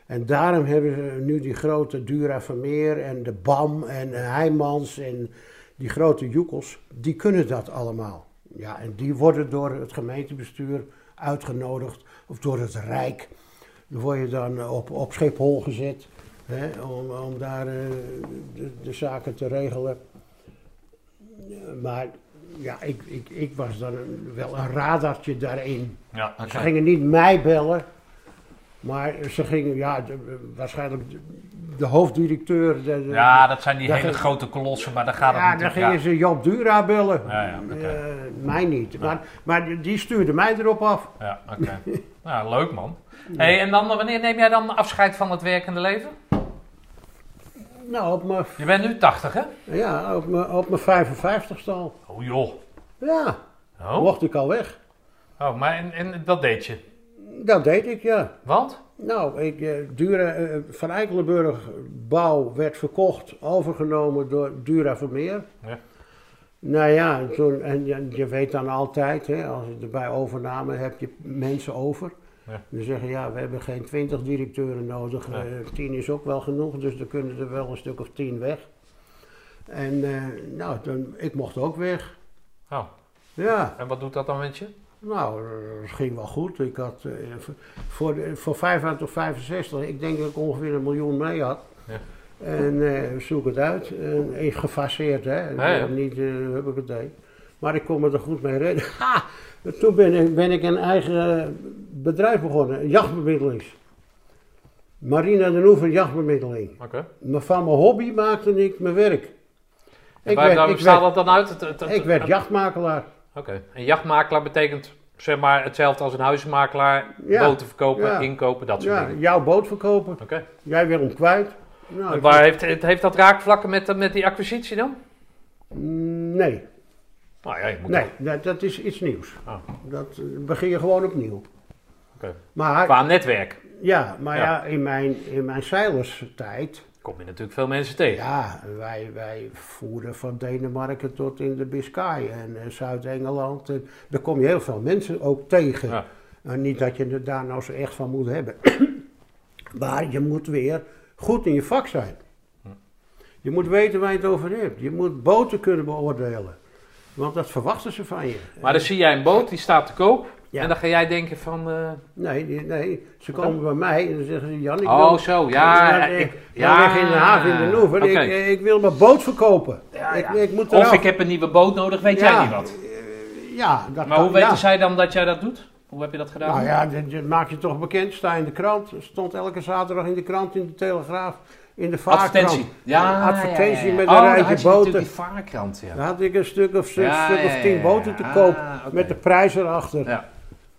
En daarom hebben ze nu die grote Dura Vermeer en de BAM en Heijmans en die grote joekels, die kunnen dat allemaal. Ja, en die worden door het gemeentebestuur uitgenodigd of door het Rijk. Dan word je dan op, op Schiphol gezet hè, om, om daar eh, de, de zaken te regelen. Maar ja, ik, ik, ik was dan een- wel een radartje daarin.
Ja, oké.
Ze gingen niet mij bellen, maar ze gingen, ja, de- waarschijnlijk de, de hoofddirecteur. de- de-
ja, dat zijn die
Daar
hele
ging-
grote kolossen, maar daar gaat het
ja, dan
natuurlijk
gingen ze Joop Dura bellen.
Ja, ja, oké.
Eh, mij niet. Maar, maar die- die stuurde mij erop af.
Ja, oké. nou, leuk man. Hey, en dan, eh, wanneer neem jij dan afscheid van het werkende leven?
Nou, op mijn,
Je bent nu 80, hè?
ja, op mijn, op mijn 55ste al.
Oh joh.
Ja,
Oh,
mocht ik al weg.
oh maar en, en dat deed je.
Dat deed ik, ja.
Want?
Nou, ik, eh, Dura, eh, Van Eikelenburg bouw werd verkocht, overgenomen door Dura Vermeer.
Ja.
Nou ja, en toen, en je, je weet dan altijd, hè, als het- bij overname heb je mensen over.
Ja.
Die zeggen, ja, we hebben geen twintig directeuren nodig.
Ja.
eh, tien is ook wel genoeg, dus er kunnen er wel een stuk of tien weg. En eh, nou, toen, ik mocht ook weg.
Oh,
Ja,
en wat doet dat dan met je?
nou, eh, dat ging wel goed. Ik had eh, v- voor, de- voor 55 tot 65, ik denk dat ik ongeveer een miljoen mee had.
Ja.
En eh zoek het uit. En, eh, gefaseerd, hè.
Ah, Ja, ja.
Niet, eh, heb ik het deed. Maar ik kon me er goed mee redden. Ha! Toen ben ik, ben ik een eigen bedrijf begonnen, een jachtbemiddelings. Marina den Oever jachtbemiddeling.
Oké.
Maar van mijn hobby maakte ik mijn werk. Ik
Waar
werd,
daar
ik
bestaat
werd,
dat dan uit? Het- het- het-
ik werd
het-
jachtmakelaar.
Oké. Een jachtmakelaar betekent zeg maar hetzelfde als een huizenmakelaar.
Ja.
Boten verkopen,
Ja.
inkopen, dat soort
Ja,
dingen.
jouw boot verkopen.
Oké.
Jij wil hem kwijt. Nou,
En
ik-
waar heeft, het- heeft dat raakvlakken met, eh, met die acquisitie dan?
Mm, Nee,
Nou ja, je moet
nee
toch-
dat, dat is iets nieuws.
Ah.
Dat eh, begin je gewoon opnieuw.
Oké.
Maar,
Qua netwerk
ja, maar
Ja.
ja. in mijn, in mijn zeilerstijd,
kom je natuurlijk veel mensen tegen.
ja, wij, wij voeren van Denemarken tot in de Biscay en eh, Zuid-Engeland. En Daar kom je heel veel mensen ook tegen.
Ja.
Nou, niet dat je er daar nou zo echt van moet hebben. maar je moet weer goed in je vak zijn. Je moet weten waar je het over hebt. Je moet boten kunnen beoordelen. Want dat verwachten ze van je.
Maar dan zie jij een boot, die staat te koop.
Ja.
En dan ga jij denken van... eh,
Nee, die- nee, ze komen bij mij en dan zeggen ze: Jan, ik
oh,
wil.
zo, ja.
ik,
ik,
ja, weg in de haven in de Noever.
Oké.
Ik, ik wil mijn boot verkopen. Ik, ik moet eraf.
Of ik heb een nieuwe boot nodig, weet jij
Ja.
niet wat.
Ja, dat
maar
kan-
hoe weten
ja.
zij dan dat jij dat doet? Hoe heb je dat gedaan?
Nou ja, dat, dat maak je toch bekend. Sta in de krant. Stond elke zaterdag in de krant, in de Telegraaf, in de Vaarkrant. Eh,
Advertentie. Ja,
Advertentie
ja, ja.
met
Oh,
een
daar had
rijtje
je natuurlijk
boten.
die vaarkrant, ja.
Daar had ik een stuk of, zes,
Ja,
stuk
ja,
of
ja,
tien
ja.
boten te
Ah,
koop.
oké.
Met de prijs erachter.
Ja.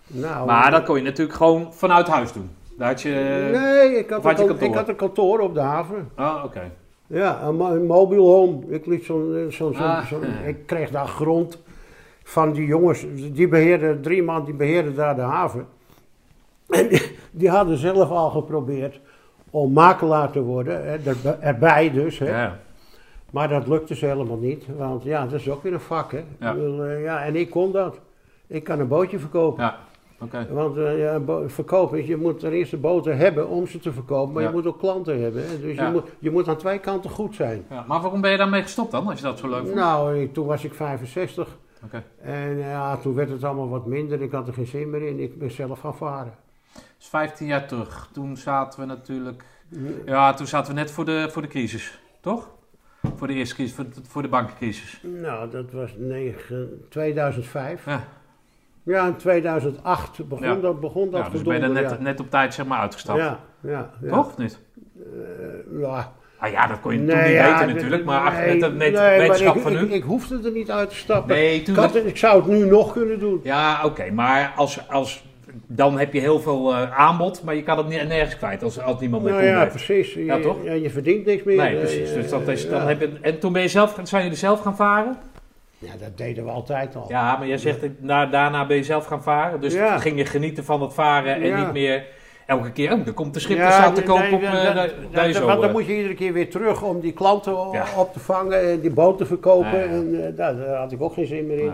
Nou, eh,
Maar dat kon je natuurlijk gewoon vanuit huis doen. Daar had je...
Nee, ik had,
of had je
een, kan-
kantoor?
ik had een kantoor op de haven.
Ah, oké.
Ja, een, mo- een mobile home. Ik, liet zo'n eh, zo'n- zo'n-
Ah,
zo'n-
ja.
ik kreeg daar grond van die jongens. Die beheerden, drie man die beheerden daar de haven. En die, die hadden zelf al geprobeerd om makelaar te worden. Hè, er- erbij dus. Hè.
Ja.
Maar dat lukte ze helemaal niet. Want ja, dat is ook weer een vak. Hè.
Ja.
Ik bedoel, eh, ja, en ik kon dat. Ik kan een bootje verkopen.
Ja, oké.
Want eh, ja, bo- verkopen, is, je moet ten eerste boten hebben om ze te verkopen. Maar
Ja.
je moet ook klanten hebben. hè. Dus
Ja.
je, moet, je moet aan twee kanten goed zijn.
Ja, maar waarom ben je daarmee gestopt dan, als je dat zo leuk vond?
Nou, ik- toen was ik 65.
Oké.
En eh, ja, toen werd het allemaal wat minder. Ik had er geen zin meer in. Ik ben zelf gaan varen.
Dus 15 jaar terug. Toen zaten we natuurlijk... Ja, toen zaten we net voor de, voor de crisis, toch? Voor de eerste crisis, voor de, voor de bankencrisis.
Nou, dat was negen- 2005.
Ja.
Ja, in 2008 begon
Ja.
dat, begon dat
Ja, dus ben je er
gedonder,
net, net op tijd zeg maar
ja.
uitgestapt.
ja, ja, ja.
Toch of niet?
Eh, ja.
Ah ja, dat kon je
Nee,
toen niet
ja,
weten
dat-
natuurlijk, maar ach,
nee,
met de met
nee, maar
wetenschap
ik-
van
Ik,
nu.
ik hoefde er niet uit te stappen.
Nee, toen
ik, had
dat-
het- ik zou het nu nog kunnen doen.
Ja, oké, maar als, als, dan heb je heel veel eh, aanbod, maar je kan het ne- nergens kwijt als, als niemand meer
nou
komt.
ja, precies. Je,
Ja, toch?
ja, je verdient niks meer.
Nee,
Eh,
precies. Dus dat is, dan
ja.
heb je, en toen ben je zelf, gaan- zijn jullie zelf gaan varen?
Ja, dat deden we altijd al.
Ja, maar jij zegt, dat na- daarna ben je zelf gaan varen. Dus
Oh. Ja.
toen ging je genieten van het varen en
Ja.
niet meer elke keer, oh, er komt de schip,
Ja,
er staat te
nee,
koop
nee,
op
dat-
eh, daar-
dat- dat-
daar is zo,
Want dan
eh.
moet je iedere keer weer terug om die klanten o-
Ja.
op te vangen en die boot te verkopen.
Ja, ja.
En eh, daar, daar had ik ook geen zin meer in.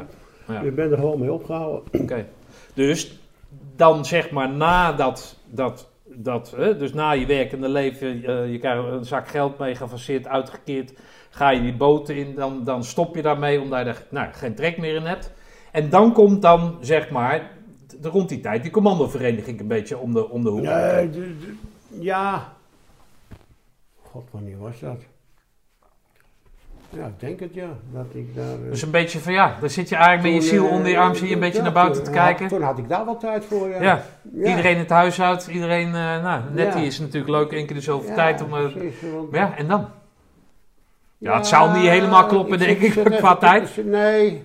Nee, ja.
Ik ben er gewoon mee opgehouden.
Oké. Dus dan zeg maar na dat, dat, dat hè, dus na je werkende leven, eh, je krijgt een zak geld mee gefaseerd, uitgekeerd, ga je die boten in, dan, dan stop je daarmee omdat je er nou, geen trek meer in hebt. En dan komt dan zeg maar t- rond die tijd die commandovereniging een beetje om de, om de hoek.
Nee, d- d- ja. God, wanneer was dat? Ja, ik denk het ja. Dat ik daar. eh,
Dus een beetje van ja, daar zit je eigenlijk met je
toen,
ziel
eh,
onder je arm, zie je een beetje
ja,
naar buiten te
toen had-
kijken.
toen had ik daar wel tijd voor. Ja.
Ja,
Ja.
iedereen het huis uit, iedereen, eh, nou, net
Ja.
die is natuurlijk leuk, één keer de zoveel
Ja,
tijd om... eh,
precies, want-
maar ja, en dan? Ja, het zou niet helemaal kloppen,
zit-
denk ik,
zit even
qua
te-
tijd.
Nee,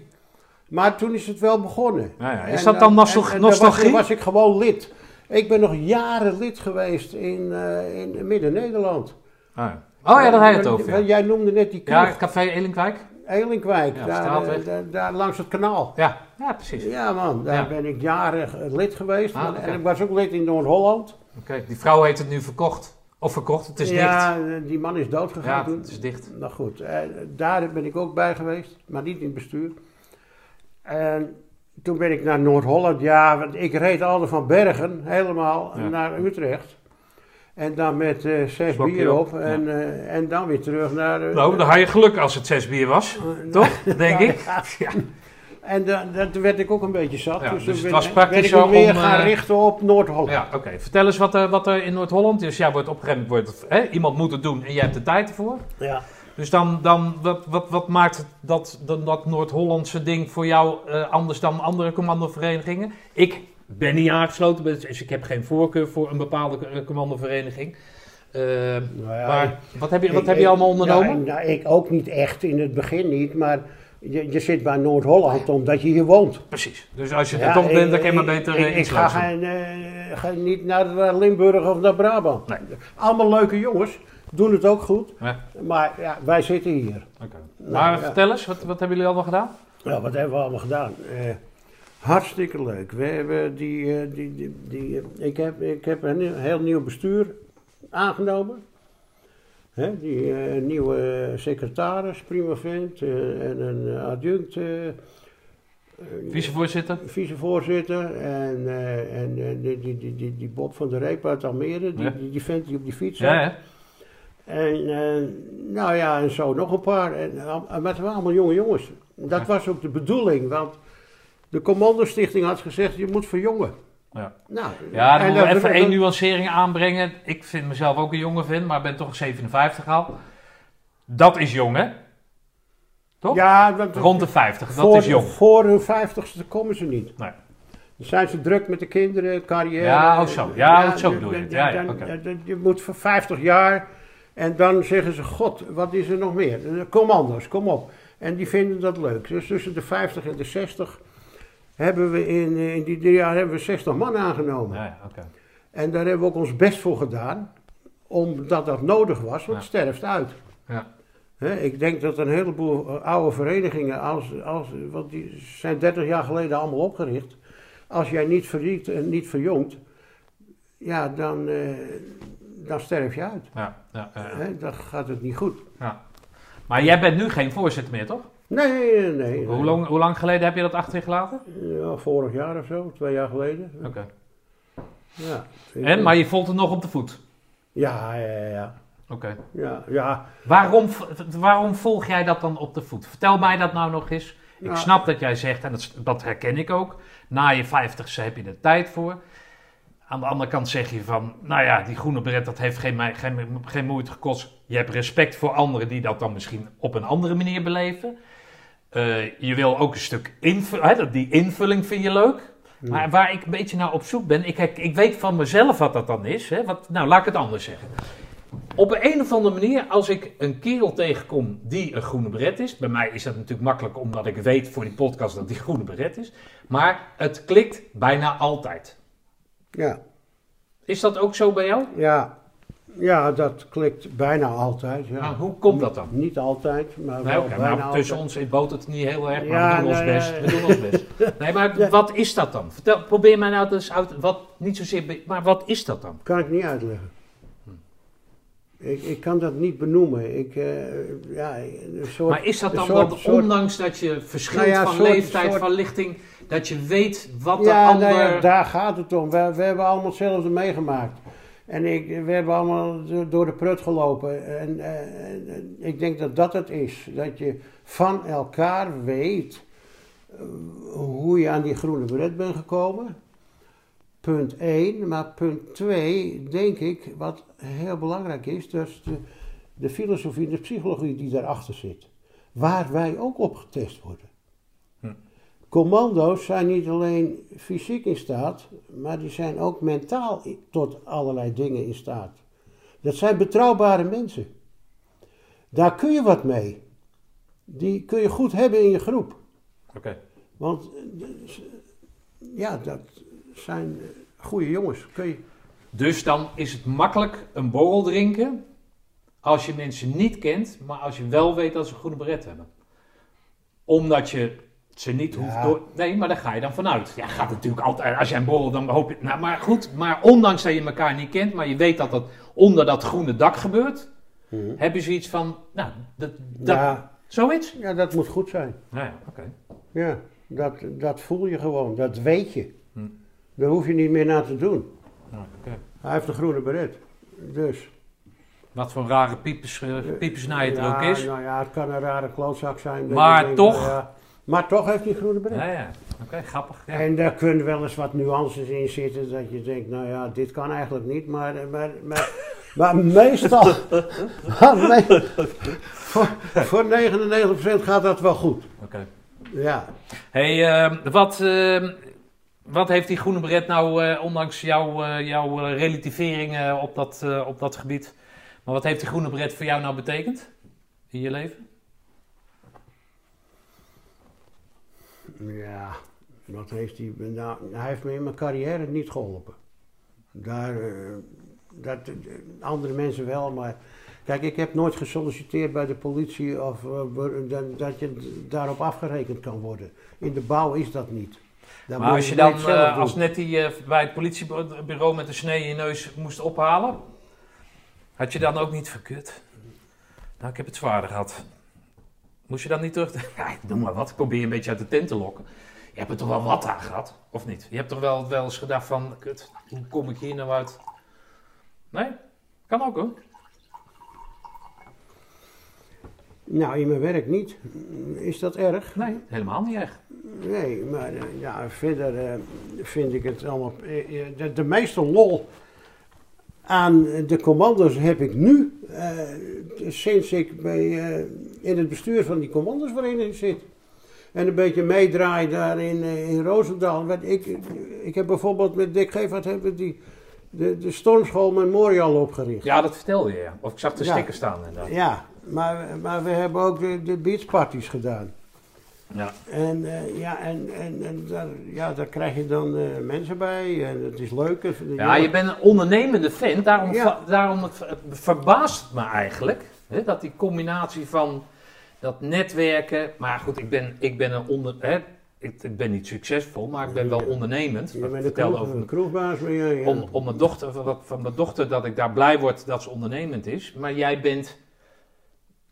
maar toen is het wel begonnen.
Nou ja, is
En,
dat dan
eh,
nostal-
en- en daar was-
nostalgie?
Daar was ik gewoon lid. Ik ben nog jaren lid geweest in, eh, in Midden-Nederland.
Ah, ja. Oh ja, daar had je het over.
Want
ja.
Jij noemde net die
Ja,
kroeg,
het café Elinkwijk.
Elinkwijk,
Ja,
daar,
straatweg.
eh, daar, daar langs het kanaal.
Ja, ja precies. Oké,
Ja man, daar
Ja.
ben ik jaren eh, lid geweest.
Ah, oké.
En ik was ook lid in Noord-Holland.
die vrouw heeft het nu verkocht. Of verkocht, het is dicht.
ja, eh, die man is dood gegaan
Ja,
toen.
het is dicht.
Nou goed, eh, daar ben ik ook bij geweest, maar niet in het bestuur. En toen ben ik naar Noord-Holland, ja, want ik reed altijd van Bergen helemaal
Ja.
naar Utrecht. En dan met eh, zes
Slokje
bier
op,
op. En, eh, en dan weer terug naar... eh,
Nou, dan had je geluk als het zes bier was,
eh,
toch? Denk ik. Ja.
En da- dat werd ik ook een beetje zat.
Ja,
dus
dus
toen
het
ben-
was praktisch
ben ik me
ook
meer
om,
gaan
eh,
richten op Noord-Holland.
Ja, oké. Vertel eens wat er, wat er in Noord-Holland is. Jij wordt opgeremd, wordt, hè? iemand moet het doen en jij hebt de tijd ervoor.
Ja.
Dus dan, dan wat, wat, wat maakt dat, dan dat Noord-Hollandse ding voor jou eh, anders dan andere commandoverenigingen? Ik ben niet aangesloten, dus ik heb geen voorkeur voor een bepaalde eh, commandovereniging. Eh,
Nou ja,
maar wat heb je, wat
Ik-
heb je
ik-
allemaal ondernomen?
Nou, nou, ik ook niet echt, in het begin niet, maar je, je zit bij Noord-Holland omdat je hier woont.
Precies. Dus als je
Ja,
er toch
ik-
bent, dan kan je maar
ik-
beter
Ik,
eh,
ik ga,
insluiten.
geen, eh, ga niet naar eh, Limburg of naar Brabant.
Nee.
Allemaal leuke jongens, doen het ook goed,
Ja.
maar ja, wij zitten hier.
Oké.
Nou,
maar
ja.
vertel eens, wat, wat hebben jullie allemaal gedaan?
Nou, wat hebben we allemaal gedaan? Eh, hartstikke leuk. We hebben die, eh, die, die, die, eh, ik, heb, ik heb een nieuw- heel nieuw bestuur aangenomen. Hè, die eh, nieuwe secretaris, prima vent, eh, en een adjunct. eh, eh,
Vicevoorzitter?
vicevoorzitter. En, eh, en eh, die, die, die, die, die Bob van der Reep uit Almere, die,
Ja.
die, die vent die op die fiets zat.
Ja, hè?
En eh, nou ja, en zo nog een paar. En, al- maar het waren allemaal jonge jongens. Dat
Ja.
was ook de bedoeling, want de Commandostichting had gezegd, je moet verjongen.
Ja.
Nou,
Ja, dan
en
moet ik
dat-
even
dat-
één nuancering aanbrengen. Ik vind mezelf ook een jonge vent, maar ben toch 57 al. Dat is jong, hè? toch?
Ja, dat,
Rond de 50, dat
voor,
is jong.
Voor hun vijftigste komen ze niet.
Nee.
Dan zijn ze druk met de kinderen, carrière.
Ja, oh zo. Ja, oh zo
dan-
bedoel je het.
dan-
Ja, ja,
dan-
oké.
dan- Je moet voor 50 jaar en dan zeggen ze, god, wat is er nog meer? Eh, Commando's, kom op. En die vinden dat leuk. Dus tussen de 50 en de 60 hebben we in, eh, in die drie jaar hebben we 60 man aangenomen.
Ja, ja, oké.
En daar hebben we ook ons best voor gedaan, omdat dat nodig was, want het sterft uit.
Ja.
Hè, ik denk dat een heleboel eh, oude verenigingen, als, als, want die zijn 30 jaar geleden allemaal opgericht. Als jij niet verriekt en niet verjongt, ja, dan, eh, dan sterf je uit.
Ja, ja, ja, ja.
Hè, dan gaat het niet goed.
Maar jij bent nu geen voorzitter meer, toch?
Nee, nee, nee.
Hoe, lang, hoe lang geleden heb je dat achter je gelaten?
Ja, vorig jaar of zo, twee jaar geleden.
Oké.
Ja,
En, maar je volgt het nog op de voet.
ja, ja, ja.
Oké.
ja, ja.
Waarom, v- waarom volg jij dat dan op de voet? Vertel mij dat nou nog eens. Ik
Nou.
snap dat jij zegt, en dat, s- dat herken ik ook. Na je vijftigste heb je er tijd voor. Aan de andere kant zeg je van, nou ja, die groene beret, dat heeft geen, mij- geen, geen moeite gekost. Je hebt respect voor anderen die dat dan misschien op een andere manier beleven. Eh, je wil ook een stuk invulling, hè, dat- die invulling vind je leuk. Maar waar ik een beetje naar op zoek ben, ik, ik weet van mezelf wat dat dan is. Hè? Wat, nou, laat ik het anders zeggen. Op een of andere manier, als ik een kerel tegenkom die een groene beret is. Bij mij is dat natuurlijk makkelijk, omdat ik weet voor die podcast dat die groene beret is. Maar het klikt bijna altijd.
ja.
Is dat ook zo bij jou?
Ja, ja dat klikt bijna altijd. Ja.
Nou, hoe komt dat dan?
Niet altijd, maar
Nee,
wel
oké,
bijna
nou, tussen
altijd.
ons het boot het niet heel erg, maar
Ja,
we doen ons
nou ja,
best.
ja.
We doen ons best. Nee, maar wat is dat dan? Vertel, probeer mij nou eens uit, wat, niet zozeer, be- maar wat is dat dan?
Kan ik niet uitleggen. Ik, ik kan dat niet benoemen. Ik, eh, ja, een soort,
Maar is dat dan
een soort-
wat,
soort-
ondanks dat je verschilt
Nou ja,
van
soort-
leeftijd,
soort-
van lichting, dat je weet wat de
ja,
ander...
nou ja, daar gaat het om. We, we hebben allemaal hetzelfde meegemaakt. En ik, we hebben allemaal do- door de prut gelopen. En, eh, en- en ik denk dat dat het is. Dat je van elkaar weet eh, hoe je aan die groene beret bent gekomen. Punt 1. Maar punt 2, denk ik, wat heel belangrijk is, dat is de, de filosofie en de psychologie die daarachter zit. Waar wij ook op getest worden. Commando's zijn niet alleen fysiek in staat, maar die zijn ook mentaal i- tot allerlei dingen in staat. Dat zijn betrouwbare mensen. Daar kun je wat mee. Die kun je goed hebben in je groep.
Oké.
Want eh, d- s- ja, dat zijn eh, goede jongens. Kun je...
Dus dan is het makkelijk een borrel drinken als je mensen niet kent, maar als je wel weet dat ze een groene beret hebben. Omdat je ze niet hoeft door... Nee, maar daar ga je dan vanuit. Ja, gaat natuurlijk altijd... Als jij een borrel, dan hoop je... Nou, maar goed, maar ondanks dat je elkaar niet kent, maar je weet dat dat onder dat groene dak gebeurt, hebben ze iets van... Nou, dat... dat
Mhm. Ja,
Zoiets?
ja, dat moet goed zijn.
Nou ja, oké.
Ja, dat, dat voel je gewoon. Dat weet je.
Hm.
Daar hoef je niet meer naar te doen.
Nou, oké.
Hij heeft een groene beret. Dus.
Wat voor rare piepers, eh, piepsnijder
Ja,
ook is.
Nou ja, het kan een rare klootzak zijn. dat
Maar
je denkt,
toch.
nou ja, maar toch heeft hij groene bril.
Ja, ja. Oké, grappig. Ja.
En daar kunnen wel eens wat nuances in zitten dat je denkt, nou ja, dit kan eigenlijk niet, maar, maar, maar, maar meestal, maar me- voor, voor 99% gaat dat wel goed.
Oké.
Ja,
Hey, ehm, wat, ehm, wat heeft die groene beret nou, eh, ondanks jouw, eh, jouw eh, relativering eh, op, dat, eh, op dat gebied, maar wat heeft die groene beret voor jou nou betekend in je leven?
ja, wat heeft hij, nou, hij heeft me in mijn carrière niet geholpen. Daar, eh, dat, eh, andere mensen wel, maar kijk, ik heb nooit gesolliciteerd bij de politie of eh, be- dat, dat je daarop afgerekend kan worden. In de bouw is dat niet. Dat
maar
moet
als je
net
dan,
zelf
eh,
doen.
als net die eh, bij het politiebureau met de snee in je neus moest ophalen, had je dan ook niet verkut? Nou, ik heb het zwaarder gehad. Moest je dan niet terug? Ja, ik noem maar wat, ik probeer je een beetje uit de tent te lokken. Je hebt er toch wel wat aan gehad, of niet? Je hebt toch wel, wel eens gedacht van, kut, hoe kom ik hier nou uit? Nee, kan ook hoor.
Nou, in mijn werk niet. Is dat erg?
Nee, helemaal niet echt.
Nee, maar eh, ja, verder eh, vind ik het allemaal. eh, eh, De, de meeste lol aan de commando's heb ik nu, eh, sinds ik bij, eh, in het bestuur van die commandosvereniging zit. En een beetje meedraai daar in, eh, in Roosendaal. Want ik, ik heb bijvoorbeeld met Dick Gevaert hebben we die, de, de Stormschool Memorial opgericht.
Ja, dat vertelde je. Of ik zag de
Ja.
sticker staan inderdaad.
Ja, maar, maar we hebben ook de, de beachparties gedaan.
Ja.
En, eh, ja, en, en, en daar, ja, daar krijg je dan eh, mensen bij en het is leuk. en de
Ja, je
jongen-
bent een ondernemende vent, daarom,
Ja.
va- daarom het, het verbaast het me eigenlijk. Hè, dat die combinatie van dat netwerken. Maar goed, ik ben, ik ben een onder. Hè, ik, ik ben niet succesvol, maar ik ben wel ondernemend.
je bent
Ik
een,
vertelde
kroeg,
over
een
mijn,
kroegbaas. Maar ja, ja.
om, om mijn dochter, van, van mijn dochter dat ik daar blij word dat ze ondernemend is. Maar jij bent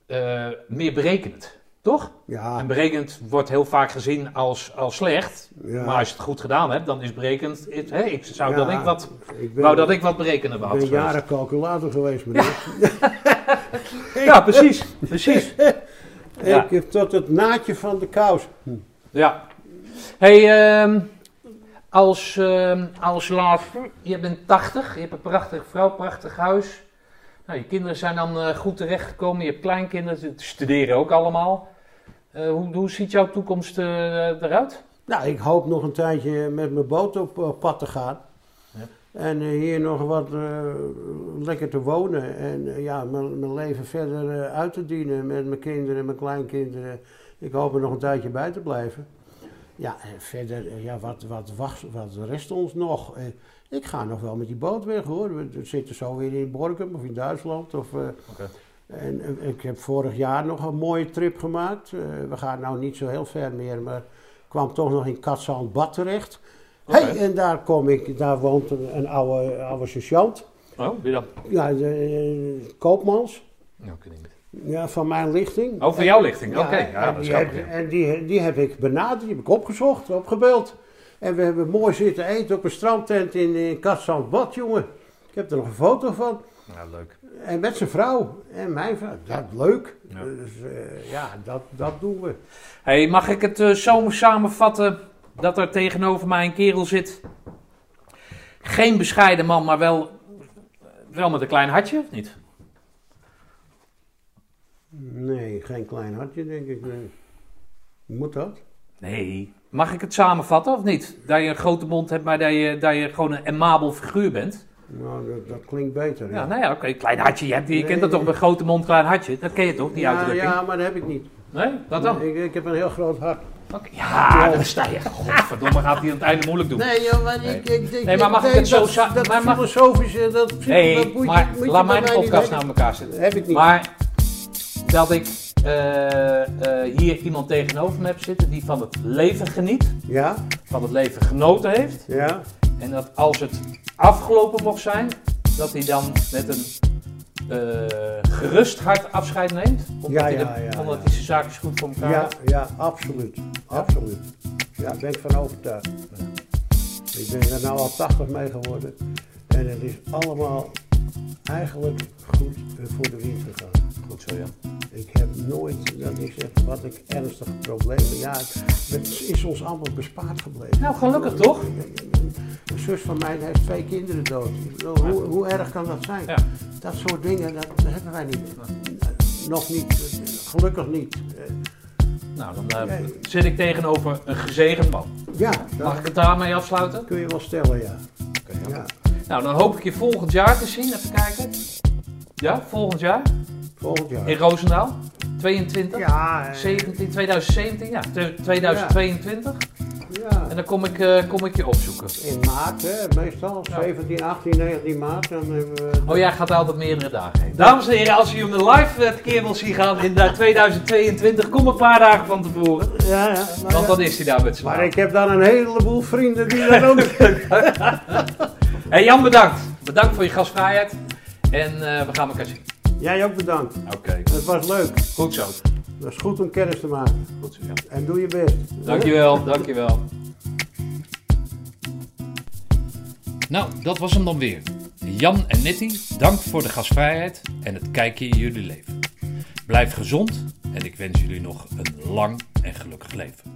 eh, meer berekenend, toch? En
ja,
berekend wordt heel vaak gezien als, als slecht.
Ja.
Maar als je het goed gedaan hebt, dan is berekend. het- hè, ik zou
Ja.
dat ik wat
ik ben,
Wou dat ik wat berekenen
ik
had.
ben
geweest.
jaren calculator geweest, meneer.
Ja, precies. precies. Ja.
Ik heb tot het naadje van de kous.
Ja. hey, ehm, als, ehm, als laatste, je bent 80, je hebt een prachtige vrouw, prachtig huis. Nou, je kinderen zijn dan eh, goed terechtgekomen, je hebt kleinkinderen, ze studeren ook allemaal. Eh, hoe, hoe ziet jouw toekomst eh, eruit?
Nou, ik hoop nog een tijdje met mijn boot op eh, pad te gaan.
Ja.
En eh, hier nog wat eh, lekker te wonen. En eh, ja, mijn, mijn leven verder eh, uit te dienen met mijn kinderen en mijn kleinkinderen. Ik hoop er nog een tijdje bij te blijven. Ja, en verder, eh, ja, wat, wat, wacht, wat rest ons nog? Eh, ik ga nog wel met die boot weg hoor. We zitten zo weer in Borkum of in Duitsland. Of, eh,
Oké.
en, eh, ik heb vorig jaar nog een mooie trip gemaakt. Eh, we gaan nou niet zo heel ver meer, maar kwam toch nog in Katzandbad terecht.
Oké.
Hey, en daar, kom ik, daar woont een, een oude, oude sergeant,
Oh, wie dan?
ja, de, eh, Koopmans,
Nou, ik weet niet.
ja, van mijn lichting.
Oh, van jouw lichting. Oké, ja,
en
dat is
die, heb,
grappig. ja.
en die, die heb ik benaderd, die heb ik opgezocht, opgebeld. En we hebben mooi zitten eten op een strandtent in, in Katzandbad, jongen. Ik heb er nog een foto van.
Ja, leuk.
En met zijn vrouw en mijn vrouw. Dat leuk.
Ja.
Dus eh, ja, dat, dat doen we.
Hey, mag ik het eh, zo samenvatten dat er tegenover mij een kerel zit? Geen bescheiden man, maar wel, wel met een klein hartje, of niet?
Nee, geen klein hartje, denk ik. nee. Moet dat?
Nee. Mag ik het samenvatten, of niet? Dat je een grote mond hebt, maar dat je, dat je gewoon een amabel figuur bent.
Nou, dat, dat klinkt beter.
Ja, nou ja, oké, klein hartje. Je, hebt, je
Nee,
kent dat toch,
nee.
een grote mond, klein hartje? Dat ken je toch, die
ja,
uitdrukking?
ja, maar dat heb ik niet.
Nee, dat dan?
Ik, ik heb een heel groot hart.
Oké. Ja, daar sta je. Godverdomme, gaat hij aan het einde moeilijk doen.
Nee, joh, maar ik, ik, ik
Nee, maar mag ik
nee,
het zo
dat-
sa-
Dat
maar mag-
filosofische, dat
Nee,
dat moet je-
maar
moet je
laat
bij
mijn
mij niet
podcast
weten.
nou in elkaar zitten.
Heb ik niet.
Maar dat ik eh, eh, hier iemand tegenover me heb zitten die van het leven geniet,
Ja,
van het leven genoten heeft.
ja.
En dat als het afgelopen mocht zijn, dat hij dan met een eh, gerust hart afscheid neemt. Omdat,
Ja,
hij, de-
ja, ja,
omdat
ja.
hij zijn zaakjes goed voor elkaar
Ja,
heeft.
ja, absoluut. Absoluut. Ja, daar ben ik van overtuigd. Ik ben er nou al 80 mee geworden. En het is allemaal eigenlijk goed eh, voor de wind gegaan.
Goed zo, Jan.
Ik heb nooit dat ik zeg wat ik ernstige problemen. Ja, het is ons allemaal bespaard gebleven.
Nou, gelukkig toch?
Een zus van mij die heeft twee kinderen dood. Ik bedoel, Hoe, hoe erg kan dat zijn?
Ja.
Dat soort dingen, dat hebben wij niet. Eh, Nog niet, gelukkig niet. Eh,
Nou, dan eh, zit ik tegenover een gezegend man.
Ja,
Mag ik
dat
het daarmee afsluiten?
kun je wel stellen, ja. ja.
Nou, dan hoop ik je volgend jaar te zien. Even kijken. Ja, volgend jaar
Volgend
in
jaar.
Roosendaal. 22,
Ja, eh,
17, 2017, ja, te- 2022.
ja.
En dan kom ik, eh, kom ik je opzoeken.
In maart, hè, meestal 17, 18, 19 maart. Dan hebben we
Oh, jij gaat altijd meerdere dagen heen. Dames en heren, als u hem live het keer wil zien gaan in eh, 2022, kom een paar dagen van tevoren.
Ja, ja. Maar,
Want dan is hij daar met z'n
maar
allen.
ik heb dan een heleboel vrienden die dat ook
Hey Jan, bedankt. Bedankt voor je gastvrijheid. En eh, we gaan elkaar zien.
Jij ook bedankt.
Oké,
Het was leuk.
goed zo.
Dat is goed om kennis te maken.
Goed zo ja.
En doe je best.
Dankjewel, dankjewel.
Nou, dat was hem dan weer. Jan en Nettie, dank voor de gastvrijheid en het kijkje in jullie leven. Blijf gezond en ik wens jullie nog een lang en gelukkig leven.